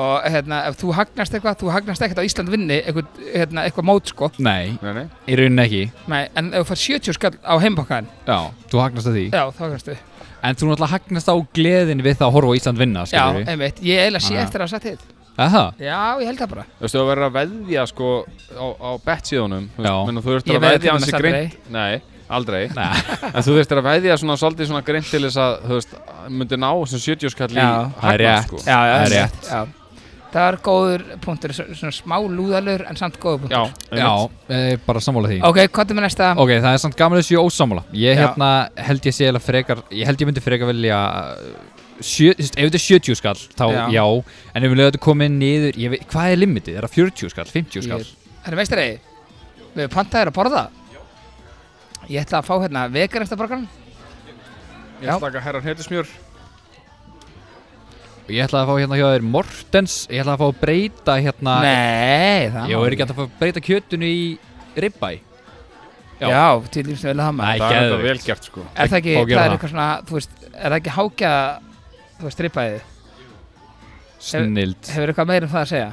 [SPEAKER 1] og eða, ef þú hagnast eitthvað, þú hagnast ekkert á Ísland vinni eitthvað, eða, eitthvað mót sko
[SPEAKER 4] nei,
[SPEAKER 3] Nei, nei
[SPEAKER 4] í rauninni ekki
[SPEAKER 1] Nei, en ef þú fær 70 skall á heimbakkaðan,
[SPEAKER 4] Já, þú hagnast að því
[SPEAKER 1] já, þá hagnast við
[SPEAKER 4] En þú náttúrulega hagnast á gleðin við það að horfa á Ísland vinna,
[SPEAKER 1] Já,
[SPEAKER 4] skilur við
[SPEAKER 1] einmitt, ég eiginlega sé
[SPEAKER 4] Ah, já.
[SPEAKER 1] eftir að hafa sagt þitt
[SPEAKER 4] Aha,
[SPEAKER 1] Já, ég held það bara
[SPEAKER 3] Þú veist, þú verður að veðja sko á, á bettsíðunum Þú
[SPEAKER 4] Já.
[SPEAKER 3] veist, menn að þú
[SPEAKER 1] Ég
[SPEAKER 3] verður að
[SPEAKER 1] veðja til
[SPEAKER 3] veðja hans
[SPEAKER 1] dæmis
[SPEAKER 3] í greint Nei, aldrei En þú verður að veðja svona svolítið svona greint til þess að þú veist, myndi ná þessum 70 skall í
[SPEAKER 1] Já.
[SPEAKER 4] það er
[SPEAKER 3] hagnað,
[SPEAKER 4] rétt
[SPEAKER 3] sko.
[SPEAKER 1] já,
[SPEAKER 4] Það er
[SPEAKER 1] einmitt, já. Það er góður punktur, svo- svona smá lúðalur en samt góður punktur
[SPEAKER 3] Já,
[SPEAKER 4] Já,
[SPEAKER 3] einmitt.
[SPEAKER 4] eh, bara sammála því
[SPEAKER 1] Ok, hvað er með næsta?
[SPEAKER 4] Ok, það er samt gaman þessu ég er ósammála Ég
[SPEAKER 1] Já.
[SPEAKER 4] hérna held ég sé eiginlega frekar Ég held ég myndi frekar velja uh, sjö, þú veist, Ef þetta er 70 skall, þá já,
[SPEAKER 1] Já.
[SPEAKER 4] En ef við lögum þetta komið niður ég veit, Hvað er limitið? Er það 40 skall, 50 skall?
[SPEAKER 1] Það er meistari, við erum pantaðir að borða Ég ætla að fá hérna veganestabrakkan
[SPEAKER 3] Ég ætla að taka herran hnetusmjör
[SPEAKER 4] Og Ég ætla að fá hérna hjá þér Mortens Ég ætla að fá að breyta hérna
[SPEAKER 1] Nei, það
[SPEAKER 4] Ég
[SPEAKER 1] má
[SPEAKER 4] er ekki hægt að fá að breyta kjötunu í ribbæ já.
[SPEAKER 1] Já, til lífst að vilja það
[SPEAKER 4] Æ,
[SPEAKER 1] maður
[SPEAKER 3] Það er
[SPEAKER 4] geðveikt.
[SPEAKER 3] þetta vel gert sko
[SPEAKER 1] Er það ekki,
[SPEAKER 4] Fá að
[SPEAKER 1] það er
[SPEAKER 4] gera það.
[SPEAKER 1] eitthvað svona, þú veist, er það ekki hákjaða, þú veist, strippaðið
[SPEAKER 4] Snild
[SPEAKER 1] Hefur eitthvað meira um það að segja?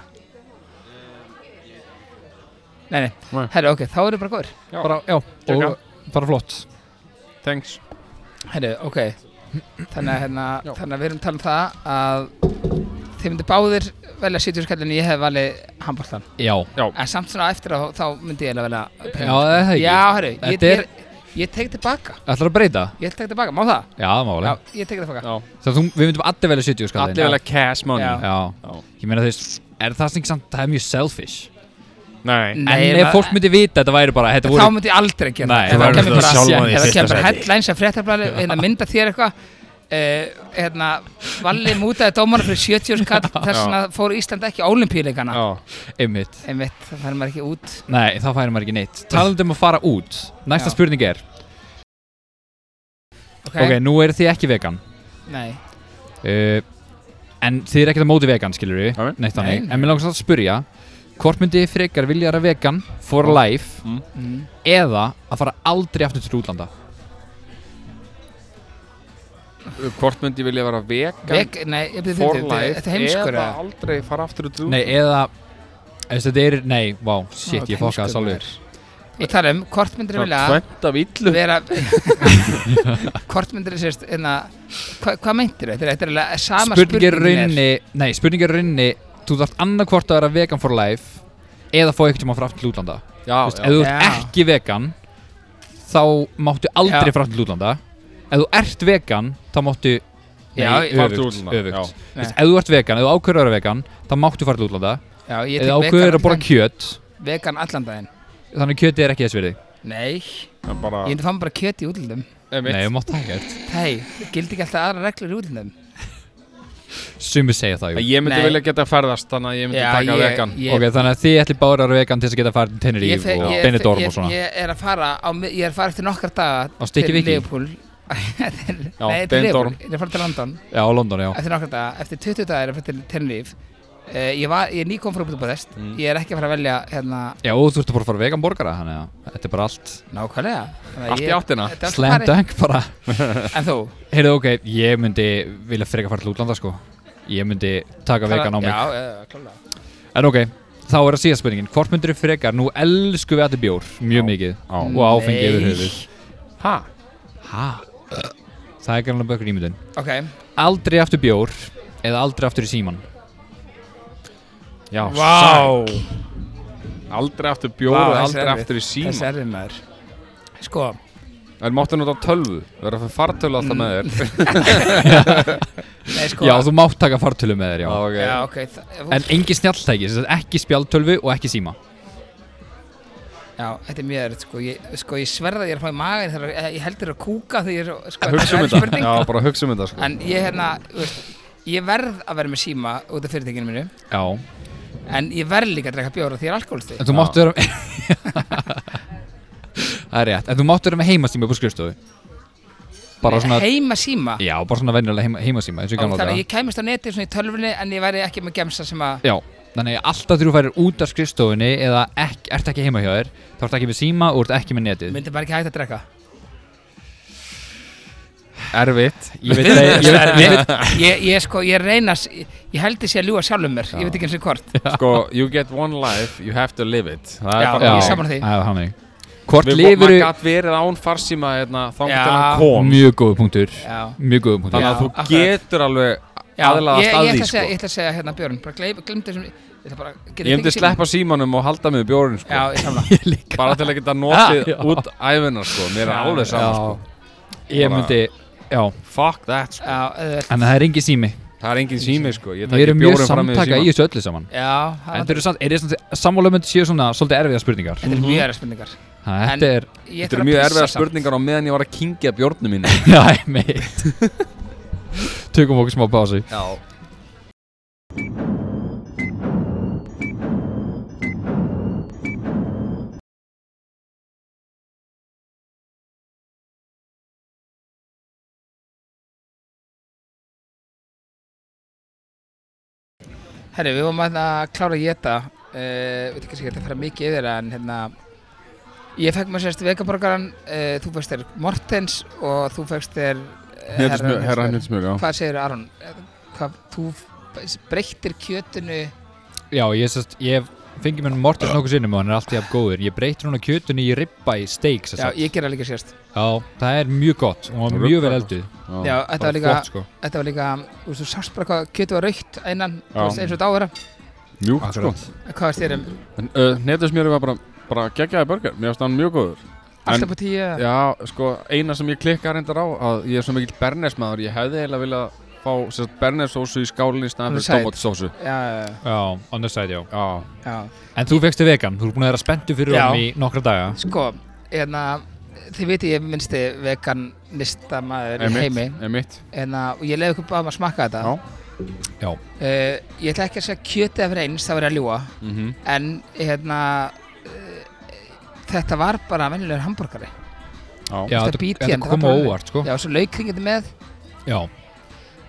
[SPEAKER 1] Nei, nei,
[SPEAKER 3] Nei.
[SPEAKER 1] herru, ok, þá erum við bara góður
[SPEAKER 4] bara, Já,
[SPEAKER 3] Kjöka.
[SPEAKER 4] og bara flott
[SPEAKER 3] Thanks
[SPEAKER 1] Herru, ok Þannig að, hérna,
[SPEAKER 3] Já.
[SPEAKER 1] þannig að við erum talað um það að þið myndi báðir velja 70 skallin ég hef valið handbóltan
[SPEAKER 4] Já,
[SPEAKER 1] en samt svona eftir á þá myndi ég eiginlega velja
[SPEAKER 4] já það er það ekki
[SPEAKER 1] Já, herru, ég,
[SPEAKER 4] Þetta
[SPEAKER 1] ég,
[SPEAKER 4] er-
[SPEAKER 1] ég, tek tilbaka
[SPEAKER 4] Ætlar að breyta?
[SPEAKER 1] Ég tek tilbaka, má það?
[SPEAKER 4] Já, það má
[SPEAKER 1] Já,
[SPEAKER 4] alveg
[SPEAKER 1] ég tek tilbaka
[SPEAKER 3] Já.
[SPEAKER 4] Þannig að þú- Við myndum allir velja 70 skall hérna.
[SPEAKER 3] Allir vel að cash money
[SPEAKER 1] Já.
[SPEAKER 4] Já,
[SPEAKER 3] Já.
[SPEAKER 4] ég meina þú veist, er það sem samt, það er mjög selfish
[SPEAKER 3] Nei
[SPEAKER 4] En ef fólk myndi vita, þetta væri bara, þetta
[SPEAKER 1] Þá
[SPEAKER 4] voru
[SPEAKER 1] myndi ég aldrei gera
[SPEAKER 4] Nei,
[SPEAKER 1] það
[SPEAKER 4] það
[SPEAKER 1] Ef
[SPEAKER 4] verður
[SPEAKER 1] kemur
[SPEAKER 4] það
[SPEAKER 1] bara-
[SPEAKER 4] sjálfan í
[SPEAKER 1] Ef það
[SPEAKER 4] fyrsta
[SPEAKER 1] kemur
[SPEAKER 4] sæti.
[SPEAKER 1] headlines af fréttablaði hérna mynda þér eitthvað Uh, hérna, Valli mútaði dómana fyrir 70 skall þess
[SPEAKER 3] Já.
[SPEAKER 1] vegna fór Ísland ekki á olimpíuleikana
[SPEAKER 3] Já,
[SPEAKER 4] einmitt
[SPEAKER 1] einmitt, það fær maður ekki út
[SPEAKER 4] Nei, þá færi maður ekki neitt Talandum að fara út, næsta
[SPEAKER 1] Já.
[SPEAKER 4] spurning er
[SPEAKER 1] ok,
[SPEAKER 4] Ok, nú eru þið ekki vegan
[SPEAKER 1] nei
[SPEAKER 4] uh, En þið eru ekkert að móti vegan, skilur við
[SPEAKER 3] Nei.
[SPEAKER 4] Neitt
[SPEAKER 1] Nei.
[SPEAKER 4] þannig, en mér langar samt að spyrja Hvort myndi þið frekar vilja vera vegan for life
[SPEAKER 1] mm.
[SPEAKER 4] Eða að fara aldrei aftur til útlanda
[SPEAKER 3] hvort myndi ég vilja vera vegan
[SPEAKER 1] Veg, nei, ég byrði
[SPEAKER 3] for
[SPEAKER 1] fyrir þetta,
[SPEAKER 3] life
[SPEAKER 1] þetta er heimskur
[SPEAKER 3] eða
[SPEAKER 1] eða?
[SPEAKER 3] aldrei fara aftur út úr
[SPEAKER 4] Nei, eða, þú veist, þetta er, nei, vá,
[SPEAKER 1] Ó,
[SPEAKER 4] shit, ég
[SPEAKER 1] heimskur
[SPEAKER 4] fokkaði
[SPEAKER 1] maður.
[SPEAKER 4] sálur
[SPEAKER 1] Ég tala um, hvort myndir vilja
[SPEAKER 3] tvent af illu
[SPEAKER 1] vera hvort myndir sérst hérna, hva, hvað meintir þetta? er- Þetta er alveg sama
[SPEAKER 4] spurningi
[SPEAKER 1] spurningin er-
[SPEAKER 4] raunni nei, spurningi raunni þú þarft annarkvort að vera vegan for life eða fá eitthvað maður frá aftur til útlanda
[SPEAKER 3] já,
[SPEAKER 4] Þú veist, ef þú ert
[SPEAKER 1] Já.
[SPEAKER 4] ekki vegan þá máttu aldrei
[SPEAKER 1] Já.
[SPEAKER 4] frá aftur til útlanda ef þú ert vegan þá máttu
[SPEAKER 1] Já,
[SPEAKER 4] nei,
[SPEAKER 3] fara
[SPEAKER 4] öfugt,
[SPEAKER 3] til útlanda, já.
[SPEAKER 4] öfugt. Þú veist, ef þú ert vegan, ef þú ákveður að vera vegan þá máttu fara til útlanda
[SPEAKER 1] Já, ég
[SPEAKER 4] eða
[SPEAKER 1] tek
[SPEAKER 4] ákveður að borða
[SPEAKER 1] allan-
[SPEAKER 4] kjöt
[SPEAKER 1] vegan allan daginn
[SPEAKER 4] þannig kjöti er ekki þess verið
[SPEAKER 1] Nei,
[SPEAKER 3] en bara
[SPEAKER 1] ég um- myndi fá mér bara kjöt í útlöndum
[SPEAKER 4] nei, þú mátt ekkert
[SPEAKER 1] Hei, gildi ekki alltaf aðra reglur í útlöndum
[SPEAKER 4] sumir segja það,
[SPEAKER 3] Að
[SPEAKER 4] jú
[SPEAKER 3] ég myndi
[SPEAKER 1] Nei.
[SPEAKER 3] vilja geta ferðast þannig að ég myndi
[SPEAKER 1] Já,
[SPEAKER 3] taka
[SPEAKER 1] ég-
[SPEAKER 3] vegan
[SPEAKER 1] ég-
[SPEAKER 4] ok, þannig að þið ætli bára að vera vegan til þess að geta farið til
[SPEAKER 1] Ég
[SPEAKER 4] Tenerife
[SPEAKER 1] fer-
[SPEAKER 4] og
[SPEAKER 1] ég-
[SPEAKER 4] Benidorm
[SPEAKER 1] ég-
[SPEAKER 4] og svona
[SPEAKER 1] Ég er að fara, á, mi- ég er að fara eftir nokkar daga
[SPEAKER 4] Á Stykki
[SPEAKER 1] til
[SPEAKER 4] Viki?
[SPEAKER 1] Liverpool. Til-
[SPEAKER 3] Já,
[SPEAKER 1] Nei, til Liverpool,
[SPEAKER 3] Benidorm.
[SPEAKER 1] ég er að fara til London
[SPEAKER 4] já, á London, já
[SPEAKER 1] eftir nokkar daga, eftir 20 daga er ég að fara til Tenerife uh, Ég var, ég er nýkom frá Budapest
[SPEAKER 3] Mm.
[SPEAKER 1] Ég er ekki að fara að velja hérna
[SPEAKER 4] Já, og þú ert að bara að fara vegan borgara, þannig að þetta er bara allt
[SPEAKER 1] nákvæmlega Þannig að
[SPEAKER 3] allt í
[SPEAKER 1] ég-
[SPEAKER 3] áttina
[SPEAKER 1] þetta er allt
[SPEAKER 4] slam
[SPEAKER 1] farið.
[SPEAKER 4] dunk bara
[SPEAKER 1] En þú,
[SPEAKER 4] Heyrðu, ok, ég myndi vilja freka fara til útlanda, sko Ég myndi taka
[SPEAKER 1] Tala-
[SPEAKER 4] vegan á mig
[SPEAKER 1] Já, já, klálega
[SPEAKER 4] En ok, þá er að síðast spurningin Hvort myndir þú freka, nú elsku við allir bjór mjög mikið
[SPEAKER 3] á.
[SPEAKER 4] og áfengi
[SPEAKER 1] Nei.
[SPEAKER 4] yfir höfuð
[SPEAKER 3] ha,
[SPEAKER 4] Ha? Það er gæmlega bökur ímyndun
[SPEAKER 1] Ok,
[SPEAKER 4] Aldrei aftur bjór eða aldrei aftur í síman
[SPEAKER 3] já,
[SPEAKER 1] Vá.
[SPEAKER 3] sæk. aldrei aftur bjór
[SPEAKER 1] Vá,
[SPEAKER 3] og
[SPEAKER 1] þessi
[SPEAKER 3] aldrei
[SPEAKER 1] er erfið.
[SPEAKER 3] aftur í
[SPEAKER 1] þessi
[SPEAKER 3] síma
[SPEAKER 1] er þið maður Sko,
[SPEAKER 3] en máttu nota tölvu, vera fyrir fartölu alltaf með þér
[SPEAKER 1] nei sko
[SPEAKER 4] Já, þú mátt taka fartölu með þér, já
[SPEAKER 3] Já, ok.
[SPEAKER 1] Já, ok, það-
[SPEAKER 4] En engi snjalltæki, sem sagt ekki spjaldtölvu og ekki síma
[SPEAKER 1] Já, þetta er mjög erfitt sko, ég, sko, ég sverða að ég er að fá í magin þegar ég- ég heldur að kúka þegar ég er sko,
[SPEAKER 3] Að hugsa um
[SPEAKER 1] erfið
[SPEAKER 3] þetta,
[SPEAKER 1] spurning.
[SPEAKER 3] já, bara hugsa um þetta sko.
[SPEAKER 1] En ég hérna, þú veist, ég verð að vera með síma út af fyrirtækinu mínu
[SPEAKER 4] Já,
[SPEAKER 1] en ég verð líka að drekka bjóra því ég er alkoholsti
[SPEAKER 4] en þú
[SPEAKER 3] Já.
[SPEAKER 4] mátt vera Það er rétt, en þú mátt vera með heimasíma upp á skrifstofu Bara svona
[SPEAKER 1] Heima síma
[SPEAKER 4] Já, bara svona venjulega heima, heimasíma eins
[SPEAKER 1] Ó,
[SPEAKER 4] og ég gamla
[SPEAKER 1] Þannig að
[SPEAKER 4] daga.
[SPEAKER 1] ég kæmist á neti svona í tölvunni en ég væri ekki með gemsa sem að
[SPEAKER 4] Já, þannig að alltaf þegar þú færir út af skrifstofunni eða ekki, ert ekki heima hjá þér þá ert ekki með síma og ert ekki með netið
[SPEAKER 1] myndi bara ekki hægt að drekka
[SPEAKER 3] erfitt
[SPEAKER 4] Ég veit að ég veit, ég veit,
[SPEAKER 1] Ég, ég sko, ég reynas, ég, ég heldur sé að ljúga sjálfum mér
[SPEAKER 3] Já.
[SPEAKER 1] ég veit ekki eins og hvort
[SPEAKER 3] sko, you get one life, you have to live it
[SPEAKER 1] Já,
[SPEAKER 3] það er bara
[SPEAKER 1] ég
[SPEAKER 4] já,
[SPEAKER 1] er sammála því.
[SPEAKER 4] það var mig. Hvort
[SPEAKER 3] Við
[SPEAKER 4] lifir
[SPEAKER 3] maður gat verið án farsíma hérna, þangt
[SPEAKER 1] Já.
[SPEAKER 3] til hann kom
[SPEAKER 4] mjög góð punktur
[SPEAKER 1] Já,
[SPEAKER 4] mjög góð punktur
[SPEAKER 3] þannig
[SPEAKER 1] Já,
[SPEAKER 3] að þú
[SPEAKER 1] akkurat.
[SPEAKER 3] getur alveg
[SPEAKER 1] já ég,
[SPEAKER 3] aðlaðast
[SPEAKER 1] ég,
[SPEAKER 3] að
[SPEAKER 1] ætla
[SPEAKER 3] því
[SPEAKER 1] að segja,
[SPEAKER 3] sko.
[SPEAKER 1] ég ætla að segja hérna Björn bara gleym, gleymdu þessum Ég ætla bara, get
[SPEAKER 3] ég myndi sleppa símanum og halda mig í bjórun sko.
[SPEAKER 1] Já, ég samla
[SPEAKER 3] bara til að geta notið
[SPEAKER 4] Já, já.
[SPEAKER 3] út æfinar sko. mér er
[SPEAKER 1] Já,
[SPEAKER 3] alveg
[SPEAKER 4] Já,
[SPEAKER 3] saman sko.
[SPEAKER 4] ég
[SPEAKER 3] Bara-
[SPEAKER 4] myndi já,
[SPEAKER 3] fuck that, sko.
[SPEAKER 1] Já, auðvitað
[SPEAKER 4] en það er engin sími
[SPEAKER 3] það er engin sími sko. ég
[SPEAKER 4] við
[SPEAKER 3] takk
[SPEAKER 4] erum mjög
[SPEAKER 3] bjórun fram með
[SPEAKER 4] samtaka í
[SPEAKER 3] síman
[SPEAKER 4] þessu öllu saman
[SPEAKER 1] Já,
[SPEAKER 4] en
[SPEAKER 1] það-
[SPEAKER 4] þeir eru samt, er þetta sammála myndi séu svona svolítið erfiða spurningar
[SPEAKER 1] þetta er mjög erfið spurningar
[SPEAKER 4] Ha, þetta er,
[SPEAKER 1] Ég
[SPEAKER 3] Mhm. þetta
[SPEAKER 1] þarf
[SPEAKER 3] eru
[SPEAKER 1] að
[SPEAKER 3] mjög
[SPEAKER 1] pissa
[SPEAKER 3] erfiða
[SPEAKER 1] samt.
[SPEAKER 3] spurningar á meðan ég var að kingja bjórnum mínu
[SPEAKER 4] já, ég meit tökum okkur smá pásu
[SPEAKER 3] já
[SPEAKER 1] Herri, við vorum hérna að klára að geta uh, Við veitum kannski ekki að fara mikið yfir það, en hérna Ég fekk mér sérst vegaborgaran uh, Þú fegst þér Mortens og þú fegst þér eh,
[SPEAKER 3] herra
[SPEAKER 1] Herra
[SPEAKER 3] henninsmjör, já
[SPEAKER 1] Hvað segir Aron? Eh, Hvað, þú f- breyttir kjötinu
[SPEAKER 4] Já, ég, sest, ég fengi mér Mortens nokkuð sinnum og hann er alltaf jafn góður. Ég breyti núna kjötunni í ribba í steak, sem
[SPEAKER 1] Já,
[SPEAKER 4] sagt.
[SPEAKER 1] ég gera líka sérst
[SPEAKER 4] Já, það er mjög gott og
[SPEAKER 3] Og
[SPEAKER 4] mjög vel
[SPEAKER 3] ribba.
[SPEAKER 4] elduð.
[SPEAKER 1] Já, þetta
[SPEAKER 4] Bara
[SPEAKER 1] var líka,
[SPEAKER 4] Flott, sko.
[SPEAKER 1] þetta var líka þú veist, Þú sást bara hvað kjötu var raukt innan þú
[SPEAKER 3] Já.
[SPEAKER 1] veist, eins og þetta ávera
[SPEAKER 3] mjúkt sko
[SPEAKER 4] Akkurat.
[SPEAKER 1] Hvað varst þér um?
[SPEAKER 3] En, uh, hnetusmjörið var bara, bara geggjaði börgar mér finnst hann mjög góður
[SPEAKER 1] Alltaf på tíu Já,
[SPEAKER 3] Já, sko, eina sem ég klikka reyndar á að ég er svo mikill bernesmaður, ég hefði eiginlega viljað fá sérst bernesósu í skálinni staðan
[SPEAKER 1] Alveg
[SPEAKER 3] fyrir
[SPEAKER 1] sæt.
[SPEAKER 3] tomatsósu.
[SPEAKER 1] já,
[SPEAKER 4] Já, on the side, já.
[SPEAKER 3] Já,
[SPEAKER 1] já
[SPEAKER 4] En þú fegstu vegan, þú er búin að vera spenntu fyrir
[SPEAKER 1] Já.
[SPEAKER 4] honum í nokkra daga.
[SPEAKER 1] Sko, hérna Þið viti ég er minnsti veganista maður í
[SPEAKER 3] einmitt,
[SPEAKER 1] heimi
[SPEAKER 3] einmitt.
[SPEAKER 1] en að, og ég leiði ykkur báðum að smakka þetta
[SPEAKER 3] Já.
[SPEAKER 4] Já.
[SPEAKER 1] Eh, ég ætla ekki að segja kjötið af reyns það verið að ljúa
[SPEAKER 3] Mm -hmm.
[SPEAKER 1] en hérna uh, þetta var bara venjulegur hambúrgari
[SPEAKER 4] Já,
[SPEAKER 1] Þetta
[SPEAKER 4] þetta
[SPEAKER 1] bít í
[SPEAKER 4] þetta
[SPEAKER 1] hann, það
[SPEAKER 4] kom á
[SPEAKER 1] var bara-
[SPEAKER 4] óvart, sko.
[SPEAKER 1] já, svo laukringið með
[SPEAKER 4] Já.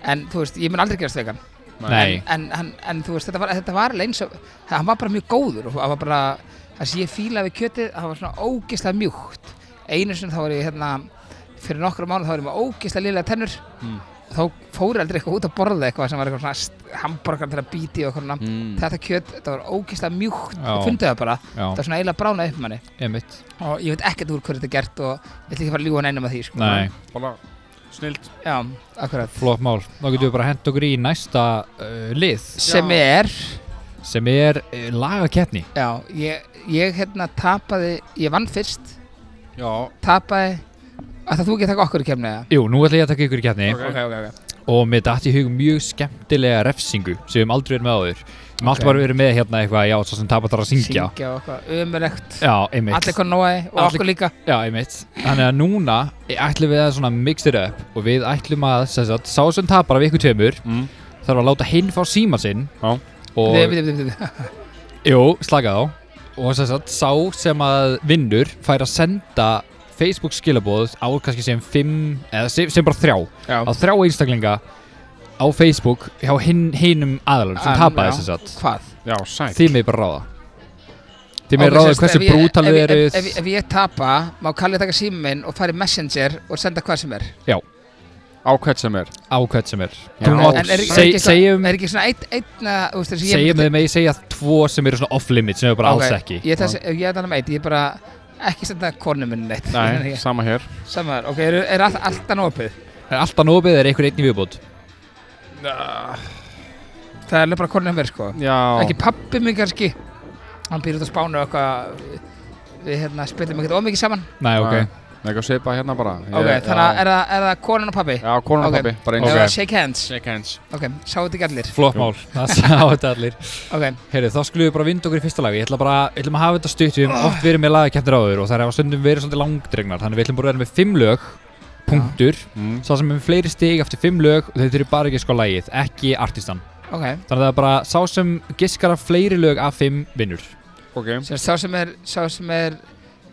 [SPEAKER 1] en þú veist, ég mun aldrei gerast vegan
[SPEAKER 4] Nei.
[SPEAKER 1] en, en, en þú veist, þetta var, þetta var leins hann var bara mjög góður og hann var bara það sem ég fílaði við kjötið, það var svona ógeðslega
[SPEAKER 4] Hmm.
[SPEAKER 1] mjúkt einu sinni þá var ég hérna fyrir nokkru mánu þá var ég með ógeðslega liðlega tennur
[SPEAKER 3] Mm.
[SPEAKER 1] þá fóru aldrei eitthvað út að borða eitthvað sem var eitthvað svona hamburgar til að bíti og eitthvað svona.
[SPEAKER 3] Mm.
[SPEAKER 1] þetta kjöt, þetta var ógeðslega mjúkt
[SPEAKER 4] Hmm. Já.
[SPEAKER 1] og fundið það bara,
[SPEAKER 4] Já,
[SPEAKER 1] það var svona eiginlega bránað upp manni
[SPEAKER 4] emitt
[SPEAKER 1] og ég veit ekkert úr hverju þetta er gert og ég ætla ekki að fara að ljúga neinum að því sko.
[SPEAKER 4] Nei,
[SPEAKER 3] Bara snilt
[SPEAKER 1] Já, akkurat
[SPEAKER 4] flott mál Þá getum við bara hent okkur í næsta uh, lið
[SPEAKER 1] sem er,
[SPEAKER 4] sem er uh, lagakeppni
[SPEAKER 1] já, ég, ég hérna tapaði, ég vann fyrst
[SPEAKER 3] Já,
[SPEAKER 1] tapaði, að það þú ekki að taka okkur í kemni
[SPEAKER 4] Jú, nú ætla ég að taka ykkur í keppni
[SPEAKER 3] ok, ok, ok
[SPEAKER 4] og mér datt í hug mjög skemmtilega refsingu sem við höfum aldrei verið með áður Við höfum alltaf bara verið með hérna eitthvað, já, svo sem tapatar að syngja
[SPEAKER 1] syngja og eitthvað, ömulegt
[SPEAKER 4] Já, einmitt
[SPEAKER 1] allir konói og
[SPEAKER 4] Allir-
[SPEAKER 1] okkur líka
[SPEAKER 4] Já, einmitt. Þannig að núna eh, ætlum við að svona mix it up og við ætlum að, sem sagt, sá sem tapar af ykkur tveimur
[SPEAKER 3] Mm.
[SPEAKER 4] þarf að láta hinn fá síma sinn
[SPEAKER 3] Já.
[SPEAKER 4] og,
[SPEAKER 1] Við- við- við- við- við-
[SPEAKER 4] jú, slaka þá og sem sagt, sá sem að vinnur fær að senda Facebook skilabóð á kannski sem fimm, eða sem, sem bara þrjá
[SPEAKER 1] Já.
[SPEAKER 4] á þrjá einstaklinga á Facebook hjá hinn, hinnum aðalum sem
[SPEAKER 1] Að- Ah, já.
[SPEAKER 4] tapaði sem sagt
[SPEAKER 1] hvað?
[SPEAKER 3] Já, sæk
[SPEAKER 4] þið með bara ráða þið með
[SPEAKER 1] Ok,
[SPEAKER 4] ráða
[SPEAKER 1] sem sagt,
[SPEAKER 4] hversu
[SPEAKER 1] ef ég-
[SPEAKER 4] brútal
[SPEAKER 1] ef
[SPEAKER 4] þið
[SPEAKER 1] ég- ef,
[SPEAKER 4] eruð
[SPEAKER 1] ef, ef ég tapa, má Kalli taka síminn minn og fara í Messenger og senda hvað sem er
[SPEAKER 3] Á hvert sem er
[SPEAKER 4] á hvert sem er
[SPEAKER 3] Já.
[SPEAKER 4] Do not
[SPEAKER 1] En er, er,
[SPEAKER 4] say-
[SPEAKER 1] ekki,
[SPEAKER 4] segjum-
[SPEAKER 1] svona, er ekki svona einn ein, úst, þessi,
[SPEAKER 4] segjum þið með ég um- segja um tvo sem eru svona off-limit sem eru bara alls ekki
[SPEAKER 1] Ég ætla að se- ef ég er þannig með einn, ég er bara ekki senda konu minni neitt
[SPEAKER 3] Nei, sama hér
[SPEAKER 1] Samar, ok, er, er all, alltaf nópið
[SPEAKER 4] er alltaf nóbið er einhver einn í viðbót
[SPEAKER 1] Það er alveg bara konu mér sko
[SPEAKER 3] Já
[SPEAKER 1] Ekki pappi minn kannski Hann býr út á spánu og eitthvað Við hérna spilum ekkert ómikið saman
[SPEAKER 4] nei ok
[SPEAKER 3] Nei, Eitthvað svipa hérna bara Ég-
[SPEAKER 1] Ok, þannig
[SPEAKER 3] já.
[SPEAKER 1] að er, það- er það konan og pappi?
[SPEAKER 3] Já, konan
[SPEAKER 1] Ok.
[SPEAKER 3] okay. pappi, bara eins
[SPEAKER 1] Eða
[SPEAKER 3] og
[SPEAKER 1] það Shake hands
[SPEAKER 3] Shake hands
[SPEAKER 1] Ok, sáu þetta ekki allir
[SPEAKER 4] flott mál það sá þetta allir
[SPEAKER 1] Ok,
[SPEAKER 4] Heyrðu, þá skulum við bara vinda okkur í fyrsta lag Ég ætla bara, við ætlum að hafa þetta stutt Við höfum oft verið með lagakefnir áður og það er að stundum verið svolítið langdregnar Þannig við ætlum bara að vera með fimm lög, punktur
[SPEAKER 3] mm.
[SPEAKER 4] Sá sem er með fleiri stig eftir fimm lög og þau þurfi bara ekki að sko lagið, ekki artistan
[SPEAKER 1] ok
[SPEAKER 4] Þannig að það er bara sá sem giskar af fleiri lög af fimm vinnur
[SPEAKER 3] Ok
[SPEAKER 1] Sem sagt, Sá sem er, sá sem er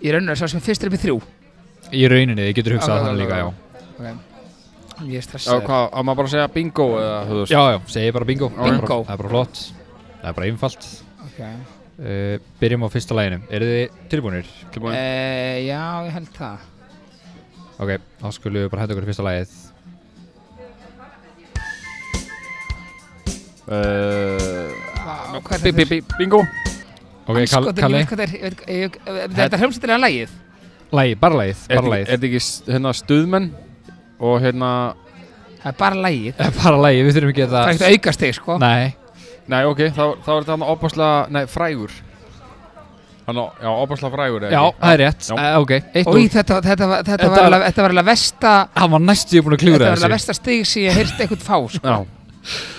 [SPEAKER 1] Í rauninu, sá sem er fyrstur upp í þrjú
[SPEAKER 4] Í rauninni, þið getur hugsað
[SPEAKER 1] Ok, ok,
[SPEAKER 4] okay, þannig líka,
[SPEAKER 1] ok.
[SPEAKER 4] já
[SPEAKER 1] Ég er
[SPEAKER 3] Já,
[SPEAKER 1] stressaður
[SPEAKER 3] hvað, á maður bara að segja bingo eða höfðust
[SPEAKER 4] Já, já, segi bara bingo
[SPEAKER 1] Bingo.
[SPEAKER 4] Það er bara flott Það er bara einfalt
[SPEAKER 1] okay.
[SPEAKER 4] uh, Byrjum á fyrsta laginu Eru þið tilbúinir?
[SPEAKER 3] Tilbúin
[SPEAKER 1] e, Já, ég held það
[SPEAKER 4] Ok, þá skulum við bara hætta okkur í fyrsta lagið
[SPEAKER 3] uh,
[SPEAKER 1] Vá, hvað er
[SPEAKER 3] bí,
[SPEAKER 1] þetta?
[SPEAKER 3] bí, bí, Bingo
[SPEAKER 4] Ok, Kal
[SPEAKER 1] Andskotin, ég
[SPEAKER 4] Kalli
[SPEAKER 1] veit hvað þetta er- ég veit- ég- ég- Þetta er hljómsættilega lagið
[SPEAKER 4] Lagið, bara lagið,
[SPEAKER 3] Er
[SPEAKER 4] bara
[SPEAKER 3] þetta
[SPEAKER 4] lagið
[SPEAKER 3] ekki- er þetta ekki s- hérna stuðmenn Og hérna
[SPEAKER 1] Það er bara lagið
[SPEAKER 4] Eh, Bara lagið, við þurfum ekki að
[SPEAKER 1] Það er ekkert aukast þig sko
[SPEAKER 4] Nei,
[SPEAKER 3] Nei, ok, þá, þá er þetta hann opaslega Nei, frægur Hann, á- já, opaslega frægur eða
[SPEAKER 4] já,
[SPEAKER 3] ekki?
[SPEAKER 4] það er rétt
[SPEAKER 3] Já.
[SPEAKER 4] uh, Ok, eitt
[SPEAKER 1] Og
[SPEAKER 4] úr
[SPEAKER 1] þetta, þetta, var- þetta,
[SPEAKER 4] Þetta
[SPEAKER 1] var
[SPEAKER 4] var-
[SPEAKER 1] alveg- þetta var alveg versta
[SPEAKER 4] Hann var næstu búin að
[SPEAKER 1] Þetta
[SPEAKER 4] klúra
[SPEAKER 1] var alveg
[SPEAKER 4] þessu
[SPEAKER 1] versta stig sem ég heyrst eitthvað fá sko.
[SPEAKER 3] Já,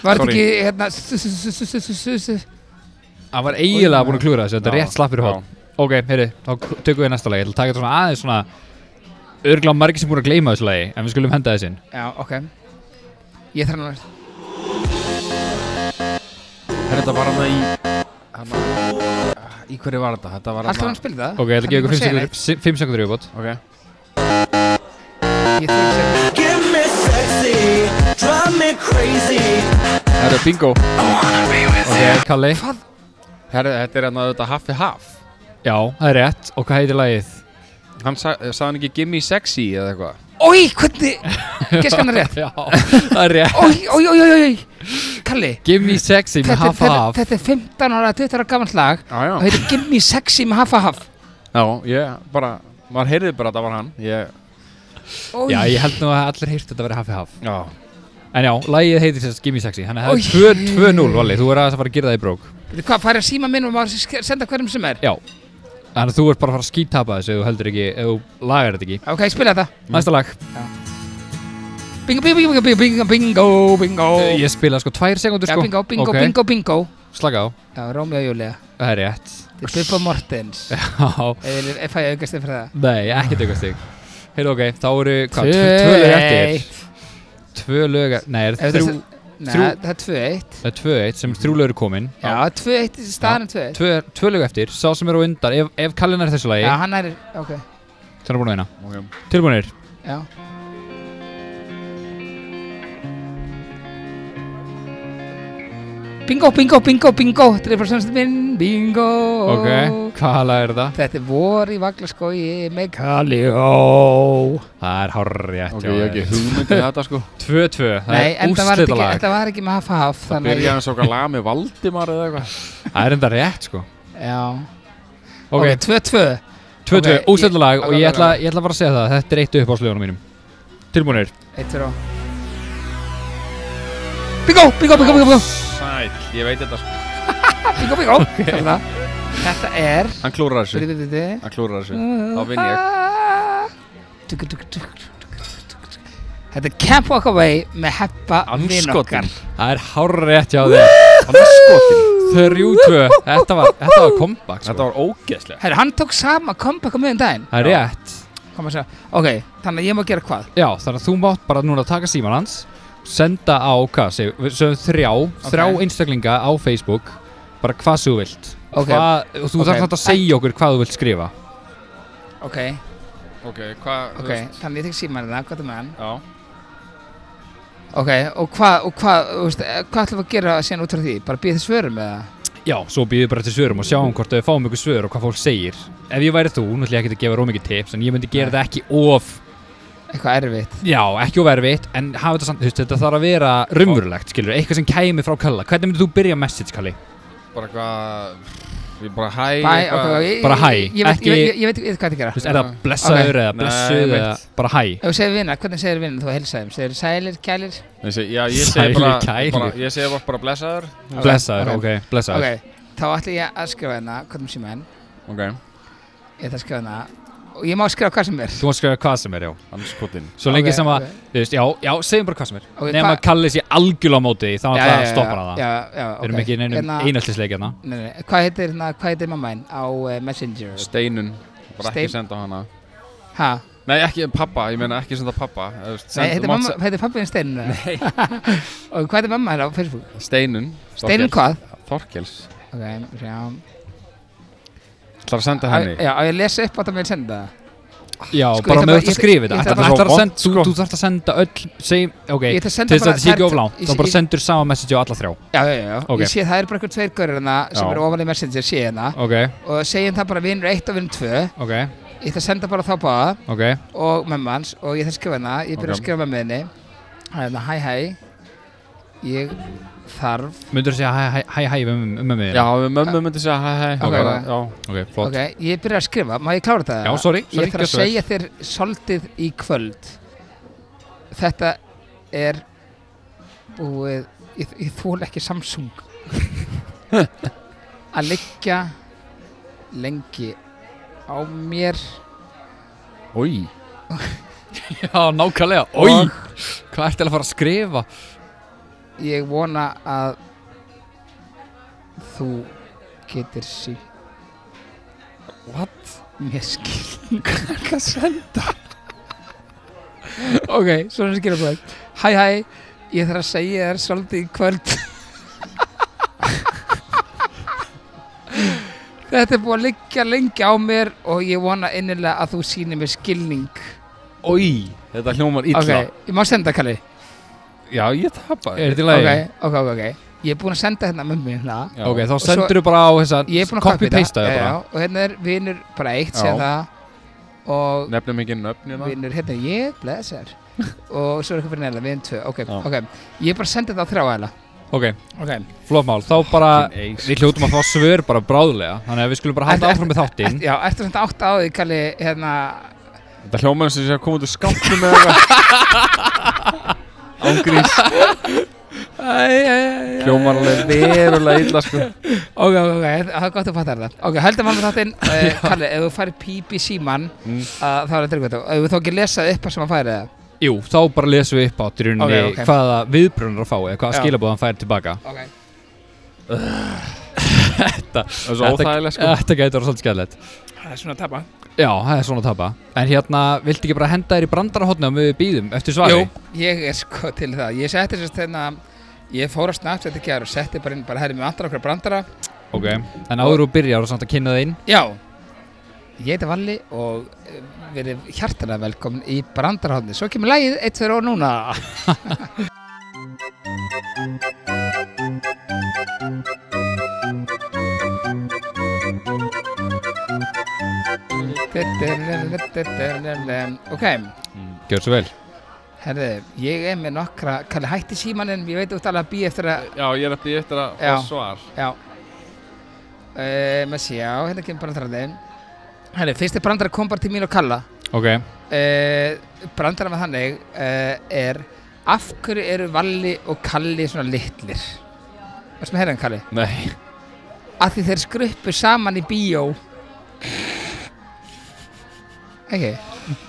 [SPEAKER 1] Var þetta
[SPEAKER 3] Sorry.
[SPEAKER 1] ekki hérna su- su- su- su- su- su- su- su-
[SPEAKER 4] Hann var eiginlega búin að klúra þessu Þetta er
[SPEAKER 3] Já.
[SPEAKER 4] rétt slappir
[SPEAKER 3] já.
[SPEAKER 4] hótt Ok, heyri, þá k- tökum við næsta lagi Ég ætla að taka þetta svona aðeins svona Örglá margir sem búin að gleyma þessu lagi En við skulum henda þessin
[SPEAKER 1] Já, ok Ég þarf hann að
[SPEAKER 3] Er þetta var hann í hann, Í hverju var þetta? Þetta var
[SPEAKER 1] Alltaf hann að
[SPEAKER 3] hann
[SPEAKER 1] spila það
[SPEAKER 4] Ok, ég ætla að gefa
[SPEAKER 1] Hann er búinn
[SPEAKER 4] ykkur 5 sekundur í uppbót
[SPEAKER 3] Ok
[SPEAKER 1] segja neitt. Ég þarf að segja neitt.
[SPEAKER 6] Give me sexy, drive me crazy.
[SPEAKER 3] Herru, bingo
[SPEAKER 4] Ok, Kalli
[SPEAKER 3] Herru, þetta er hann að þetta Haffi Haff
[SPEAKER 4] Já, það er rétt Og hvað heitir lagið?
[SPEAKER 3] Hann sa- sagði hann ekki Gimme sexy eða eitthvað
[SPEAKER 1] Ói, hvernig Geskan er rétt
[SPEAKER 4] Já, það er rétt
[SPEAKER 1] Ói, ói, ói, ói, ói Kalli
[SPEAKER 4] Give me sexy
[SPEAKER 1] þetta,
[SPEAKER 4] með half
[SPEAKER 1] þetta,
[SPEAKER 4] half
[SPEAKER 1] þetta er 15 ára, 20 ára gaman lag
[SPEAKER 3] Já, já
[SPEAKER 1] og heitir Gimme Sexy með Haffa Haff
[SPEAKER 3] Já, ég bara Maður heyrði bara að það var hann Ég
[SPEAKER 1] Ói.
[SPEAKER 4] Já, ég held nú að allir heyrtu þetta að vera half half
[SPEAKER 3] Já
[SPEAKER 4] En já, lagið heitir sérst Gimme Sexy Þannig að
[SPEAKER 1] Oj.
[SPEAKER 4] það er 2-0, Valli, þú er aðeins að fara að gera það í brók
[SPEAKER 1] Veitu Hvað, færi að síma minn og maður sk- senda hverjum sem er
[SPEAKER 4] Já Þannig að þú ert bara að fara að skítapa þessu ef þú heldur ekki, ef þú lagar þetta ekki
[SPEAKER 1] Ok, ég spila þetta
[SPEAKER 4] Næsta lag
[SPEAKER 1] Bingo, bingo, bingo, bingo, bingo, bingo
[SPEAKER 4] Ég spila sko tvær sekundur
[SPEAKER 1] Já,
[SPEAKER 4] sko
[SPEAKER 1] bingo, bingo,
[SPEAKER 4] Ok,
[SPEAKER 1] bingo, bingo
[SPEAKER 4] Slaka á,
[SPEAKER 1] Já, Rómi og Júlia
[SPEAKER 4] það er rétt
[SPEAKER 1] Þetta er Bubba Mortens
[SPEAKER 4] Já,
[SPEAKER 1] Ef ef fæ ég aukast fyrir það
[SPEAKER 4] nei, ekki tökast þig Heyrðu ok, þá eru, hvað, tvö, tvö lög eftir Tvö lög, e- nei, er
[SPEAKER 1] Ef
[SPEAKER 4] þrjú,
[SPEAKER 1] þetta- Nei,
[SPEAKER 4] þrjú-
[SPEAKER 1] það er 2-1
[SPEAKER 4] það er tvö eitt sem þrjú lög eru komin
[SPEAKER 1] Já, 2-1 í staðan 2-1
[SPEAKER 4] Tvö, tvö lög eftir, sá sem er á undan, ef, ef kallin er í þessu lagi
[SPEAKER 1] Já, hann er, ok
[SPEAKER 4] Þannig er búin að vinna
[SPEAKER 3] Ok
[SPEAKER 4] Tilbúinir,
[SPEAKER 1] Já, Bingo, bingo, bingo, bingo 3% minn, bingo
[SPEAKER 4] Ok, hvaða lag er það?
[SPEAKER 1] Þetta er vor í vaglaskogi með Kalljó
[SPEAKER 4] Það er hárrétt
[SPEAKER 3] Ok,
[SPEAKER 4] hjá
[SPEAKER 3] ég hef
[SPEAKER 4] þér.
[SPEAKER 3] ekki hugmyndið þetta sko
[SPEAKER 4] 2-2, það
[SPEAKER 1] Nei,
[SPEAKER 4] er
[SPEAKER 1] en það var, þetta ekki,
[SPEAKER 4] úrslitalag
[SPEAKER 1] þetta var ekki með haf haf Þannig
[SPEAKER 3] Byrjaði hans okkar lag með Valdimar eða eitthvað
[SPEAKER 4] Það er enda rétt sko
[SPEAKER 1] Já
[SPEAKER 4] Ok,
[SPEAKER 1] Ok, 2-2
[SPEAKER 4] 2-2, okay,
[SPEAKER 1] ok, ég-
[SPEAKER 4] úrslitalag og ég
[SPEAKER 1] alveg,
[SPEAKER 4] ætla,
[SPEAKER 1] alveg.
[SPEAKER 4] ég ætla bara að segja það Þetta er eitt upp á slögunum mínum Tilbúinir
[SPEAKER 1] Eitt fyrir á Bingo, bingo, bingo, bingo, bingo
[SPEAKER 3] Sæl, ég veit þetta sko
[SPEAKER 1] Bingo, bingo okay. Hérna. Þetta er
[SPEAKER 3] Hann klúrar þessu
[SPEAKER 1] Byrju, byrju, byrju
[SPEAKER 3] Hann klúrar þessu Þá vinn ég
[SPEAKER 1] Tuk, tuk, tuk, tuk, tuk, tuk, tuk. Þetta er Camp Walk Away með heppa vin okkar
[SPEAKER 3] Anskotin
[SPEAKER 4] Það er hárrétt hjá þér
[SPEAKER 3] Anskotin
[SPEAKER 4] 3-2, þetta var, þetta var kompakt sko.
[SPEAKER 3] Þetta var ógeðslega
[SPEAKER 1] Herru, hann tók sama comeback á miðan daginn
[SPEAKER 4] Það er rétt
[SPEAKER 1] Kom að segja Ok, þannig að ég má gera hvað?
[SPEAKER 4] Já, þannig að þú mátt bara núna taka síman hans Senda á, hvað, segju, við sögum þrjá Þrjá einstaklinga á Facebook Bara hvað sem þú vilt
[SPEAKER 1] Ok.
[SPEAKER 4] hvað, Og þú
[SPEAKER 1] Ok.
[SPEAKER 4] þarf þetta að segja okkur hvað þú vilt skrifa
[SPEAKER 1] Ok,
[SPEAKER 3] Ok, hvað
[SPEAKER 1] ok, þannig ég tek símanina, hvað er með um hann?
[SPEAKER 3] Já
[SPEAKER 1] Ok, og hvað, og hvað, þú veist, eh, hvað ætlum við að gera síðan út frá því? Bara býða þið svörum eða?
[SPEAKER 4] Já, svo býðum við bara til svörum og sjáum hvort við fáum ykkur svör og hvað fólk segir Ef ég væri þú, nú ætlum ég ekki að gefa rómikið tips En ég myndi gera þetta ekki of
[SPEAKER 1] Eitthvað erfitt
[SPEAKER 4] Já, ekki of erfitt En hafa þetta samt, þú veist, þetta þarf að vera raunverulegt, skilur Eitthvað sem kæmi frá Kalla Hvernig myndir þú byrja message, Kalli?
[SPEAKER 3] Bara hvað Ég bara hæ
[SPEAKER 1] Bæ, ok, ok, ég,
[SPEAKER 4] Bara hæ,
[SPEAKER 1] ég, ég, veit-
[SPEAKER 4] ekki-
[SPEAKER 1] ég, veit- ég, ég veit ég veit hvað það
[SPEAKER 4] Þú
[SPEAKER 1] gera
[SPEAKER 4] veist, er það blessaður eða
[SPEAKER 3] Nei,
[SPEAKER 4] blessuð eða
[SPEAKER 3] mitt.
[SPEAKER 4] bara hæ
[SPEAKER 1] Ef þú segir vinna, hvernig segir vinna þú heilsaðum? Segir sælir, kælir?
[SPEAKER 3] Ég seg- Já, ég
[SPEAKER 4] Sælir,
[SPEAKER 3] segi bara,
[SPEAKER 4] kælir.
[SPEAKER 3] bara Ég segi bara, bara blessaður
[SPEAKER 4] Blessaður,
[SPEAKER 1] ok.
[SPEAKER 4] ok, blessaður
[SPEAKER 1] Ok, þá ætla ég að skrifa hérna, hvernig sem enn
[SPEAKER 3] Ok
[SPEAKER 1] Ég ætla að skrifa hérna Og ég má skrifa hvað sem er
[SPEAKER 4] Þú mátt skrifa hvað sem er, já
[SPEAKER 3] Anskotin
[SPEAKER 4] Svo lengi
[SPEAKER 1] Ok,
[SPEAKER 4] sem að,
[SPEAKER 1] ok.
[SPEAKER 4] þú veist, já, já, segjum bara hvað sem er
[SPEAKER 1] Ok,
[SPEAKER 4] Nefn
[SPEAKER 1] hvað-
[SPEAKER 4] að Kalli sé algjörlega á móti því, þá
[SPEAKER 1] Já,
[SPEAKER 4] er
[SPEAKER 1] já,
[SPEAKER 4] það
[SPEAKER 1] já,
[SPEAKER 4] stoppar
[SPEAKER 1] já,
[SPEAKER 4] það
[SPEAKER 1] Já, já, ok
[SPEAKER 4] Við erum ekki í neinum
[SPEAKER 1] Hérna-
[SPEAKER 4] eineltisleik hérna
[SPEAKER 1] Nei, nei, nei. Hvað heitir, na, hvað heitir mamma einn á uh, Messenger?
[SPEAKER 3] Steinun Bara
[SPEAKER 1] Stein-
[SPEAKER 3] ekki senda á hana
[SPEAKER 1] Ha?
[SPEAKER 3] Nei, ekki pappa Ég meina ekki senda pappa Þú veist,
[SPEAKER 1] Nei,
[SPEAKER 3] send-
[SPEAKER 1] heitir,
[SPEAKER 3] þú mátt
[SPEAKER 1] mamma, heitir pappi einn Steinun? Nei. og hvað heitir mamma hérna á Facebook?
[SPEAKER 3] se- Steinun
[SPEAKER 1] Steinun hvað?
[SPEAKER 3] Þorkels
[SPEAKER 1] Ok, sjá.
[SPEAKER 3] Það er að senda
[SPEAKER 1] Á-
[SPEAKER 3] henni
[SPEAKER 1] Já, á ég að lesa upp að það með senda það?
[SPEAKER 4] Já,
[SPEAKER 1] Sko, ég
[SPEAKER 4] bara
[SPEAKER 1] ætla
[SPEAKER 4] með
[SPEAKER 1] bara-
[SPEAKER 4] þetta
[SPEAKER 1] ég-
[SPEAKER 4] skrifið
[SPEAKER 1] ég
[SPEAKER 4] þetta
[SPEAKER 1] ætla
[SPEAKER 4] Þetta
[SPEAKER 1] bara- sko.
[SPEAKER 4] þarf að
[SPEAKER 3] Vont,
[SPEAKER 4] senda, þú, þú þarf að senda öll segjum, ok,
[SPEAKER 1] Ég ætla að senda
[SPEAKER 4] til þess að
[SPEAKER 1] bara-
[SPEAKER 4] þetta sé ekki
[SPEAKER 1] það er-
[SPEAKER 4] of langt
[SPEAKER 1] ég-
[SPEAKER 4] þá bara
[SPEAKER 1] ég-
[SPEAKER 4] sendur sama message á alla þrjá
[SPEAKER 1] Já, já, já.
[SPEAKER 4] Ok.
[SPEAKER 1] Ég sé það eru bara eitthvað tveir gaurur hérna sem
[SPEAKER 4] Já.
[SPEAKER 1] eru ofan í Messenger sé hérna
[SPEAKER 4] Ok,
[SPEAKER 1] og segjum það bara vinnur 1 og vinnur 2
[SPEAKER 4] ok,
[SPEAKER 1] ég ætla að senda bara þá báða
[SPEAKER 4] ok
[SPEAKER 1] og mömmu hans og ég ætla að skrifa hérna ég byrja
[SPEAKER 3] Ok.
[SPEAKER 1] að skrifa mömmu henni hérna, hæ, hæ ég þarf
[SPEAKER 4] Myndur þú segja hæ, hæ, hæ, hæ, um, um, um,
[SPEAKER 3] Já, við mömmu myndi segja hæ hæ
[SPEAKER 1] Ok,
[SPEAKER 3] og bara,
[SPEAKER 1] ok.
[SPEAKER 3] Já,
[SPEAKER 4] Ok, flott
[SPEAKER 1] ok, ég byrja að skrifa, má ég klára þetta?
[SPEAKER 4] Já, sorry, sorry,
[SPEAKER 1] ég þarf að
[SPEAKER 4] gjörðu vel.
[SPEAKER 1] segja þér soldið í kvöld þetta er búið ég, ég þól ekki Samsung að liggja lengi á mér
[SPEAKER 3] Új
[SPEAKER 4] Já, nákvæmlega, oi, hvað ertu að fara að skrifa?
[SPEAKER 1] ég vona að þú getur sín
[SPEAKER 3] What?
[SPEAKER 1] mér skilning að senda ok, svona skilur búið hæ hæ, ég þarf að segja þér svolítið í kvöld þetta er búið að liggja lengi á mér og ég vona innilega að þú sýnir mér skilning
[SPEAKER 3] Új Þetta hljómar
[SPEAKER 1] ok,
[SPEAKER 3] illa
[SPEAKER 1] ég má senda Kalli
[SPEAKER 3] Já, ég tapaði
[SPEAKER 4] Er þetta í
[SPEAKER 1] ok,
[SPEAKER 4] lagi?
[SPEAKER 1] ok, ok, ok ég er búin að senda hérna mömmu hérna
[SPEAKER 3] Já.
[SPEAKER 4] Ok, þá
[SPEAKER 1] svo-
[SPEAKER 4] sendur þú bara á þessa
[SPEAKER 1] ég er búin að
[SPEAKER 4] copy-paste
[SPEAKER 1] það
[SPEAKER 4] það bara
[SPEAKER 1] og hérna er vinnur bara eitt
[SPEAKER 3] Já.
[SPEAKER 1] sem það og
[SPEAKER 3] Nefnum ekki nöfnina
[SPEAKER 1] vinnur hérna er ég blessar og svo er eitthvað fyrir neila vinn tvö ok,
[SPEAKER 3] Já.
[SPEAKER 1] ok ég er bara að senda þetta á þrjá aðeila
[SPEAKER 4] Ok,
[SPEAKER 1] ok
[SPEAKER 4] flott mál, þá bara,
[SPEAKER 3] Fucking ace.
[SPEAKER 4] við hljótum að fá svör bara bráðlega Þannig að við skulum bara halda
[SPEAKER 1] Ertu-
[SPEAKER 4] áfram með þáttinn
[SPEAKER 1] Ert, já, ertu svona átt á því kalli hérna
[SPEAKER 3] Þetta hljómar eins og ég sé að koma út úr skápnum eða eitthvað Ángríns Hljómar alveg verulega illa sko
[SPEAKER 1] ok, ok, ok það er gott að fatta þetta ok, höldum að með þáttinn uh, kalli, ef þú farir píp í síman
[SPEAKER 3] Mm.
[SPEAKER 1] uh, þá er þetta eitthvað og ef þú þá ekki lesað upp að sem að færi það
[SPEAKER 4] Jú, þá bara lesum við upp á drunni
[SPEAKER 1] Ok, ok.
[SPEAKER 4] hvaða viðbrunar að fá eða hvaða
[SPEAKER 1] Já.
[SPEAKER 4] skilabóð hann fær tilbaka
[SPEAKER 1] ok
[SPEAKER 3] Það er svo óþægilega sko
[SPEAKER 4] Þetta gæti verið svolítið skæðilegt
[SPEAKER 1] það er svona að tapa
[SPEAKER 4] Já, það er svona að tapa En hérna, viltu ekki bara henda þér í brandarahotna og við býðum eftir svari?
[SPEAKER 1] Jú, ég er sko til það Ég setti sérst hérna Ég fór að snabbt þetta gera og setti bara inn bara herri með andra okkur brandara
[SPEAKER 4] Ok En áður og byrjar og samt að kynna það inn
[SPEAKER 1] Já Ég heiti Valli og eh, verið hjartalega velkomin í brandarhóðni Svo kemur lagið eitt fyrir og núna Ok,
[SPEAKER 4] Gjör svo vel
[SPEAKER 1] herðu, ég er með nokkra Kalli, hætti símaninn, ég veit út alveg að býja eftir að
[SPEAKER 3] Já, ég er að býja eftir að
[SPEAKER 1] Já.
[SPEAKER 3] fá svar
[SPEAKER 1] Já uh, Með sjá, hérna kemur brandarandi Herðu, fyrsti brandar kom bara til mín og Kalla
[SPEAKER 4] Ok
[SPEAKER 1] uh, Brandar með þannig uh, er Af hverju eru Valli og Kalli svona litlir? Varstu með herðan Kalli?
[SPEAKER 3] Nei
[SPEAKER 1] Af því þeir skruppu saman í bíó Ekki?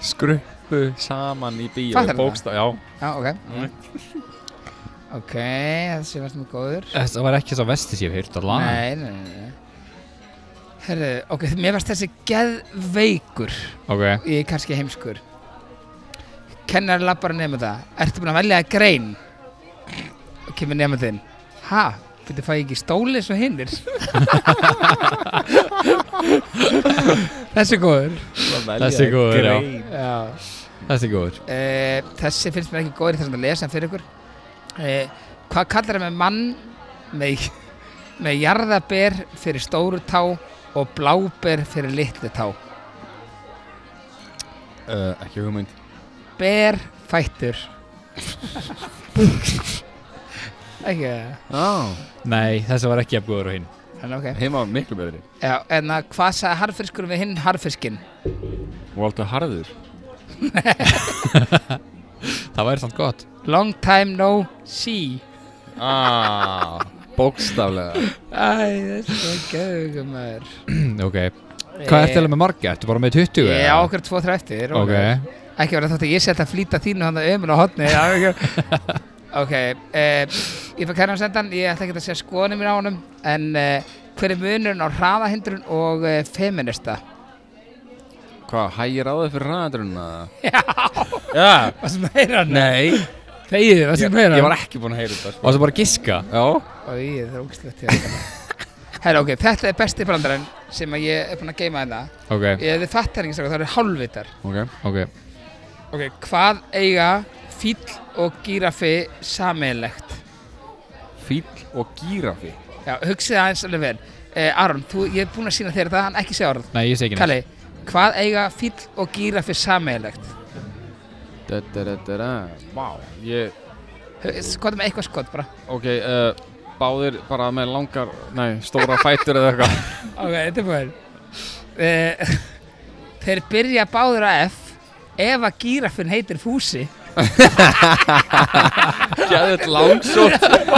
[SPEAKER 3] Skruppu saman í bíó
[SPEAKER 1] Fattar
[SPEAKER 3] í
[SPEAKER 1] þú
[SPEAKER 3] bóksta- Já,
[SPEAKER 1] Já, ok Ok, þessi varst mjög góður
[SPEAKER 4] Þetta var ekki svo vesti sem ég hef heyrt allan
[SPEAKER 1] Nei, nei, nei, nei. Herðu, ok, mér varst þessi geðveikur
[SPEAKER 4] Ok
[SPEAKER 1] Ég er kannski heimskur Kennar lappar að nefna það Ertu búin að velja að grein? Og kemur nefna þinn Ha, byrju fæ ég ekki stóli svo hinnir Þessi er góður
[SPEAKER 4] Þessi er góður, já.
[SPEAKER 1] Já
[SPEAKER 4] Þessi er góður
[SPEAKER 1] Eh, þessi finnst mér ekki góður í þessum að lesa en fyrir ykkur uh, hvað kallar það með mann með, með jarðaber fyrir stóru tá og bláber fyrir litlu tá
[SPEAKER 3] Uh, ekki hugmynd
[SPEAKER 1] ber fættur ekki það?
[SPEAKER 3] Já,
[SPEAKER 4] Nei, þessi var ekki jafn góður á hinn
[SPEAKER 1] en ok
[SPEAKER 3] heima var miklu betri
[SPEAKER 1] Já, en að hvað sagði harfiskur við hinn harfiskin
[SPEAKER 3] Walter Harður
[SPEAKER 4] Það væri samt gott
[SPEAKER 1] long time no see
[SPEAKER 3] Ah, bókstaflega
[SPEAKER 1] Æ, þessi er gauðum maður
[SPEAKER 4] Ok Hvað ertu alveg með marga? Ertu bara með 20?
[SPEAKER 1] Eh. Já,
[SPEAKER 4] eða?
[SPEAKER 1] okkur tvo þrjá eftir
[SPEAKER 4] Ok
[SPEAKER 1] ekki verið þátt að ég setja að flýta þínu hann að ömul á hotni ok uh, ég fæk hérna á sendan, ég ætla ekki að segja skoðunum mín á honum en uh, hver er munurinn á hraðahindrun og uh, feminista
[SPEAKER 3] Hvað, hægir á þau fyrir ræðandrunna?
[SPEAKER 1] já,
[SPEAKER 3] Já,
[SPEAKER 1] það sem meira hann
[SPEAKER 3] nei
[SPEAKER 1] þegið, það
[SPEAKER 3] ég,
[SPEAKER 1] sem meira
[SPEAKER 3] ég var ekki búinn að heyra þetta sko.
[SPEAKER 4] Og það bara að giska
[SPEAKER 3] Já,
[SPEAKER 1] Í, það er ógislegt Herra, ok, þetta er besti brandarinn sem að ég er búinn að hérna. geima þetta
[SPEAKER 4] Ok
[SPEAKER 1] Ef þið fattar ekki strákar, það eru hálfvitar
[SPEAKER 3] ok
[SPEAKER 4] Ok
[SPEAKER 1] Ok, hvað eiga fíll og gíraffi sameiginlegt?
[SPEAKER 3] Fíll og gírafi
[SPEAKER 1] Já, hugsið aðeins alveg vel eh, Aron, þú, ég er búinn að sína þér þetta, hann ekki segja orð
[SPEAKER 4] Nei, ég sé ekki neitt
[SPEAKER 1] Kalli, hvað eiga fíll og gíraffi sameiginlegt?
[SPEAKER 3] da, da, da, da, da. Vá, ég,
[SPEAKER 1] Skotum eitthvað skot bara
[SPEAKER 3] ok uh, Báðir bara með langar, nei, stóra fætur eða eitthvað
[SPEAKER 1] Ok, þetta er búin uh, Þeir byrja báður á F ef að gíraffin heitir Fúsi
[SPEAKER 3] Gæðið langsótt
[SPEAKER 1] ef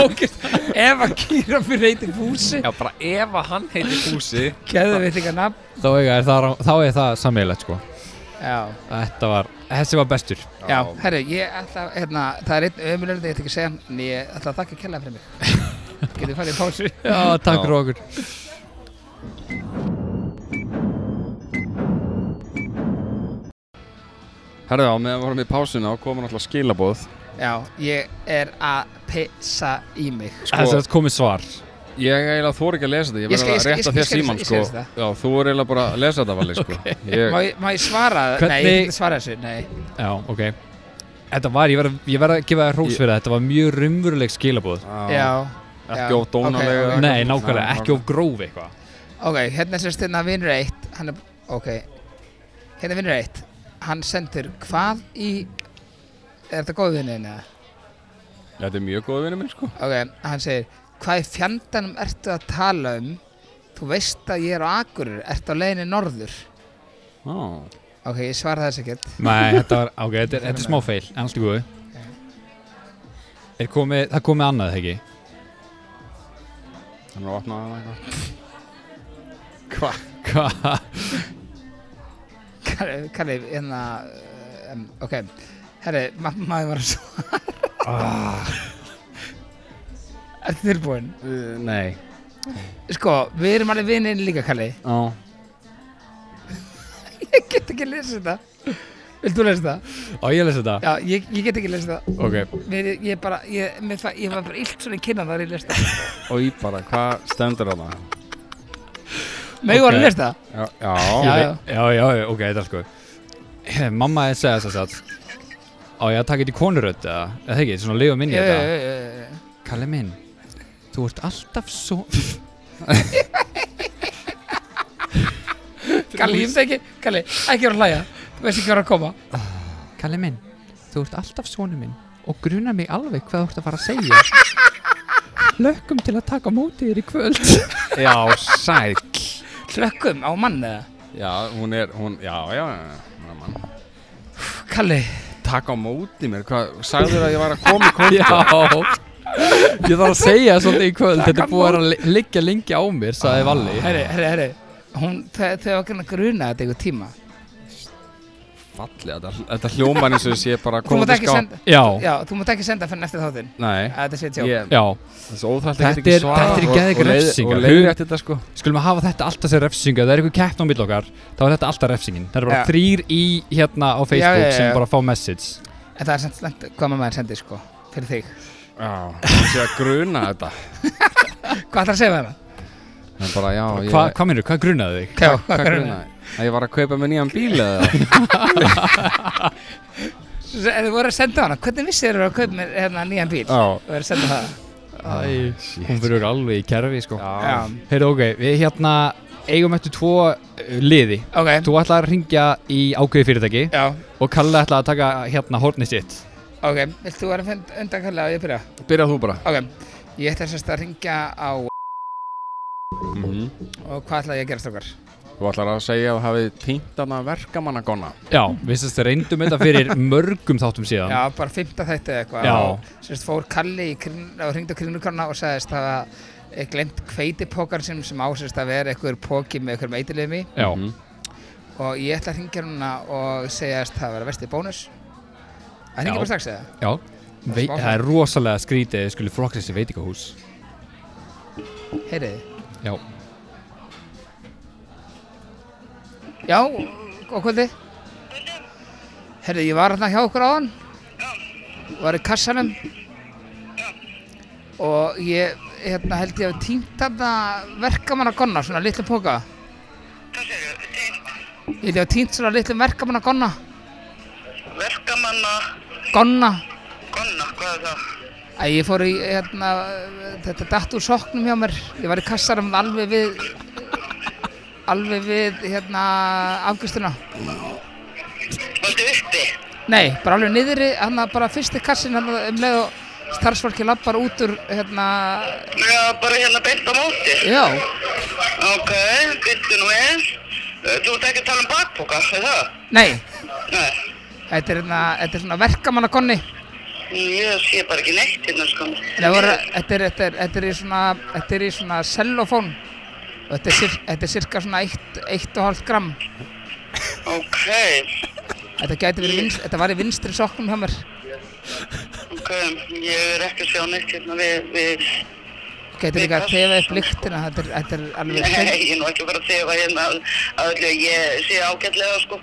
[SPEAKER 1] að gíraffin heitir Fúsi
[SPEAKER 3] Já, bara ef að hann heitir Fúsi
[SPEAKER 1] Geðum við þig að nafn
[SPEAKER 4] Þá eiga er það, þá er það sammeilegt sko
[SPEAKER 1] Já,
[SPEAKER 4] Þetta var, þessi var bestur
[SPEAKER 1] já, herru, ég ætla, hérna, það er einn ömulöld ég ætla ekki að segja, hann, en ég ætla að þakka kella fyrir mig Getum við farið í pásu
[SPEAKER 4] Já, takk
[SPEAKER 3] Já.
[SPEAKER 4] fyrir okkur
[SPEAKER 3] Herðu á, meðan við vorum í pásuna og komum alltaf skilaboð
[SPEAKER 1] Já, ég er að pissa í mig
[SPEAKER 4] Þessi var komið svar
[SPEAKER 3] Ég eiginlega þór ekki að lesa þetta,
[SPEAKER 1] Ég
[SPEAKER 3] ég verði
[SPEAKER 1] skal-
[SPEAKER 3] að
[SPEAKER 1] ég-
[SPEAKER 3] rétta
[SPEAKER 1] ég-
[SPEAKER 3] þér
[SPEAKER 1] ég skal-
[SPEAKER 3] síman
[SPEAKER 1] ég
[SPEAKER 3] sko
[SPEAKER 1] skal lesa þetta.
[SPEAKER 3] Já, þú er eiginlega bara að lesa þetta vali sko ég,
[SPEAKER 1] Má ég, má ég svara? Nei, ég
[SPEAKER 4] Hvernig-
[SPEAKER 1] get ekki svara þessu, nei
[SPEAKER 4] Já, ok Þetta var, ég verð að- ég verð að gefa það hrós
[SPEAKER 3] Ég-
[SPEAKER 4] fyrir það Þetta var mjög raunveruleg skilabóð
[SPEAKER 1] Já,
[SPEAKER 3] Ekki
[SPEAKER 1] já,
[SPEAKER 3] of dónalega
[SPEAKER 1] ok, ok.
[SPEAKER 4] Nei, nákvæmlega, ekki of gróf eitthvað
[SPEAKER 1] Ok, hérna er sérst hérna vinnur eitt Hann er, ok Hérna vinnur eitt Hann sendur hvað í Er þetta góð vinnin eða?
[SPEAKER 3] Þetta er mjög góð vinur minn sko
[SPEAKER 1] Ok, hann segir Hvað í fjandanum ertu að tala um? Þú veist að ég er á Akurur Ertu á leiðinni norður?
[SPEAKER 3] ah.
[SPEAKER 1] Ok, ég svara þess ekkert
[SPEAKER 4] Nei, þetta var, ok, þetta er, þetta er smá feil En allt í góðu Er komið, það komið annað, ekki?
[SPEAKER 3] Hann er að opna það eitthvað
[SPEAKER 4] Hva? Hva?
[SPEAKER 1] Kalli, kalli hérna um, Ok, herri, ma maður var að svara ah. Ertu tilbúin?
[SPEAKER 3] uh, Nei
[SPEAKER 1] Sko, við erum alveg vinnin líka, Kalli
[SPEAKER 3] Já
[SPEAKER 1] Ég get ekki að lesa þetta Vilt þú lesa það?
[SPEAKER 4] Á, ég lesi þetta
[SPEAKER 1] Já, ég, ég get ekki að lesa það
[SPEAKER 4] Ok,
[SPEAKER 1] Mér, ég, bara, ég, mér, fa- ég var bara illt svona í kynna þar ég lesa það
[SPEAKER 3] Og ég bara, hvað stendur þarna?
[SPEAKER 1] Megum var
[SPEAKER 4] Ok.
[SPEAKER 1] að lesa það?
[SPEAKER 3] Já, já.
[SPEAKER 1] já.
[SPEAKER 4] já, já, já, ok, þetta er allt góð Mamma er segja þess að Á, ég að taka þetta í konurödd, eða Eða ekki, svona lifa minni
[SPEAKER 1] Jú,
[SPEAKER 4] þetta
[SPEAKER 1] jú, jú, jú, jú.
[SPEAKER 4] Kalli minn, þú ert alltaf svo
[SPEAKER 1] Kalli, ég veit ekki, Kalli, ekki vera að hlæja Þú veist ekki vera að koma
[SPEAKER 2] Kalli minn, þú ert alltaf sonu minn og gruna mig alveg hvað þú ert að fara að segja Lökkum til að taka á móti þér í kvöld
[SPEAKER 3] Já, sæl
[SPEAKER 1] Hlökkum á mann eða
[SPEAKER 3] Já, hún er, hún, já, já, já, já man.
[SPEAKER 1] Kalli,
[SPEAKER 3] Takk á móti mér, hvað, sagður að ég var að koma í kvöld
[SPEAKER 4] Já Ég þarf að segja svolítið í kvöld Þetta er búið að vera að liggja lengi á mér sagði Valli
[SPEAKER 1] herri, herri, herri Hún, þau þau var að gruna þetta eitthvað tíma
[SPEAKER 3] Falli, þetta, þetta hljóman eins og ég sé bara að
[SPEAKER 1] Þú
[SPEAKER 3] koma
[SPEAKER 1] mátt
[SPEAKER 3] út í
[SPEAKER 1] ekki
[SPEAKER 3] skáp.
[SPEAKER 1] senda
[SPEAKER 4] Já,
[SPEAKER 1] Já, þú mátt ekki senda fyrir næsta þáttinn
[SPEAKER 3] Nei,
[SPEAKER 1] Að Þetta sé tjó
[SPEAKER 3] ég,
[SPEAKER 4] já
[SPEAKER 3] þessi óþælt
[SPEAKER 4] Þetta
[SPEAKER 3] ég get ekki
[SPEAKER 4] er-
[SPEAKER 3] svarað
[SPEAKER 4] þetta er
[SPEAKER 3] og-
[SPEAKER 4] geðveik
[SPEAKER 3] og leið-
[SPEAKER 4] refsing,
[SPEAKER 3] Og
[SPEAKER 4] hug-
[SPEAKER 3] leiðið þetta sko
[SPEAKER 4] Skulum að hafa þetta alltaf sem refsingu Það er eitthvað keppn á mill okkar Þá er þetta alltaf refsingin Það er bara
[SPEAKER 1] Já.
[SPEAKER 4] þrýr í hérna á Facebook
[SPEAKER 1] Já, já, já.
[SPEAKER 4] sem bara fá message
[SPEAKER 1] En það er samt slæmt hvað maður sendi sko Fyrir þig
[SPEAKER 3] Já, ég sé að gruna þetta
[SPEAKER 1] Hvað ætlar að segja við hana?
[SPEAKER 3] En bara, já, ég
[SPEAKER 4] Hva, Hvað minnur, hvað grunaði þig?
[SPEAKER 1] Hvað,
[SPEAKER 3] Hvað
[SPEAKER 1] hvað gruna?
[SPEAKER 3] grunaði? Að ég var að kaupa mér nýjan bíl eða
[SPEAKER 1] Ef Þú voru að senda hana Hvernig vissir þér að kaupa mér hérna nýjan bíl?
[SPEAKER 3] Já,
[SPEAKER 1] Þú voru að senda það
[SPEAKER 4] Æ, hún verður alveg í kerfi sko
[SPEAKER 3] já,
[SPEAKER 1] Já
[SPEAKER 4] Heyrðu, ok, við hérna eigum eftir tvo uh, liði
[SPEAKER 1] Ok,
[SPEAKER 4] Þú ætlaði að ringja í ákveði fyrirtæki
[SPEAKER 1] já,
[SPEAKER 4] og Kalli ætlaði að taka hérna hornið sitt
[SPEAKER 1] ok Vilt þú vera að fund- undan Kalli að ég byrja?
[SPEAKER 3] byrja þú bara
[SPEAKER 1] Ok, ég ætla sérst að ringja á
[SPEAKER 4] Mhm.
[SPEAKER 1] Og hvað ætla ég að gera strókar?
[SPEAKER 3] Þú ætlar að segja að þú hafið týnt hana verkamannagona
[SPEAKER 4] Já, við sérst reyndum þetta fyrir mörgum þáttum síðan
[SPEAKER 1] Já, bara fymta þætti eða eitthvað
[SPEAKER 4] Já.
[SPEAKER 1] Og Sérst fór Kalli í krin, og ringdi á kringlukonna og sagðist að hafa eh, glemt hveitipokar sem, sem á sérst að vera einhver póki með einhverjum eitilum í
[SPEAKER 4] Já,
[SPEAKER 3] Mhm.
[SPEAKER 1] og ég ætla að ringja núna og segjast það vera vestið bónus að ringja
[SPEAKER 4] Já.
[SPEAKER 1] bara strax eða
[SPEAKER 4] já. Vei,
[SPEAKER 1] Smá
[SPEAKER 4] það er rosalega skrítið að skulle frokast þessi veitingahús
[SPEAKER 1] heyriði
[SPEAKER 4] Já,
[SPEAKER 1] já, og kvöldi heyriði, ég var hérna hjá okkur áðan var í kassanum og ég hérna held ég að týnt þarna verkamann að gonna, svona litlu póka ég held ég að týnt svona litlu verkamann að gonna
[SPEAKER 7] Verkamanna,
[SPEAKER 1] gonna
[SPEAKER 7] konna, hvað er það?
[SPEAKER 1] að ég fór í hérna, þetta datt úr soknum hjá mér ég var í kassarum alveg við alveg við hérna afgjörstuna
[SPEAKER 7] Valdi uppi?
[SPEAKER 1] nei, bara alveg niðri, hann bara fyrsti kassin hann um leið og starfsfólki lappar út úr hérna,
[SPEAKER 7] Já, bara hérna beint á móti.
[SPEAKER 1] já
[SPEAKER 7] Ok, byttu nú eins. Þú ert ekki að tala um bakpoka, er það?
[SPEAKER 1] nei,
[SPEAKER 7] Nei,
[SPEAKER 1] þetta er, hérna, þetta er svona verkamannakonni
[SPEAKER 7] ég sé bara ekki neitt hérna sko.
[SPEAKER 1] þetta er, þetta er, þetta er, þetta er í svona þetta er í svona cellofón og þetta er, sir, þetta er cirka svona 1,5 gram
[SPEAKER 7] Ok,
[SPEAKER 1] þetta gæti verið, vinst, þetta var í vinstri soknum hjá mér
[SPEAKER 7] ok, ég er ekki að sjá neitt hérna við, við,
[SPEAKER 1] Gæti líka að þefa upp lyktina, þetta er, þetta er alveg hrein,
[SPEAKER 7] nei, ég er nú ekki að fara að segja hvað hérna að- að öllu, ég sé ágætlega sko.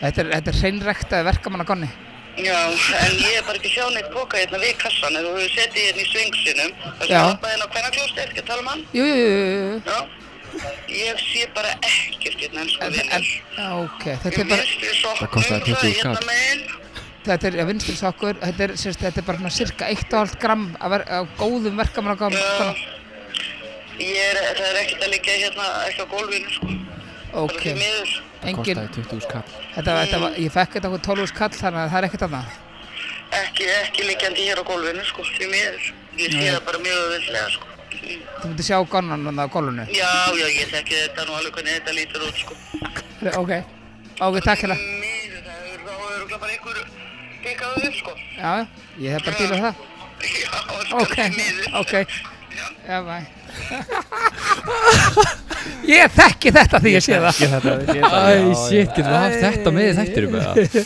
[SPEAKER 1] þetta er, þetta er hreinræktaði verkamannagonni.
[SPEAKER 7] Já, en ég er bara ekki að sjá neitt poka hérna við kassan, ef þú hefur setið hérna í svingsinum, það
[SPEAKER 1] Já.
[SPEAKER 7] sem lappaði hérna á hvernig klósti, ekki að tala um hann?
[SPEAKER 1] Jú, jú, jú, jú, jú.
[SPEAKER 7] Já, ég sé bara ekkert hérna enn sko
[SPEAKER 1] En, en,
[SPEAKER 7] vinnur.
[SPEAKER 1] já, ok, þetta
[SPEAKER 7] Ég
[SPEAKER 1] er bara,
[SPEAKER 7] misti
[SPEAKER 3] Það kostaði
[SPEAKER 7] sokknum
[SPEAKER 3] 20
[SPEAKER 7] það er hérna
[SPEAKER 3] kall.
[SPEAKER 7] megin.
[SPEAKER 1] þetta er, já, vinstri sokkur, þetta er, sérst, þetta er bara svona cirka 1,5 gram af, ver, af góðum
[SPEAKER 7] Já,
[SPEAKER 1] verkamannagonni.
[SPEAKER 7] ég er, það er ekkert að liggja hérna ekki á gólfinu sko.
[SPEAKER 1] Ok,
[SPEAKER 7] Bara því miður.
[SPEAKER 1] engin,
[SPEAKER 3] Kostaði 20 skall
[SPEAKER 1] þetta, var- þetta var, ég fekk þetta okkur 12 skall þannig að það er ekkert annað.
[SPEAKER 7] Ekki, ekki liggjandi hér á gólfinu sko, því miður. Ég sé það bara mjög auðvitað sko. Mm.
[SPEAKER 1] Þú myndir sjá gonnan hann á gólunni.
[SPEAKER 7] Já, já, ég þekki þetta nú alveg hvernig þetta lítur út sko.
[SPEAKER 1] Ok, ok, takk hérna.
[SPEAKER 7] Því Miður, það er þá örugglega bara einhver pekað upp sko.
[SPEAKER 1] Já, ég hef bara að díla við það.
[SPEAKER 7] Já, sko,
[SPEAKER 1] Ok,
[SPEAKER 7] því miður.
[SPEAKER 1] ok, já, bæ. Ég þekki þetta því ég sé það.
[SPEAKER 4] Æ, shit, getum við haft þetta með í þættinum eða?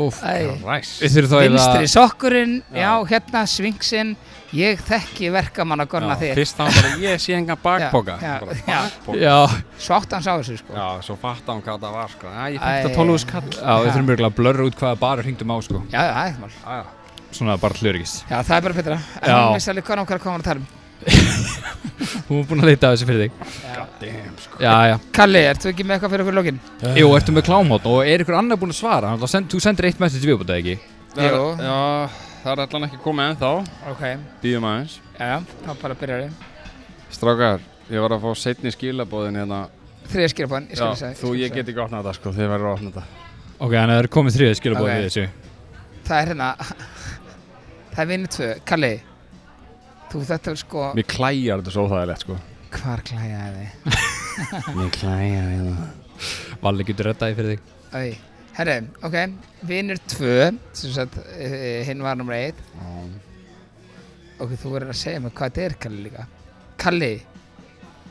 [SPEAKER 4] Úf,
[SPEAKER 1] Æ.
[SPEAKER 3] Ræs
[SPEAKER 4] við þurfum þá
[SPEAKER 1] Vinstri sokkurinn, já, hérna svingsinn, ég þekki verkamann að gorna þér.
[SPEAKER 3] Fyrst þá bara ég sé engan bakpoka
[SPEAKER 1] Já, já,
[SPEAKER 3] Bara
[SPEAKER 1] já.
[SPEAKER 3] bakpoka.
[SPEAKER 4] Já,
[SPEAKER 1] Svátt hans á þessu, sko.
[SPEAKER 3] Já, svo fatta hann hvað það var sko Æ,
[SPEAKER 1] Æ.
[SPEAKER 3] ég fætti að 12 skall
[SPEAKER 4] já, við þurfum mjögulega að blörra út hvaða bara hringdum á sko
[SPEAKER 1] Já, já, það er ekkert mál.
[SPEAKER 3] Æ, já.
[SPEAKER 4] Svona bara hlurigis
[SPEAKER 1] Já, það er bara betra. En
[SPEAKER 4] Já.
[SPEAKER 1] hann vissi alveg hvað nákvæmlega hvað hann var að tala um.
[SPEAKER 4] Hún er búin að leita að þessu fyrir þig
[SPEAKER 3] Damn sko
[SPEAKER 4] Já, já
[SPEAKER 1] Kalli, ert þú ekki með eitthvað fyrir okkur lókin?
[SPEAKER 4] Jú, ertu með klámhótt og er ykkur annar búin að svara? Hann ætlar að send, þú sendir eitt message viðbútið ekki?
[SPEAKER 3] Það er-
[SPEAKER 1] Jú.
[SPEAKER 3] Já, það er allan ekki komið ennþá
[SPEAKER 1] Ok, já,
[SPEAKER 3] Býðum aðeins
[SPEAKER 1] já, þá bara byrjar við.
[SPEAKER 3] Strákar, ég var að fá setni skilabóðin hérna
[SPEAKER 1] þriða skilabóðan
[SPEAKER 3] Já, þú ég get ekki opnað þetta sko, þið verður að opna þetta
[SPEAKER 4] Ok, þannig að það er komið þriðið
[SPEAKER 1] Ok.
[SPEAKER 4] skilabóð okay. í þessu
[SPEAKER 1] það er hérna það er vinnu tvö, Kalli þú þetta er sko
[SPEAKER 3] Mér klæjar þetta svo óþægilegt sko
[SPEAKER 1] hvar klæjaði
[SPEAKER 3] Mér klæjar hérna. þetta
[SPEAKER 4] Valli getur reddaði fyrir þig
[SPEAKER 1] þið herri, ok, vinnur tvö sem sagt, eh, hinn var nummer eitt ok, þú verður að segja mér hvað þetta er Kalli líka Kalli,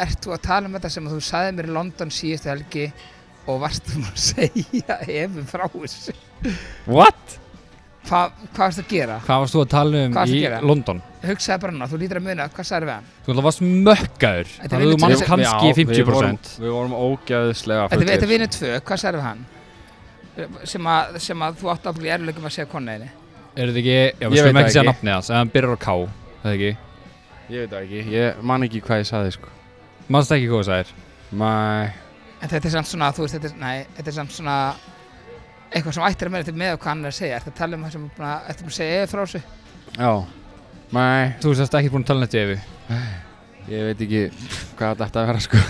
[SPEAKER 1] ert þú að tala um þetta sem þú sagði mér í London síðustu helgi og varst þú að segja ef frá þessu
[SPEAKER 4] What?
[SPEAKER 1] Hva, hvað varst að gera?
[SPEAKER 4] Hvað varst þú að tala um
[SPEAKER 1] Hvað varstu
[SPEAKER 4] í
[SPEAKER 1] að gera?
[SPEAKER 4] London?
[SPEAKER 1] hugsaði bara núna, þú lítur að muna, hvað sagði við hann?
[SPEAKER 4] Þú alltaf varst mökkaður
[SPEAKER 1] Þetta er
[SPEAKER 4] Það þú
[SPEAKER 1] vinnu
[SPEAKER 4] manns
[SPEAKER 1] tvö.
[SPEAKER 4] kannski 50%
[SPEAKER 3] Við vorum ógæðislega
[SPEAKER 1] Þetta þetta er vinnu tvö, hvað sagði við hann? Sem að, sem að þú átt að bli erlögum að segja konneginni
[SPEAKER 4] Er þetta ekki, já,
[SPEAKER 3] Ég
[SPEAKER 4] við skulum
[SPEAKER 3] veit
[SPEAKER 4] ekki
[SPEAKER 3] það
[SPEAKER 4] segja
[SPEAKER 3] ekki.
[SPEAKER 4] nafnið hans En hann byrjar á K, það ekki
[SPEAKER 3] Ég veit það ekki, ég man ekki hvað ég saði sko
[SPEAKER 4] Manst ekki hvað það er
[SPEAKER 3] Mæ,
[SPEAKER 1] En þetta er samt svona, þú veist, þetta er, nei, þetta er samt svona eitthvað sem ættir að meina þetta með og hvað hann er að segja Ertu að tala um það sem er búin að, ertu búin að segja eða frá þessu?
[SPEAKER 3] já Mæ,
[SPEAKER 4] Þú sérst ekki búin að tala nætti yfir
[SPEAKER 3] ég veit ekki hvað þetta ætti að vera sko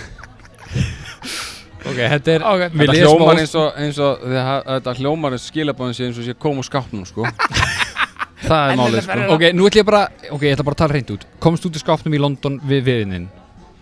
[SPEAKER 4] Ok, þetta er
[SPEAKER 1] Ok.
[SPEAKER 4] Við
[SPEAKER 3] Þetta
[SPEAKER 4] lesum á
[SPEAKER 3] hljómar eins og, eins og þið ha- Þetta hljómar eins og skilabóðin sé eins og sé kom úr skápnum sko Það er
[SPEAKER 1] En
[SPEAKER 3] málið
[SPEAKER 1] þetta
[SPEAKER 3] sko
[SPEAKER 1] verður-
[SPEAKER 4] Ok, nú ætla ég bara, ok, ég ætla bara að tala reynd út Komst út í skápnum í London við viðinn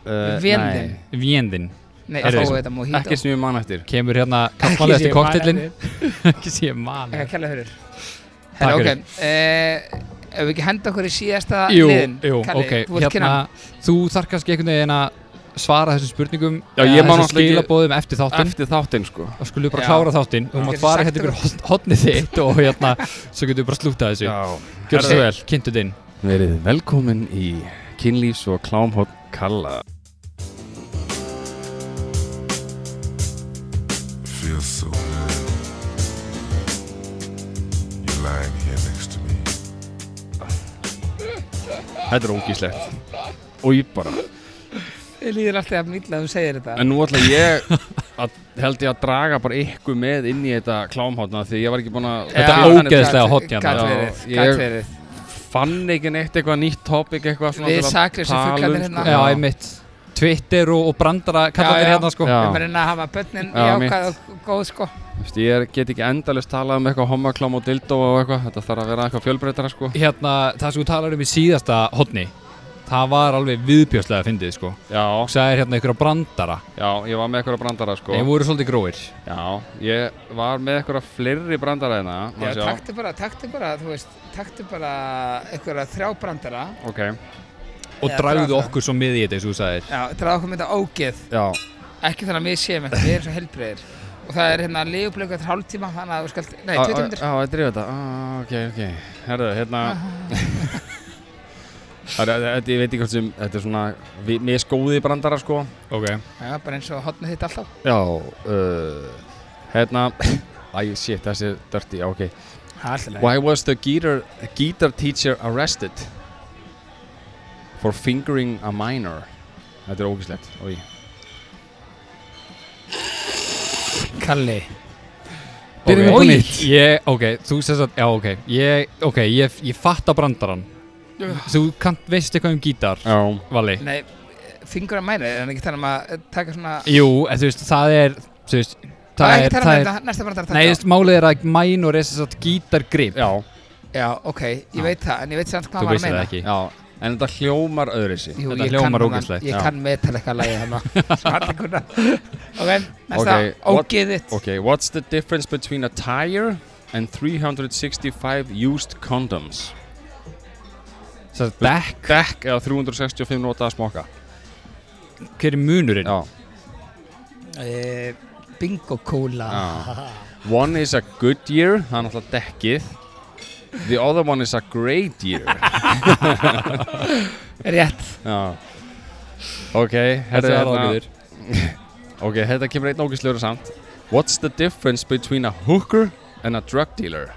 [SPEAKER 3] Eh,
[SPEAKER 1] Véndin.
[SPEAKER 3] nei,
[SPEAKER 4] Viendinn
[SPEAKER 1] Nei, þá
[SPEAKER 4] Heyrðu,
[SPEAKER 1] er þetta múið hýta
[SPEAKER 3] Ekki sem ég man eftir
[SPEAKER 4] Kemur hérna, kallaði
[SPEAKER 1] sé
[SPEAKER 4] eftir
[SPEAKER 1] ég
[SPEAKER 4] koktillin
[SPEAKER 1] man
[SPEAKER 4] Ekki sé ég man
[SPEAKER 1] Ekki að kella fyrir
[SPEAKER 4] Takk
[SPEAKER 1] Herra, ok,
[SPEAKER 4] fyrir.
[SPEAKER 1] eh, ef við ekki henda okkur í síðasta
[SPEAKER 4] Jú,
[SPEAKER 1] liðin
[SPEAKER 4] jú,
[SPEAKER 1] Kalli,
[SPEAKER 4] ok,
[SPEAKER 1] þú ert
[SPEAKER 4] hérna
[SPEAKER 1] kynnan
[SPEAKER 4] Þú þarf kannski einhvern veginn að svara þessum spurningum
[SPEAKER 3] Já,
[SPEAKER 4] eða
[SPEAKER 3] ég man
[SPEAKER 4] þessum
[SPEAKER 3] náttúrulega ekki-
[SPEAKER 4] skilaboðum eftir þáttinn
[SPEAKER 3] Eftir þáttinn sko
[SPEAKER 4] Þá skulum við bara
[SPEAKER 1] Já.
[SPEAKER 4] klára þáttinn Þú mátt
[SPEAKER 1] Getur
[SPEAKER 4] fara
[SPEAKER 1] sagt
[SPEAKER 4] hérna
[SPEAKER 1] okkur-
[SPEAKER 4] yfir hot- hotnið þitt og hérna Svo getum við bara slútað þessu Gjörðu svo vel, kynntu þinn
[SPEAKER 3] Verið velkomin í kynlífs og klámhótt Kalla
[SPEAKER 8] feels so good. You're lying here next to me.
[SPEAKER 3] Þetta er ógíslegt Og ég bara
[SPEAKER 1] Ég líður alltaf að mýtla að þú segir þetta
[SPEAKER 3] En nú ætla ég að, held ég að draga bara ykkur með inn í þetta klámhóttna Því ég var ekki búin að
[SPEAKER 4] Þetta
[SPEAKER 3] Já,
[SPEAKER 4] er
[SPEAKER 3] þannig-
[SPEAKER 4] ógeðslega hot hérna.
[SPEAKER 1] Gat
[SPEAKER 3] Já,
[SPEAKER 1] verið,
[SPEAKER 3] ég-
[SPEAKER 1] gat verið
[SPEAKER 3] Fann ekki neitt eitthvað nýtt topic eitthvað svona
[SPEAKER 1] Við
[SPEAKER 3] til að
[SPEAKER 1] saklausu
[SPEAKER 3] tala um,
[SPEAKER 1] fuglarnir
[SPEAKER 3] sko.
[SPEAKER 1] hérna.
[SPEAKER 4] Já, einmitt Twitter og, og brandara
[SPEAKER 1] Já,
[SPEAKER 4] kallandir
[SPEAKER 1] já.
[SPEAKER 4] hérna sko
[SPEAKER 3] Já.
[SPEAKER 1] Við erum að reyna að hafa börnin
[SPEAKER 3] Já,
[SPEAKER 1] jákvæð og góð sko
[SPEAKER 3] Þú veist, Ég er- get ekki endalist talað um eitthvað homaklám og dildó og eitthvað Þetta þarf að vera eitthvað fjölbreytara sko
[SPEAKER 4] Hérna, það sem þú talar um í síðasta hotni Það var alveg viðbjóslega að fyndið sko
[SPEAKER 3] Já,
[SPEAKER 4] Og sagðir hérna ykkur á brandara
[SPEAKER 3] já, ég var með eitthvað brandara sko
[SPEAKER 4] Þeir voru svolítið gróir
[SPEAKER 3] Já, ég var með eitthvað fleiri brandara hérna má
[SPEAKER 1] Já,
[SPEAKER 3] sjá.
[SPEAKER 1] taktu bara, taktu bara, þú veist, taktu bara einhverja þrjábrandara
[SPEAKER 3] Ok,
[SPEAKER 4] Og
[SPEAKER 1] Já,
[SPEAKER 4] dragðu
[SPEAKER 1] brandara.
[SPEAKER 4] okkur svo miði í þetta, eins og þú sagðir
[SPEAKER 1] Já, þetta er okkur mynda ógeð,
[SPEAKER 3] já
[SPEAKER 1] ekki þannig að við séum eitthvað, við erum svo helbreyðir Og það er hérna leifubleiku eftir hálftíma, þannig að þú skalt, nei,
[SPEAKER 3] Á-
[SPEAKER 1] 20
[SPEAKER 3] á-
[SPEAKER 1] hundur
[SPEAKER 3] Já, þetta er þetta Ah, Ok, ok, herðu, hérna Herðu, Þetta, ég veit ekki hvort sem Þetta er svona vi- misgóði brandara sko
[SPEAKER 4] Ok
[SPEAKER 1] Já, bara eins og hotna þitt alltaf
[SPEAKER 3] Já, uh, hérna Æ, shit, þessi er dirty, já, ok
[SPEAKER 1] Alltaf
[SPEAKER 3] Why was the guitar, guitar teacher arrested? For fingering a minor Þetta er ógislegt, oi
[SPEAKER 1] Kalli
[SPEAKER 4] Byrjum
[SPEAKER 1] upp á
[SPEAKER 4] nýtt Ég, ok, þú sérst að, já ok Ég, ok, ég, ég fatta brandaran Þú kannt, veist eitthvað um gítar,
[SPEAKER 3] Já,
[SPEAKER 4] Valli
[SPEAKER 1] Nei, fingur að mæna, er hann ekki þannig að eh, taka svona
[SPEAKER 4] Jú, en þú veist, það er, þú veist Það,
[SPEAKER 1] ekki
[SPEAKER 4] er,
[SPEAKER 1] tala um
[SPEAKER 4] það er
[SPEAKER 1] þetta, næsta brandara
[SPEAKER 4] Nei, þú veist, málið er að minor er sérst að gítargrip
[SPEAKER 3] já,
[SPEAKER 1] Já, ok, ég veit það, en ég veit samt hvað
[SPEAKER 4] Þú
[SPEAKER 1] hann var að
[SPEAKER 4] veist það
[SPEAKER 1] meina
[SPEAKER 4] ekki
[SPEAKER 3] já En þetta hljómar öðru
[SPEAKER 1] Jú,
[SPEAKER 4] Þetta
[SPEAKER 1] ég
[SPEAKER 4] hljómar
[SPEAKER 1] kann þennan-
[SPEAKER 4] ógeðslegt,
[SPEAKER 1] Ég
[SPEAKER 3] já.
[SPEAKER 1] kann meðtala eitthvað lagið hana Svo allir kunna Ok, næsta,
[SPEAKER 3] Ok, what-
[SPEAKER 1] ógeðitt
[SPEAKER 3] Okay, what's the difference between a tire and 365 used condoms?
[SPEAKER 4] Sérst, dekk,
[SPEAKER 3] Dekk eða 365 notaða smoka?
[SPEAKER 4] hver er munurinn?
[SPEAKER 3] Já.
[SPEAKER 1] Eh, Bingo kóla
[SPEAKER 3] já. One is a good year, það er náttúrulega dekkið. The other one is a great year.
[SPEAKER 1] Rétt
[SPEAKER 3] já. Ok, herri, hérna-
[SPEAKER 4] Þetta er ágæður
[SPEAKER 3] Ok, þetta kemur einn ógislegur samt. What's the difference between a hooker and a drug dealer?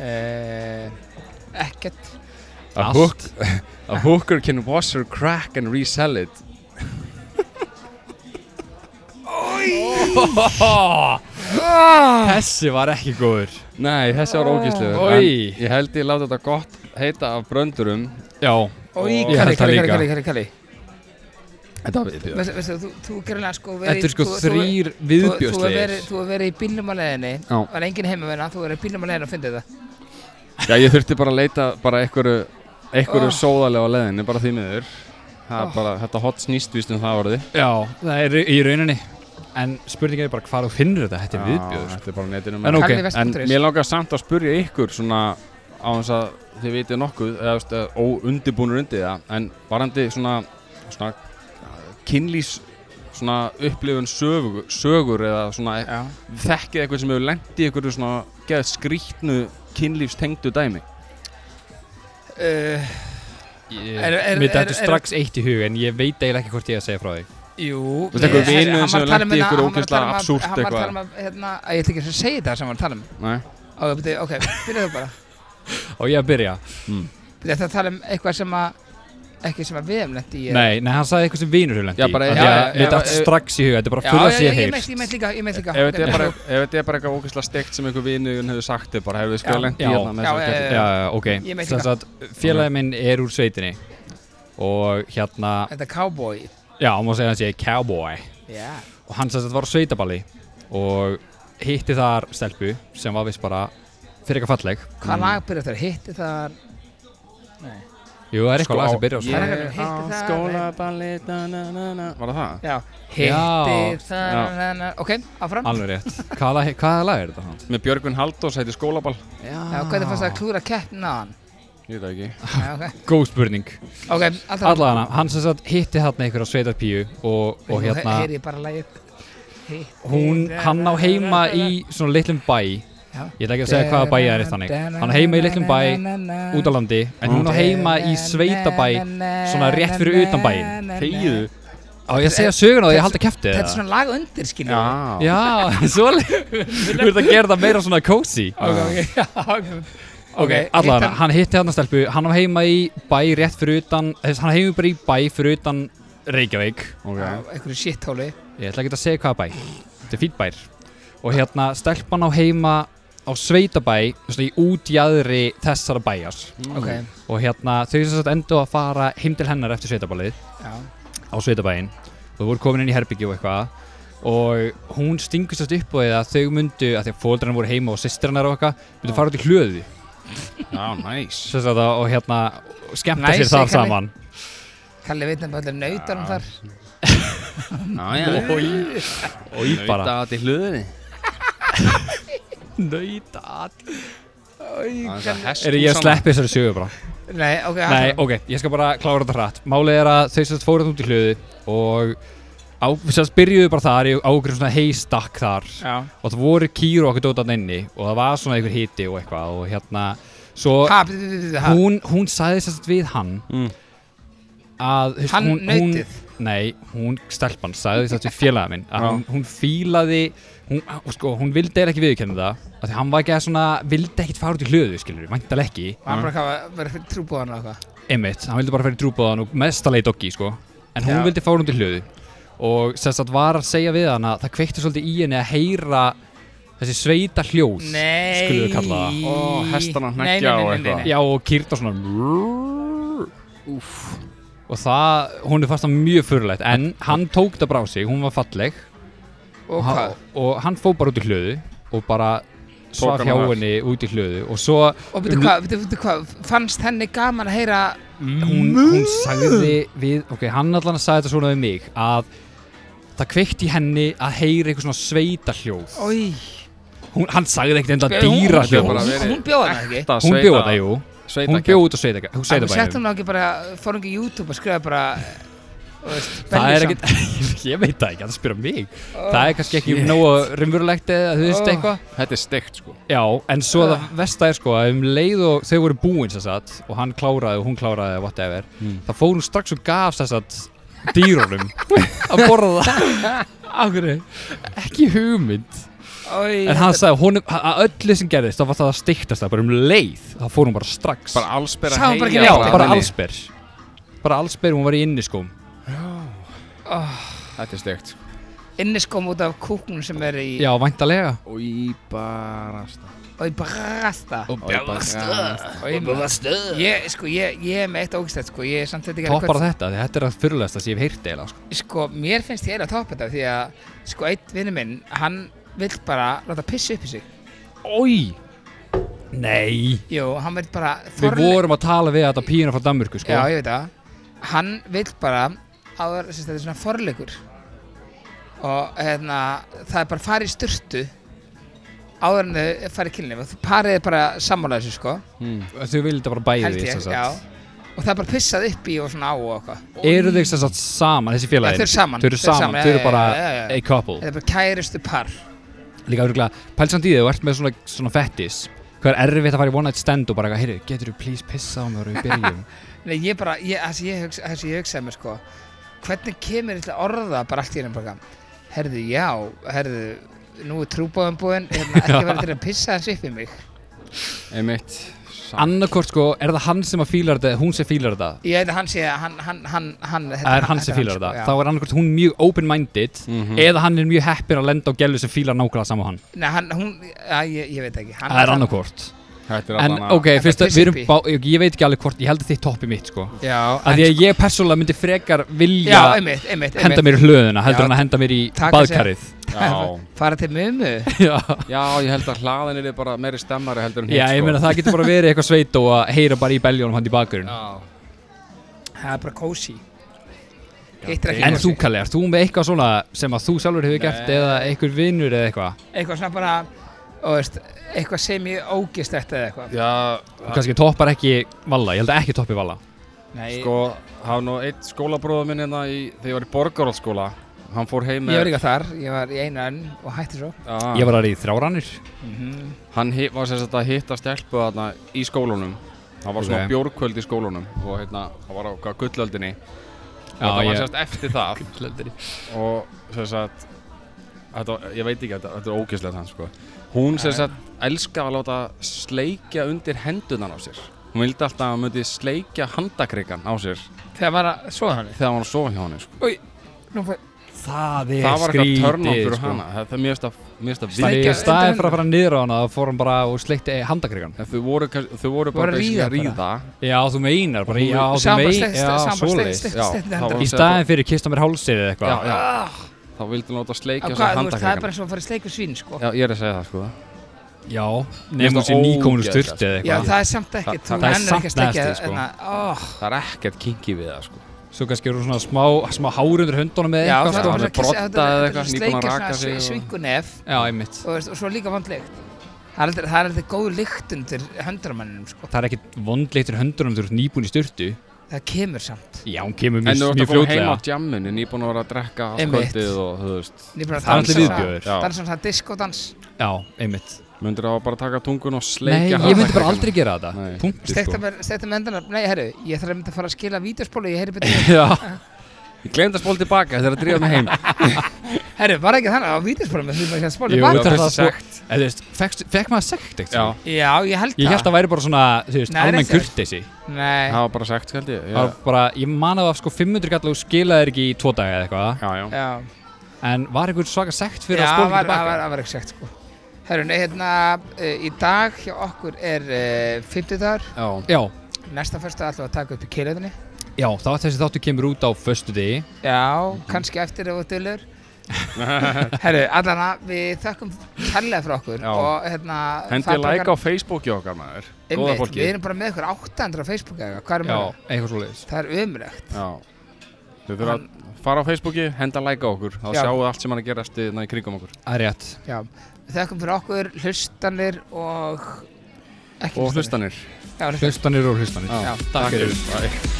[SPEAKER 1] eh, Ekkert
[SPEAKER 3] A,
[SPEAKER 4] Allt.
[SPEAKER 3] hook, a hooker can wash her crack and resell it.
[SPEAKER 4] Þessi var ekki góður
[SPEAKER 3] Nei, þessi var ógæslegur
[SPEAKER 4] Oj.
[SPEAKER 3] En ég held ég láta þetta gott heita af bröndurum
[SPEAKER 4] Já,
[SPEAKER 1] Ói,
[SPEAKER 4] Ég
[SPEAKER 1] Kalli,
[SPEAKER 4] held
[SPEAKER 1] Kalli,
[SPEAKER 4] það
[SPEAKER 1] Kalli,
[SPEAKER 4] líka.
[SPEAKER 1] Kalli, Kalli, Kalli
[SPEAKER 3] Þetta var viðbjörn
[SPEAKER 1] Veistu, veistu, þú, þú gerðilega sko verið-
[SPEAKER 4] Þetta er sko
[SPEAKER 1] þú- þú-
[SPEAKER 4] þrýr
[SPEAKER 1] þú- Þú hefur
[SPEAKER 4] viðbjóðslegir
[SPEAKER 1] verið- þú hefur verið í bílnum á leiðinni
[SPEAKER 4] Já.
[SPEAKER 1] var enginn heima með hana, þú hefur verið í bílnum á leiðinni og fundið það
[SPEAKER 3] Já, ég þurfti bara að leita bara einhverju einhverju
[SPEAKER 1] Oh.
[SPEAKER 3] sóðalega á leðinni, bara því miður Það er
[SPEAKER 1] Oh.
[SPEAKER 3] bara, þetta hot snýst víst um það orði
[SPEAKER 4] Já, það er í rauninni En spurningin er bara hvar þú finnur þetta, þetta er viðbjóður sko.
[SPEAKER 3] Þetta er bara á netinu
[SPEAKER 4] En
[SPEAKER 3] maður.
[SPEAKER 4] ok,
[SPEAKER 3] En
[SPEAKER 1] okay.
[SPEAKER 3] mér langar samt að spurja ykkur svona á þess að þið vitið nokkuð eða veist, óundibúnur undir það en varandi svona, svona kynlýs svona upplifun sögur, sögur eða svona
[SPEAKER 2] Já.
[SPEAKER 3] þekkið eitthvað sem hefur lent í eitthvað svona geða skrýtnu kynlýfstengdu dæmi
[SPEAKER 1] uh, Er- er-
[SPEAKER 4] Mér
[SPEAKER 1] er-
[SPEAKER 4] dættu
[SPEAKER 1] er-
[SPEAKER 4] strax eitt í hug En ég veit eiginlega ekki hvort ég að segja frá því
[SPEAKER 1] Jú
[SPEAKER 3] Þú veist, einhver
[SPEAKER 1] eh,
[SPEAKER 3] vinur
[SPEAKER 1] hann
[SPEAKER 3] sem
[SPEAKER 1] var að
[SPEAKER 3] hefur
[SPEAKER 1] tala um
[SPEAKER 3] lent í
[SPEAKER 1] hérna-
[SPEAKER 3] einhverju
[SPEAKER 1] hann var að tala um
[SPEAKER 3] ógeðslega
[SPEAKER 1] að-
[SPEAKER 3] absúrt
[SPEAKER 1] Hann var að
[SPEAKER 3] eitthvað.
[SPEAKER 1] tala um að, hérna, að ég ætla ekki að segja það sem hann var að tala um
[SPEAKER 3] Nei?
[SPEAKER 1] Á, byrju, Ok, byrjuðu bara
[SPEAKER 4] Og ég að byrja
[SPEAKER 1] Byrju, Þetta er að tala um eitthvað sem að ekki sem að við hefum lett í eh,
[SPEAKER 4] Nei, nei, hann sagði eitthvað sem vinur hefur lendi
[SPEAKER 3] Já, bara- já, já, já,
[SPEAKER 4] Mér dættu
[SPEAKER 3] já,
[SPEAKER 4] strax í hug, þetta er bara
[SPEAKER 1] Já,
[SPEAKER 4] fyrir að
[SPEAKER 1] já,
[SPEAKER 4] sé
[SPEAKER 1] já, ég meint- ég meint
[SPEAKER 4] heyrst
[SPEAKER 1] líka, ég meint líka
[SPEAKER 3] Ef þetta
[SPEAKER 1] Ok,
[SPEAKER 3] er bara- ef þetta er bara eitthvað ógeðslega steikt sem einhver vinuðin hefur sagt þið bara hefur við
[SPEAKER 1] Já.
[SPEAKER 3] skoðið lent í
[SPEAKER 4] Já.
[SPEAKER 3] hérna með
[SPEAKER 1] Já,
[SPEAKER 3] þessari
[SPEAKER 1] já,
[SPEAKER 3] kæti
[SPEAKER 1] já,
[SPEAKER 4] Já, já, ok
[SPEAKER 1] Eh, Ég meint
[SPEAKER 4] Þess að félagi minn er úr sveitinni Og hérna,
[SPEAKER 1] Þetta er cowboy
[SPEAKER 4] já, má segja hann sé cowboy
[SPEAKER 1] Já
[SPEAKER 4] og hann sem sagt var á sveitaballi og hitti þar stelpu sem var vist bara fyrir eitthvað falleg
[SPEAKER 1] Hvað lag byrjuðu þar? Hitti þar?
[SPEAKER 4] Jú, það er eitthvað
[SPEAKER 3] Sko,
[SPEAKER 4] lag sem byrja á
[SPEAKER 1] Það er
[SPEAKER 4] svona
[SPEAKER 1] eitthvað sem hitti þar,
[SPEAKER 3] skólaballi na, na, na, na. Var það það?
[SPEAKER 1] Já
[SPEAKER 4] Já.
[SPEAKER 1] Hitti þar
[SPEAKER 3] Já.
[SPEAKER 1] na, na. Ok, áfram
[SPEAKER 4] Alveg rétt Hvaða lag, hvaða lag er þetta hans?
[SPEAKER 3] Með Björgvin Haldós heiti skólaball
[SPEAKER 1] Já, hvernig fannst það að klúra keppnin á hann?
[SPEAKER 3] Ég veit það ekki
[SPEAKER 1] Já, ok,
[SPEAKER 4] Góð spurning
[SPEAKER 1] ok, alltaf
[SPEAKER 4] Allavega hann sem sagt hitti þarna einhverja sveitarpíu og, og hérna
[SPEAKER 1] Heyri ég bara lægið
[SPEAKER 4] hún, hann á heima í svona litlum bæ
[SPEAKER 1] Já.
[SPEAKER 4] Ég ætla ekki að segja hvaða bæ það er þannig Hann á heima í litlum bæ út á landi en
[SPEAKER 1] Mm.
[SPEAKER 4] hún á heima í sveitabæ svona rétt fyrir utan bæinn.
[SPEAKER 3] Þegiðu
[SPEAKER 4] Á ég að segja söguna og ég halda kæfti
[SPEAKER 1] Þetta er svona lag undir, skiljum
[SPEAKER 3] Já
[SPEAKER 4] Já, svolítið Þú ert að gera það meira svona cozy Ah. Ok, allan,
[SPEAKER 1] hittan-
[SPEAKER 4] hann hitti hann að stelpu Hann á heima í bæ rétt fyrir utan þess, Hann á heima bara í bæ fyrir utan Reykjavík
[SPEAKER 3] okay.
[SPEAKER 1] Einhverju shithóli
[SPEAKER 4] Ég ætla ekki að segja hvaða bæ Þetta er fýtt bær Og hérna, stelpan á heima á sveitabæ Svona í útjæðri þessara bæjar
[SPEAKER 1] Ok,
[SPEAKER 4] Og hérna, þau sem sagt endur að fara heim til hennar eftir sveitabalið
[SPEAKER 1] já
[SPEAKER 4] á sveitabæin og þau voru komin inn í herbyggi og eitthvað og hún stingur sérst upp á því að þau myndu, að því að fóldrarnar voru heima og sýstrannar og eitthvað, myndu fara út í hlöðu
[SPEAKER 3] Já, næs
[SPEAKER 4] sem sagt að, og hérna og skemmta
[SPEAKER 1] Nice,
[SPEAKER 4] sér þar
[SPEAKER 1] Kalli.
[SPEAKER 4] saman
[SPEAKER 1] Kalli veitnum allir nautanum þar
[SPEAKER 3] Já, já Í
[SPEAKER 4] og ég bara
[SPEAKER 3] Nauta til hlöðinni
[SPEAKER 4] Nöyta all
[SPEAKER 3] Er
[SPEAKER 4] Er ég að sleppi þessari sögu bara?
[SPEAKER 1] Nei, ok,
[SPEAKER 4] Nei, ok, ég skal bara klára þetta hratt Málið er að þau sérst fóruð út í hlöðu og á, sérst byrjuðu bara þar í- á okkur svona heystakk þar
[SPEAKER 1] Já.
[SPEAKER 4] og það voru kýr og okkur dótan inni og það var svona einhver hiti og eitthvað og hérna, svo
[SPEAKER 1] Ha, byrju, byrju, byrju, ha.
[SPEAKER 4] hún, hún sagði sérst við hann
[SPEAKER 3] Mm.
[SPEAKER 4] að þú veist,
[SPEAKER 1] Hann
[SPEAKER 4] hún,
[SPEAKER 1] nautið?
[SPEAKER 4] hún, nei, hún stelpan sagði sérst við félaga minn að
[SPEAKER 3] Já.
[SPEAKER 4] hún, hún fílaði hún, og sko, hún vildi eiginlega ekki viðurkenna það af því hann var ekki að svona, vildi ekkit fara út í hlöðu skilur, væntal ekki,
[SPEAKER 1] Hann bara kafa, verið trúbúðan og eitthvað
[SPEAKER 4] einmitt hann vildi bara fara í trúbóðan og mesta leið doggi sko. en hún
[SPEAKER 1] Já.
[SPEAKER 4] vildi fara út í hlöðu og sérst að var að segja við hann að það kveikti svolítið í henni að heyra þessi sveita hljóð
[SPEAKER 1] Nei
[SPEAKER 4] skulum við kalla það
[SPEAKER 3] Ó, hestana
[SPEAKER 1] Nei, nei, nei,
[SPEAKER 3] hneggja og
[SPEAKER 1] nei,
[SPEAKER 3] eitthvað.
[SPEAKER 1] nei, nei.
[SPEAKER 4] Já, og kýrt á svona Úff Og það, hún er fast að mjög fyrirlegt En hann tók það bara á sig, hún var falleg
[SPEAKER 1] Og hvað?
[SPEAKER 4] og hann fó bara út í hlöðu Og bara
[SPEAKER 3] hana
[SPEAKER 4] svaf hjá
[SPEAKER 3] þar.
[SPEAKER 4] henni út í hlöðu Og svo
[SPEAKER 1] Og veitu hvað, veitu- veitu hvað, fannst henni gaman að heyra
[SPEAKER 4] hún, hún sagði við Ok, hann allan sagði þetta svona við mig Að það kveikt í henni að heyra eitthvað svona sveita hljóð
[SPEAKER 1] Í,
[SPEAKER 4] hún, Hann sagði ekkert enda
[SPEAKER 1] hún-
[SPEAKER 4] dýra
[SPEAKER 3] Þetta er bara
[SPEAKER 4] hljóð
[SPEAKER 3] verið
[SPEAKER 1] Hún bjóða hana ekki
[SPEAKER 3] Ekta
[SPEAKER 4] Hún
[SPEAKER 3] sveita-
[SPEAKER 4] bjóða það, jú Hún
[SPEAKER 3] sveitakjarn.
[SPEAKER 4] bjóð út á sveita,
[SPEAKER 1] Sveita bæjum.
[SPEAKER 4] sveita
[SPEAKER 1] Settum hún ekki bara, fór hún ekki í YouTube að skrifa bara eh, þú veist,
[SPEAKER 4] Það er
[SPEAKER 1] Bellisam.
[SPEAKER 4] ekkert, ég veit það ekki, það spyrir mig Það er kannski ekki nógu raunverulegt eða þú veist
[SPEAKER 1] Oh.
[SPEAKER 4] eitthvað
[SPEAKER 3] Þetta er steikt sko
[SPEAKER 4] Já, en svo það versta er sko að um leið og þau voru búin sér satt og hann kláraði og hún kláraði eða whatever Það fór hún strax og gaf sér satt dýrunum að borða það Akkur, ekki hugmynd
[SPEAKER 1] Oj,
[SPEAKER 4] En hann sagði, honum, að öllu sem gerðist þá var það að styktast það bara um leið Það fór hún bara strax
[SPEAKER 3] Bara allsbera
[SPEAKER 1] Sá bara ekki
[SPEAKER 4] Já,
[SPEAKER 1] neitt.
[SPEAKER 4] bara allsber sko. Bara allsber, hún var í inniskóm
[SPEAKER 3] Þetta er steikt sko
[SPEAKER 1] inniskóm út af kúknum sem er í
[SPEAKER 4] Já, væntalega
[SPEAKER 3] Og í barasta
[SPEAKER 1] og í brasta
[SPEAKER 3] Og barasta
[SPEAKER 1] og í brasta ég, sko, ég, ég er með eitt ógstætt sko, ég er samt þetta ekki alveg
[SPEAKER 4] Toppar
[SPEAKER 1] hvort-
[SPEAKER 4] þetta, því þetta er að fyrirlegasta sem ég hef heyrt eiginlega sko.
[SPEAKER 1] sko, mér finnst ég eiginlega topp þetta því að, sko, einn vinnu minn hann vill bara láta pissa upp í sig
[SPEAKER 4] Ói Nei
[SPEAKER 1] jú, hann vill bara
[SPEAKER 4] Við vorum að tala við þetta píina frá Danmörku sko.
[SPEAKER 1] já, ég veit það hann vill bara áður, sérst, þetta er svona forleikur og hérna það er bara að fara í styrtu áður en þau fara í kynlíf og þú parið er bara sammála þessu sko
[SPEAKER 4] Þau vilja þetta bara bæði
[SPEAKER 1] held ég,
[SPEAKER 4] sem sagt.
[SPEAKER 1] já og það er bara pissað upp í og svona á og eitthvað
[SPEAKER 4] Eru þau sem sagt saman, þessi
[SPEAKER 1] Já, þau
[SPEAKER 4] félagin?
[SPEAKER 1] eru saman,
[SPEAKER 4] Þau eru
[SPEAKER 1] þau eru
[SPEAKER 4] saman,
[SPEAKER 1] saman,
[SPEAKER 4] þau
[SPEAKER 1] já,
[SPEAKER 4] eru
[SPEAKER 1] já,
[SPEAKER 4] bara
[SPEAKER 1] já, já, já.
[SPEAKER 4] a couple
[SPEAKER 1] þetta er bara kærustu par
[SPEAKER 4] Líka örgulega, pælsamt í þau, þú ert með svona, svona fettis Hvað er erfitt að fara í one night stand og bara eitthvað, heyrðu, getur þú please pissa á mér og við byrjum
[SPEAKER 1] Nei, ég bara, ég, þessi ég, hugsa, þessi ég hugsaði mér sko hvernig kemur þetta orða bara allt í hérna bara herðu, já, herðu nú er trúbóðan búinn, hérna, ekki verið til að pissa hans upp í mig
[SPEAKER 3] Einmitt
[SPEAKER 4] Annarkort sko, er það hann sem að fílar þetta, eða hún sem fílar þetta
[SPEAKER 1] Ég veit að hann sé að hann, hann, hann, hann sko,
[SPEAKER 4] Það er hann sem fílar þetta, þá er annarkort hún mjög open-minded Eða hann er mjög heppin að lenda á gælu sem fílar nákvæmlega saman og hann
[SPEAKER 1] Nei, hann, hún, að, ég, ég veit ekki hann,
[SPEAKER 4] Það er annarkort
[SPEAKER 3] Þetta er
[SPEAKER 4] En
[SPEAKER 3] allan
[SPEAKER 4] ok,
[SPEAKER 1] Þetta
[SPEAKER 4] fyrst að við erum
[SPEAKER 1] pissi
[SPEAKER 4] bá, ég, ég veit ekki alveg hvort, ég held að þið toppi mitt sko
[SPEAKER 1] Já,
[SPEAKER 4] Af því að ég persónulega myndi frekar vilja
[SPEAKER 1] já, einmitt, einmitt, einmitt.
[SPEAKER 4] henda mér í hlöðuna heldur
[SPEAKER 1] Já.
[SPEAKER 4] hann að henda mér í
[SPEAKER 1] Taka sig-
[SPEAKER 4] baðkarið
[SPEAKER 3] Já
[SPEAKER 1] Fara til mömu
[SPEAKER 4] Já,
[SPEAKER 3] Já, ég held að hlaðin er bara meiri stemmari heldur en hitt sko.
[SPEAKER 4] já ég meina það getur bara verið eitthvað sveit og að heyra bara í beljónum hann í bakgrunn
[SPEAKER 1] Það er bara kósi Hitt er ekki
[SPEAKER 4] En þú
[SPEAKER 1] kósí.
[SPEAKER 4] Kalli, ert þú með eitthvað svona sem að þú sjálfur hefur gert eða einhver vinnur eða eitthvað
[SPEAKER 1] Eitthvað svona bara og veist, eitthvað sem ég ógist þetta eða eitthvað
[SPEAKER 3] Já,
[SPEAKER 4] og kannski toppar ekki Valla, ég held að ekki toppi Valla
[SPEAKER 1] Nei,
[SPEAKER 3] sko, hafa nú eitt skólabróða minn hérna í, þegar ég var í borgaróðskóla Hann fór heim
[SPEAKER 1] ég
[SPEAKER 3] með
[SPEAKER 1] var líka þar Ég var í einu önn og hætti svo
[SPEAKER 3] Já.
[SPEAKER 4] Ég var að reyði þrárannir
[SPEAKER 3] Hann hi- var sem sagt að hitta stelpu þarna í skólunum Það var svona
[SPEAKER 4] Ok.
[SPEAKER 3] bjórkvöld í skólunum og hérna, það var á hvað, gullöldinni og
[SPEAKER 4] Já,
[SPEAKER 3] það var
[SPEAKER 4] ég-
[SPEAKER 3] sem sagt eftir það og sem sagt þetta, var- ég veit ekki, þetta, þetta er ógeðslega þann sko. hún sem sagt elskaði að láta sleikja undir hendunan á sér hún vildi alltaf að hann myndi sleikja handakrikan á sér
[SPEAKER 1] Þegar var að svo hann
[SPEAKER 3] þegar hann var að sofa hjá henni sko.
[SPEAKER 1] Nú fæ-
[SPEAKER 4] Það er
[SPEAKER 3] það var eitthvað törnum fyrir
[SPEAKER 4] sko.
[SPEAKER 3] hana það, það er mjög stað, mjög stað
[SPEAKER 1] Sleikja-
[SPEAKER 4] Í
[SPEAKER 1] Ekki-
[SPEAKER 4] staðið fyrir að fara niður á hana þá fór hann bara og eh, sleikti handakrikan
[SPEAKER 3] þau voru, kannski- þau voru bara
[SPEAKER 1] Voru að
[SPEAKER 3] basically
[SPEAKER 1] ríða bara.
[SPEAKER 3] ríða
[SPEAKER 4] Já, þú meinar bara, já, þú
[SPEAKER 1] Sama
[SPEAKER 4] meinar
[SPEAKER 1] stein- sama
[SPEAKER 4] Já,
[SPEAKER 1] stein-
[SPEAKER 4] svoleiðis
[SPEAKER 1] stein-
[SPEAKER 3] Já,
[SPEAKER 1] stein- stein-
[SPEAKER 3] það var-
[SPEAKER 4] Í staðið fyrir kista mér hálsið eða
[SPEAKER 3] já,
[SPEAKER 4] eitthvað
[SPEAKER 3] já, þá vildi hann láta
[SPEAKER 1] Á
[SPEAKER 3] sleikja
[SPEAKER 1] Ah, hvað,
[SPEAKER 3] sér
[SPEAKER 1] þú veist, Það er bara
[SPEAKER 3] handakrikan
[SPEAKER 1] eins og að fara í sleik og svín sko.
[SPEAKER 3] já, ég er að segja það sko
[SPEAKER 4] Já,
[SPEAKER 3] finnst
[SPEAKER 4] nefnum
[SPEAKER 3] það
[SPEAKER 4] sér nýkominu
[SPEAKER 3] ógeðslegt,
[SPEAKER 4] styrti eða
[SPEAKER 1] Já,
[SPEAKER 4] eitthvað
[SPEAKER 1] það er samt ekkert,
[SPEAKER 3] það-
[SPEAKER 1] þú
[SPEAKER 4] það er
[SPEAKER 1] ennur ekki að
[SPEAKER 4] samt
[SPEAKER 1] sleikja hérna,
[SPEAKER 4] nasty, sko.
[SPEAKER 1] en að, óh,
[SPEAKER 3] það er ekkert kinky við það sko
[SPEAKER 4] Svo kannski eru svona smá, smá hár undir höndunum eða
[SPEAKER 1] Já,
[SPEAKER 4] eitthvað
[SPEAKER 1] það var
[SPEAKER 4] sko.
[SPEAKER 3] hann
[SPEAKER 1] svona
[SPEAKER 3] er broddað eða eitthvað, nýbúinn að
[SPEAKER 1] sleikir
[SPEAKER 3] raka sig
[SPEAKER 1] svona
[SPEAKER 3] og-
[SPEAKER 1] svingunef
[SPEAKER 4] Já, einmitt
[SPEAKER 1] og, veist, og svo líka vandlegt. Það er aldrei, það er aldrei góð lykt undir höndramanninum, sko.
[SPEAKER 4] Það er ekkit vondleitt fyrir höndunum þegar þú ert nýbúin í styrtu
[SPEAKER 1] Það kemur samt.
[SPEAKER 4] Já, hún kemur
[SPEAKER 3] En
[SPEAKER 4] mjög,
[SPEAKER 3] þú ert
[SPEAKER 4] mjög
[SPEAKER 3] að koma heim
[SPEAKER 4] fljótlega
[SPEAKER 3] á djamminu, nýbúin að vera að drekka allt
[SPEAKER 1] Einmitt.
[SPEAKER 3] kvöldið og þú veist
[SPEAKER 1] Ég er bara að
[SPEAKER 4] Það er
[SPEAKER 1] dansa
[SPEAKER 4] alltaf viðbjöður
[SPEAKER 3] Já.
[SPEAKER 1] Dansa svona diskodans.
[SPEAKER 4] Já, einmitt
[SPEAKER 3] Myndir það bara taka tungun
[SPEAKER 4] Nei,
[SPEAKER 3] og sleikja hérna?
[SPEAKER 4] ég myndi bara
[SPEAKER 3] handleggina?
[SPEAKER 4] aldrei gera þetta
[SPEAKER 3] Nei.
[SPEAKER 4] Punktur
[SPEAKER 1] Stekta
[SPEAKER 4] sko
[SPEAKER 1] með, stekta með endanar. Nei, herru, ég þarf að mynda að fara að skila vídeospólu, ég heyri betur.
[SPEAKER 4] Já,
[SPEAKER 3] Ég glemd að spóla tilbaka þegar að drífa mig heim
[SPEAKER 1] herru, var ekki þannig að vídeospólu með því maður sé að spóla
[SPEAKER 4] jú,
[SPEAKER 1] tilbaka?
[SPEAKER 4] þetta
[SPEAKER 3] það
[SPEAKER 4] er það sko
[SPEAKER 3] fyrst sekt.
[SPEAKER 4] En þú veist, fekkst- Fekk maður sekt
[SPEAKER 3] Já,
[SPEAKER 4] eitthvað?
[SPEAKER 1] Já, ég held það.
[SPEAKER 4] Ég held að væri bara svona, þú veist,
[SPEAKER 1] Nei,
[SPEAKER 4] almenn
[SPEAKER 1] reyndar.
[SPEAKER 4] kurteisi
[SPEAKER 1] Nei,
[SPEAKER 3] það var bara sekt held ég
[SPEAKER 4] Það var
[SPEAKER 3] Já,
[SPEAKER 4] bara, ég man að það sko 500 gall og skilaði þér ekki í tvo daga eða eitthvað
[SPEAKER 3] já, já
[SPEAKER 1] já.
[SPEAKER 4] En var einhver svaka sekt fyrir
[SPEAKER 1] Já,
[SPEAKER 4] að
[SPEAKER 1] það
[SPEAKER 4] spóla
[SPEAKER 1] var,
[SPEAKER 4] ekki
[SPEAKER 1] það var,
[SPEAKER 4] tilbaka?
[SPEAKER 1] það var ekki sekt, sko. Herru, nei, hérna, uh, í dag hjá okkur er uh, 50
[SPEAKER 3] Já,
[SPEAKER 4] Já,
[SPEAKER 1] Næsta fyrsta ætlum við að taka upp í keilöðinni.
[SPEAKER 4] já, þá þessi þáttu kemur út á föstu degi
[SPEAKER 1] Já, kannski eftir ef þú dölur. Herru, allana, við þökkum kærlega frá okkur.
[SPEAKER 3] Já.
[SPEAKER 1] Og hérna,
[SPEAKER 3] hendi
[SPEAKER 1] það
[SPEAKER 3] like á
[SPEAKER 1] okkar-
[SPEAKER 3] Facebooki okkar maður Góða
[SPEAKER 1] Einmitt, Við
[SPEAKER 3] fólki
[SPEAKER 1] erum bara með ykkur 800 á Facebook eða, eitthvað, hvað er
[SPEAKER 4] Já,
[SPEAKER 1] maður?
[SPEAKER 4] eitthvað svoleiðis
[SPEAKER 1] Það er umrægt.
[SPEAKER 3] Já Þau þurfa að fara á Facebooki, henda like á okkur Þá
[SPEAKER 1] Já.
[SPEAKER 3] sjáu allt sem hann er að gerast í- hérna í kringum okkur
[SPEAKER 4] Það er rétt
[SPEAKER 1] Já, við þökkum fyrir okkur, hlustanir og... Ekki
[SPEAKER 3] Og hlustanir
[SPEAKER 1] Já, hlustanir.
[SPEAKER 4] Hlustanir og hlustanir
[SPEAKER 1] Já.
[SPEAKER 4] Takk fyrir
[SPEAKER 3] Bye.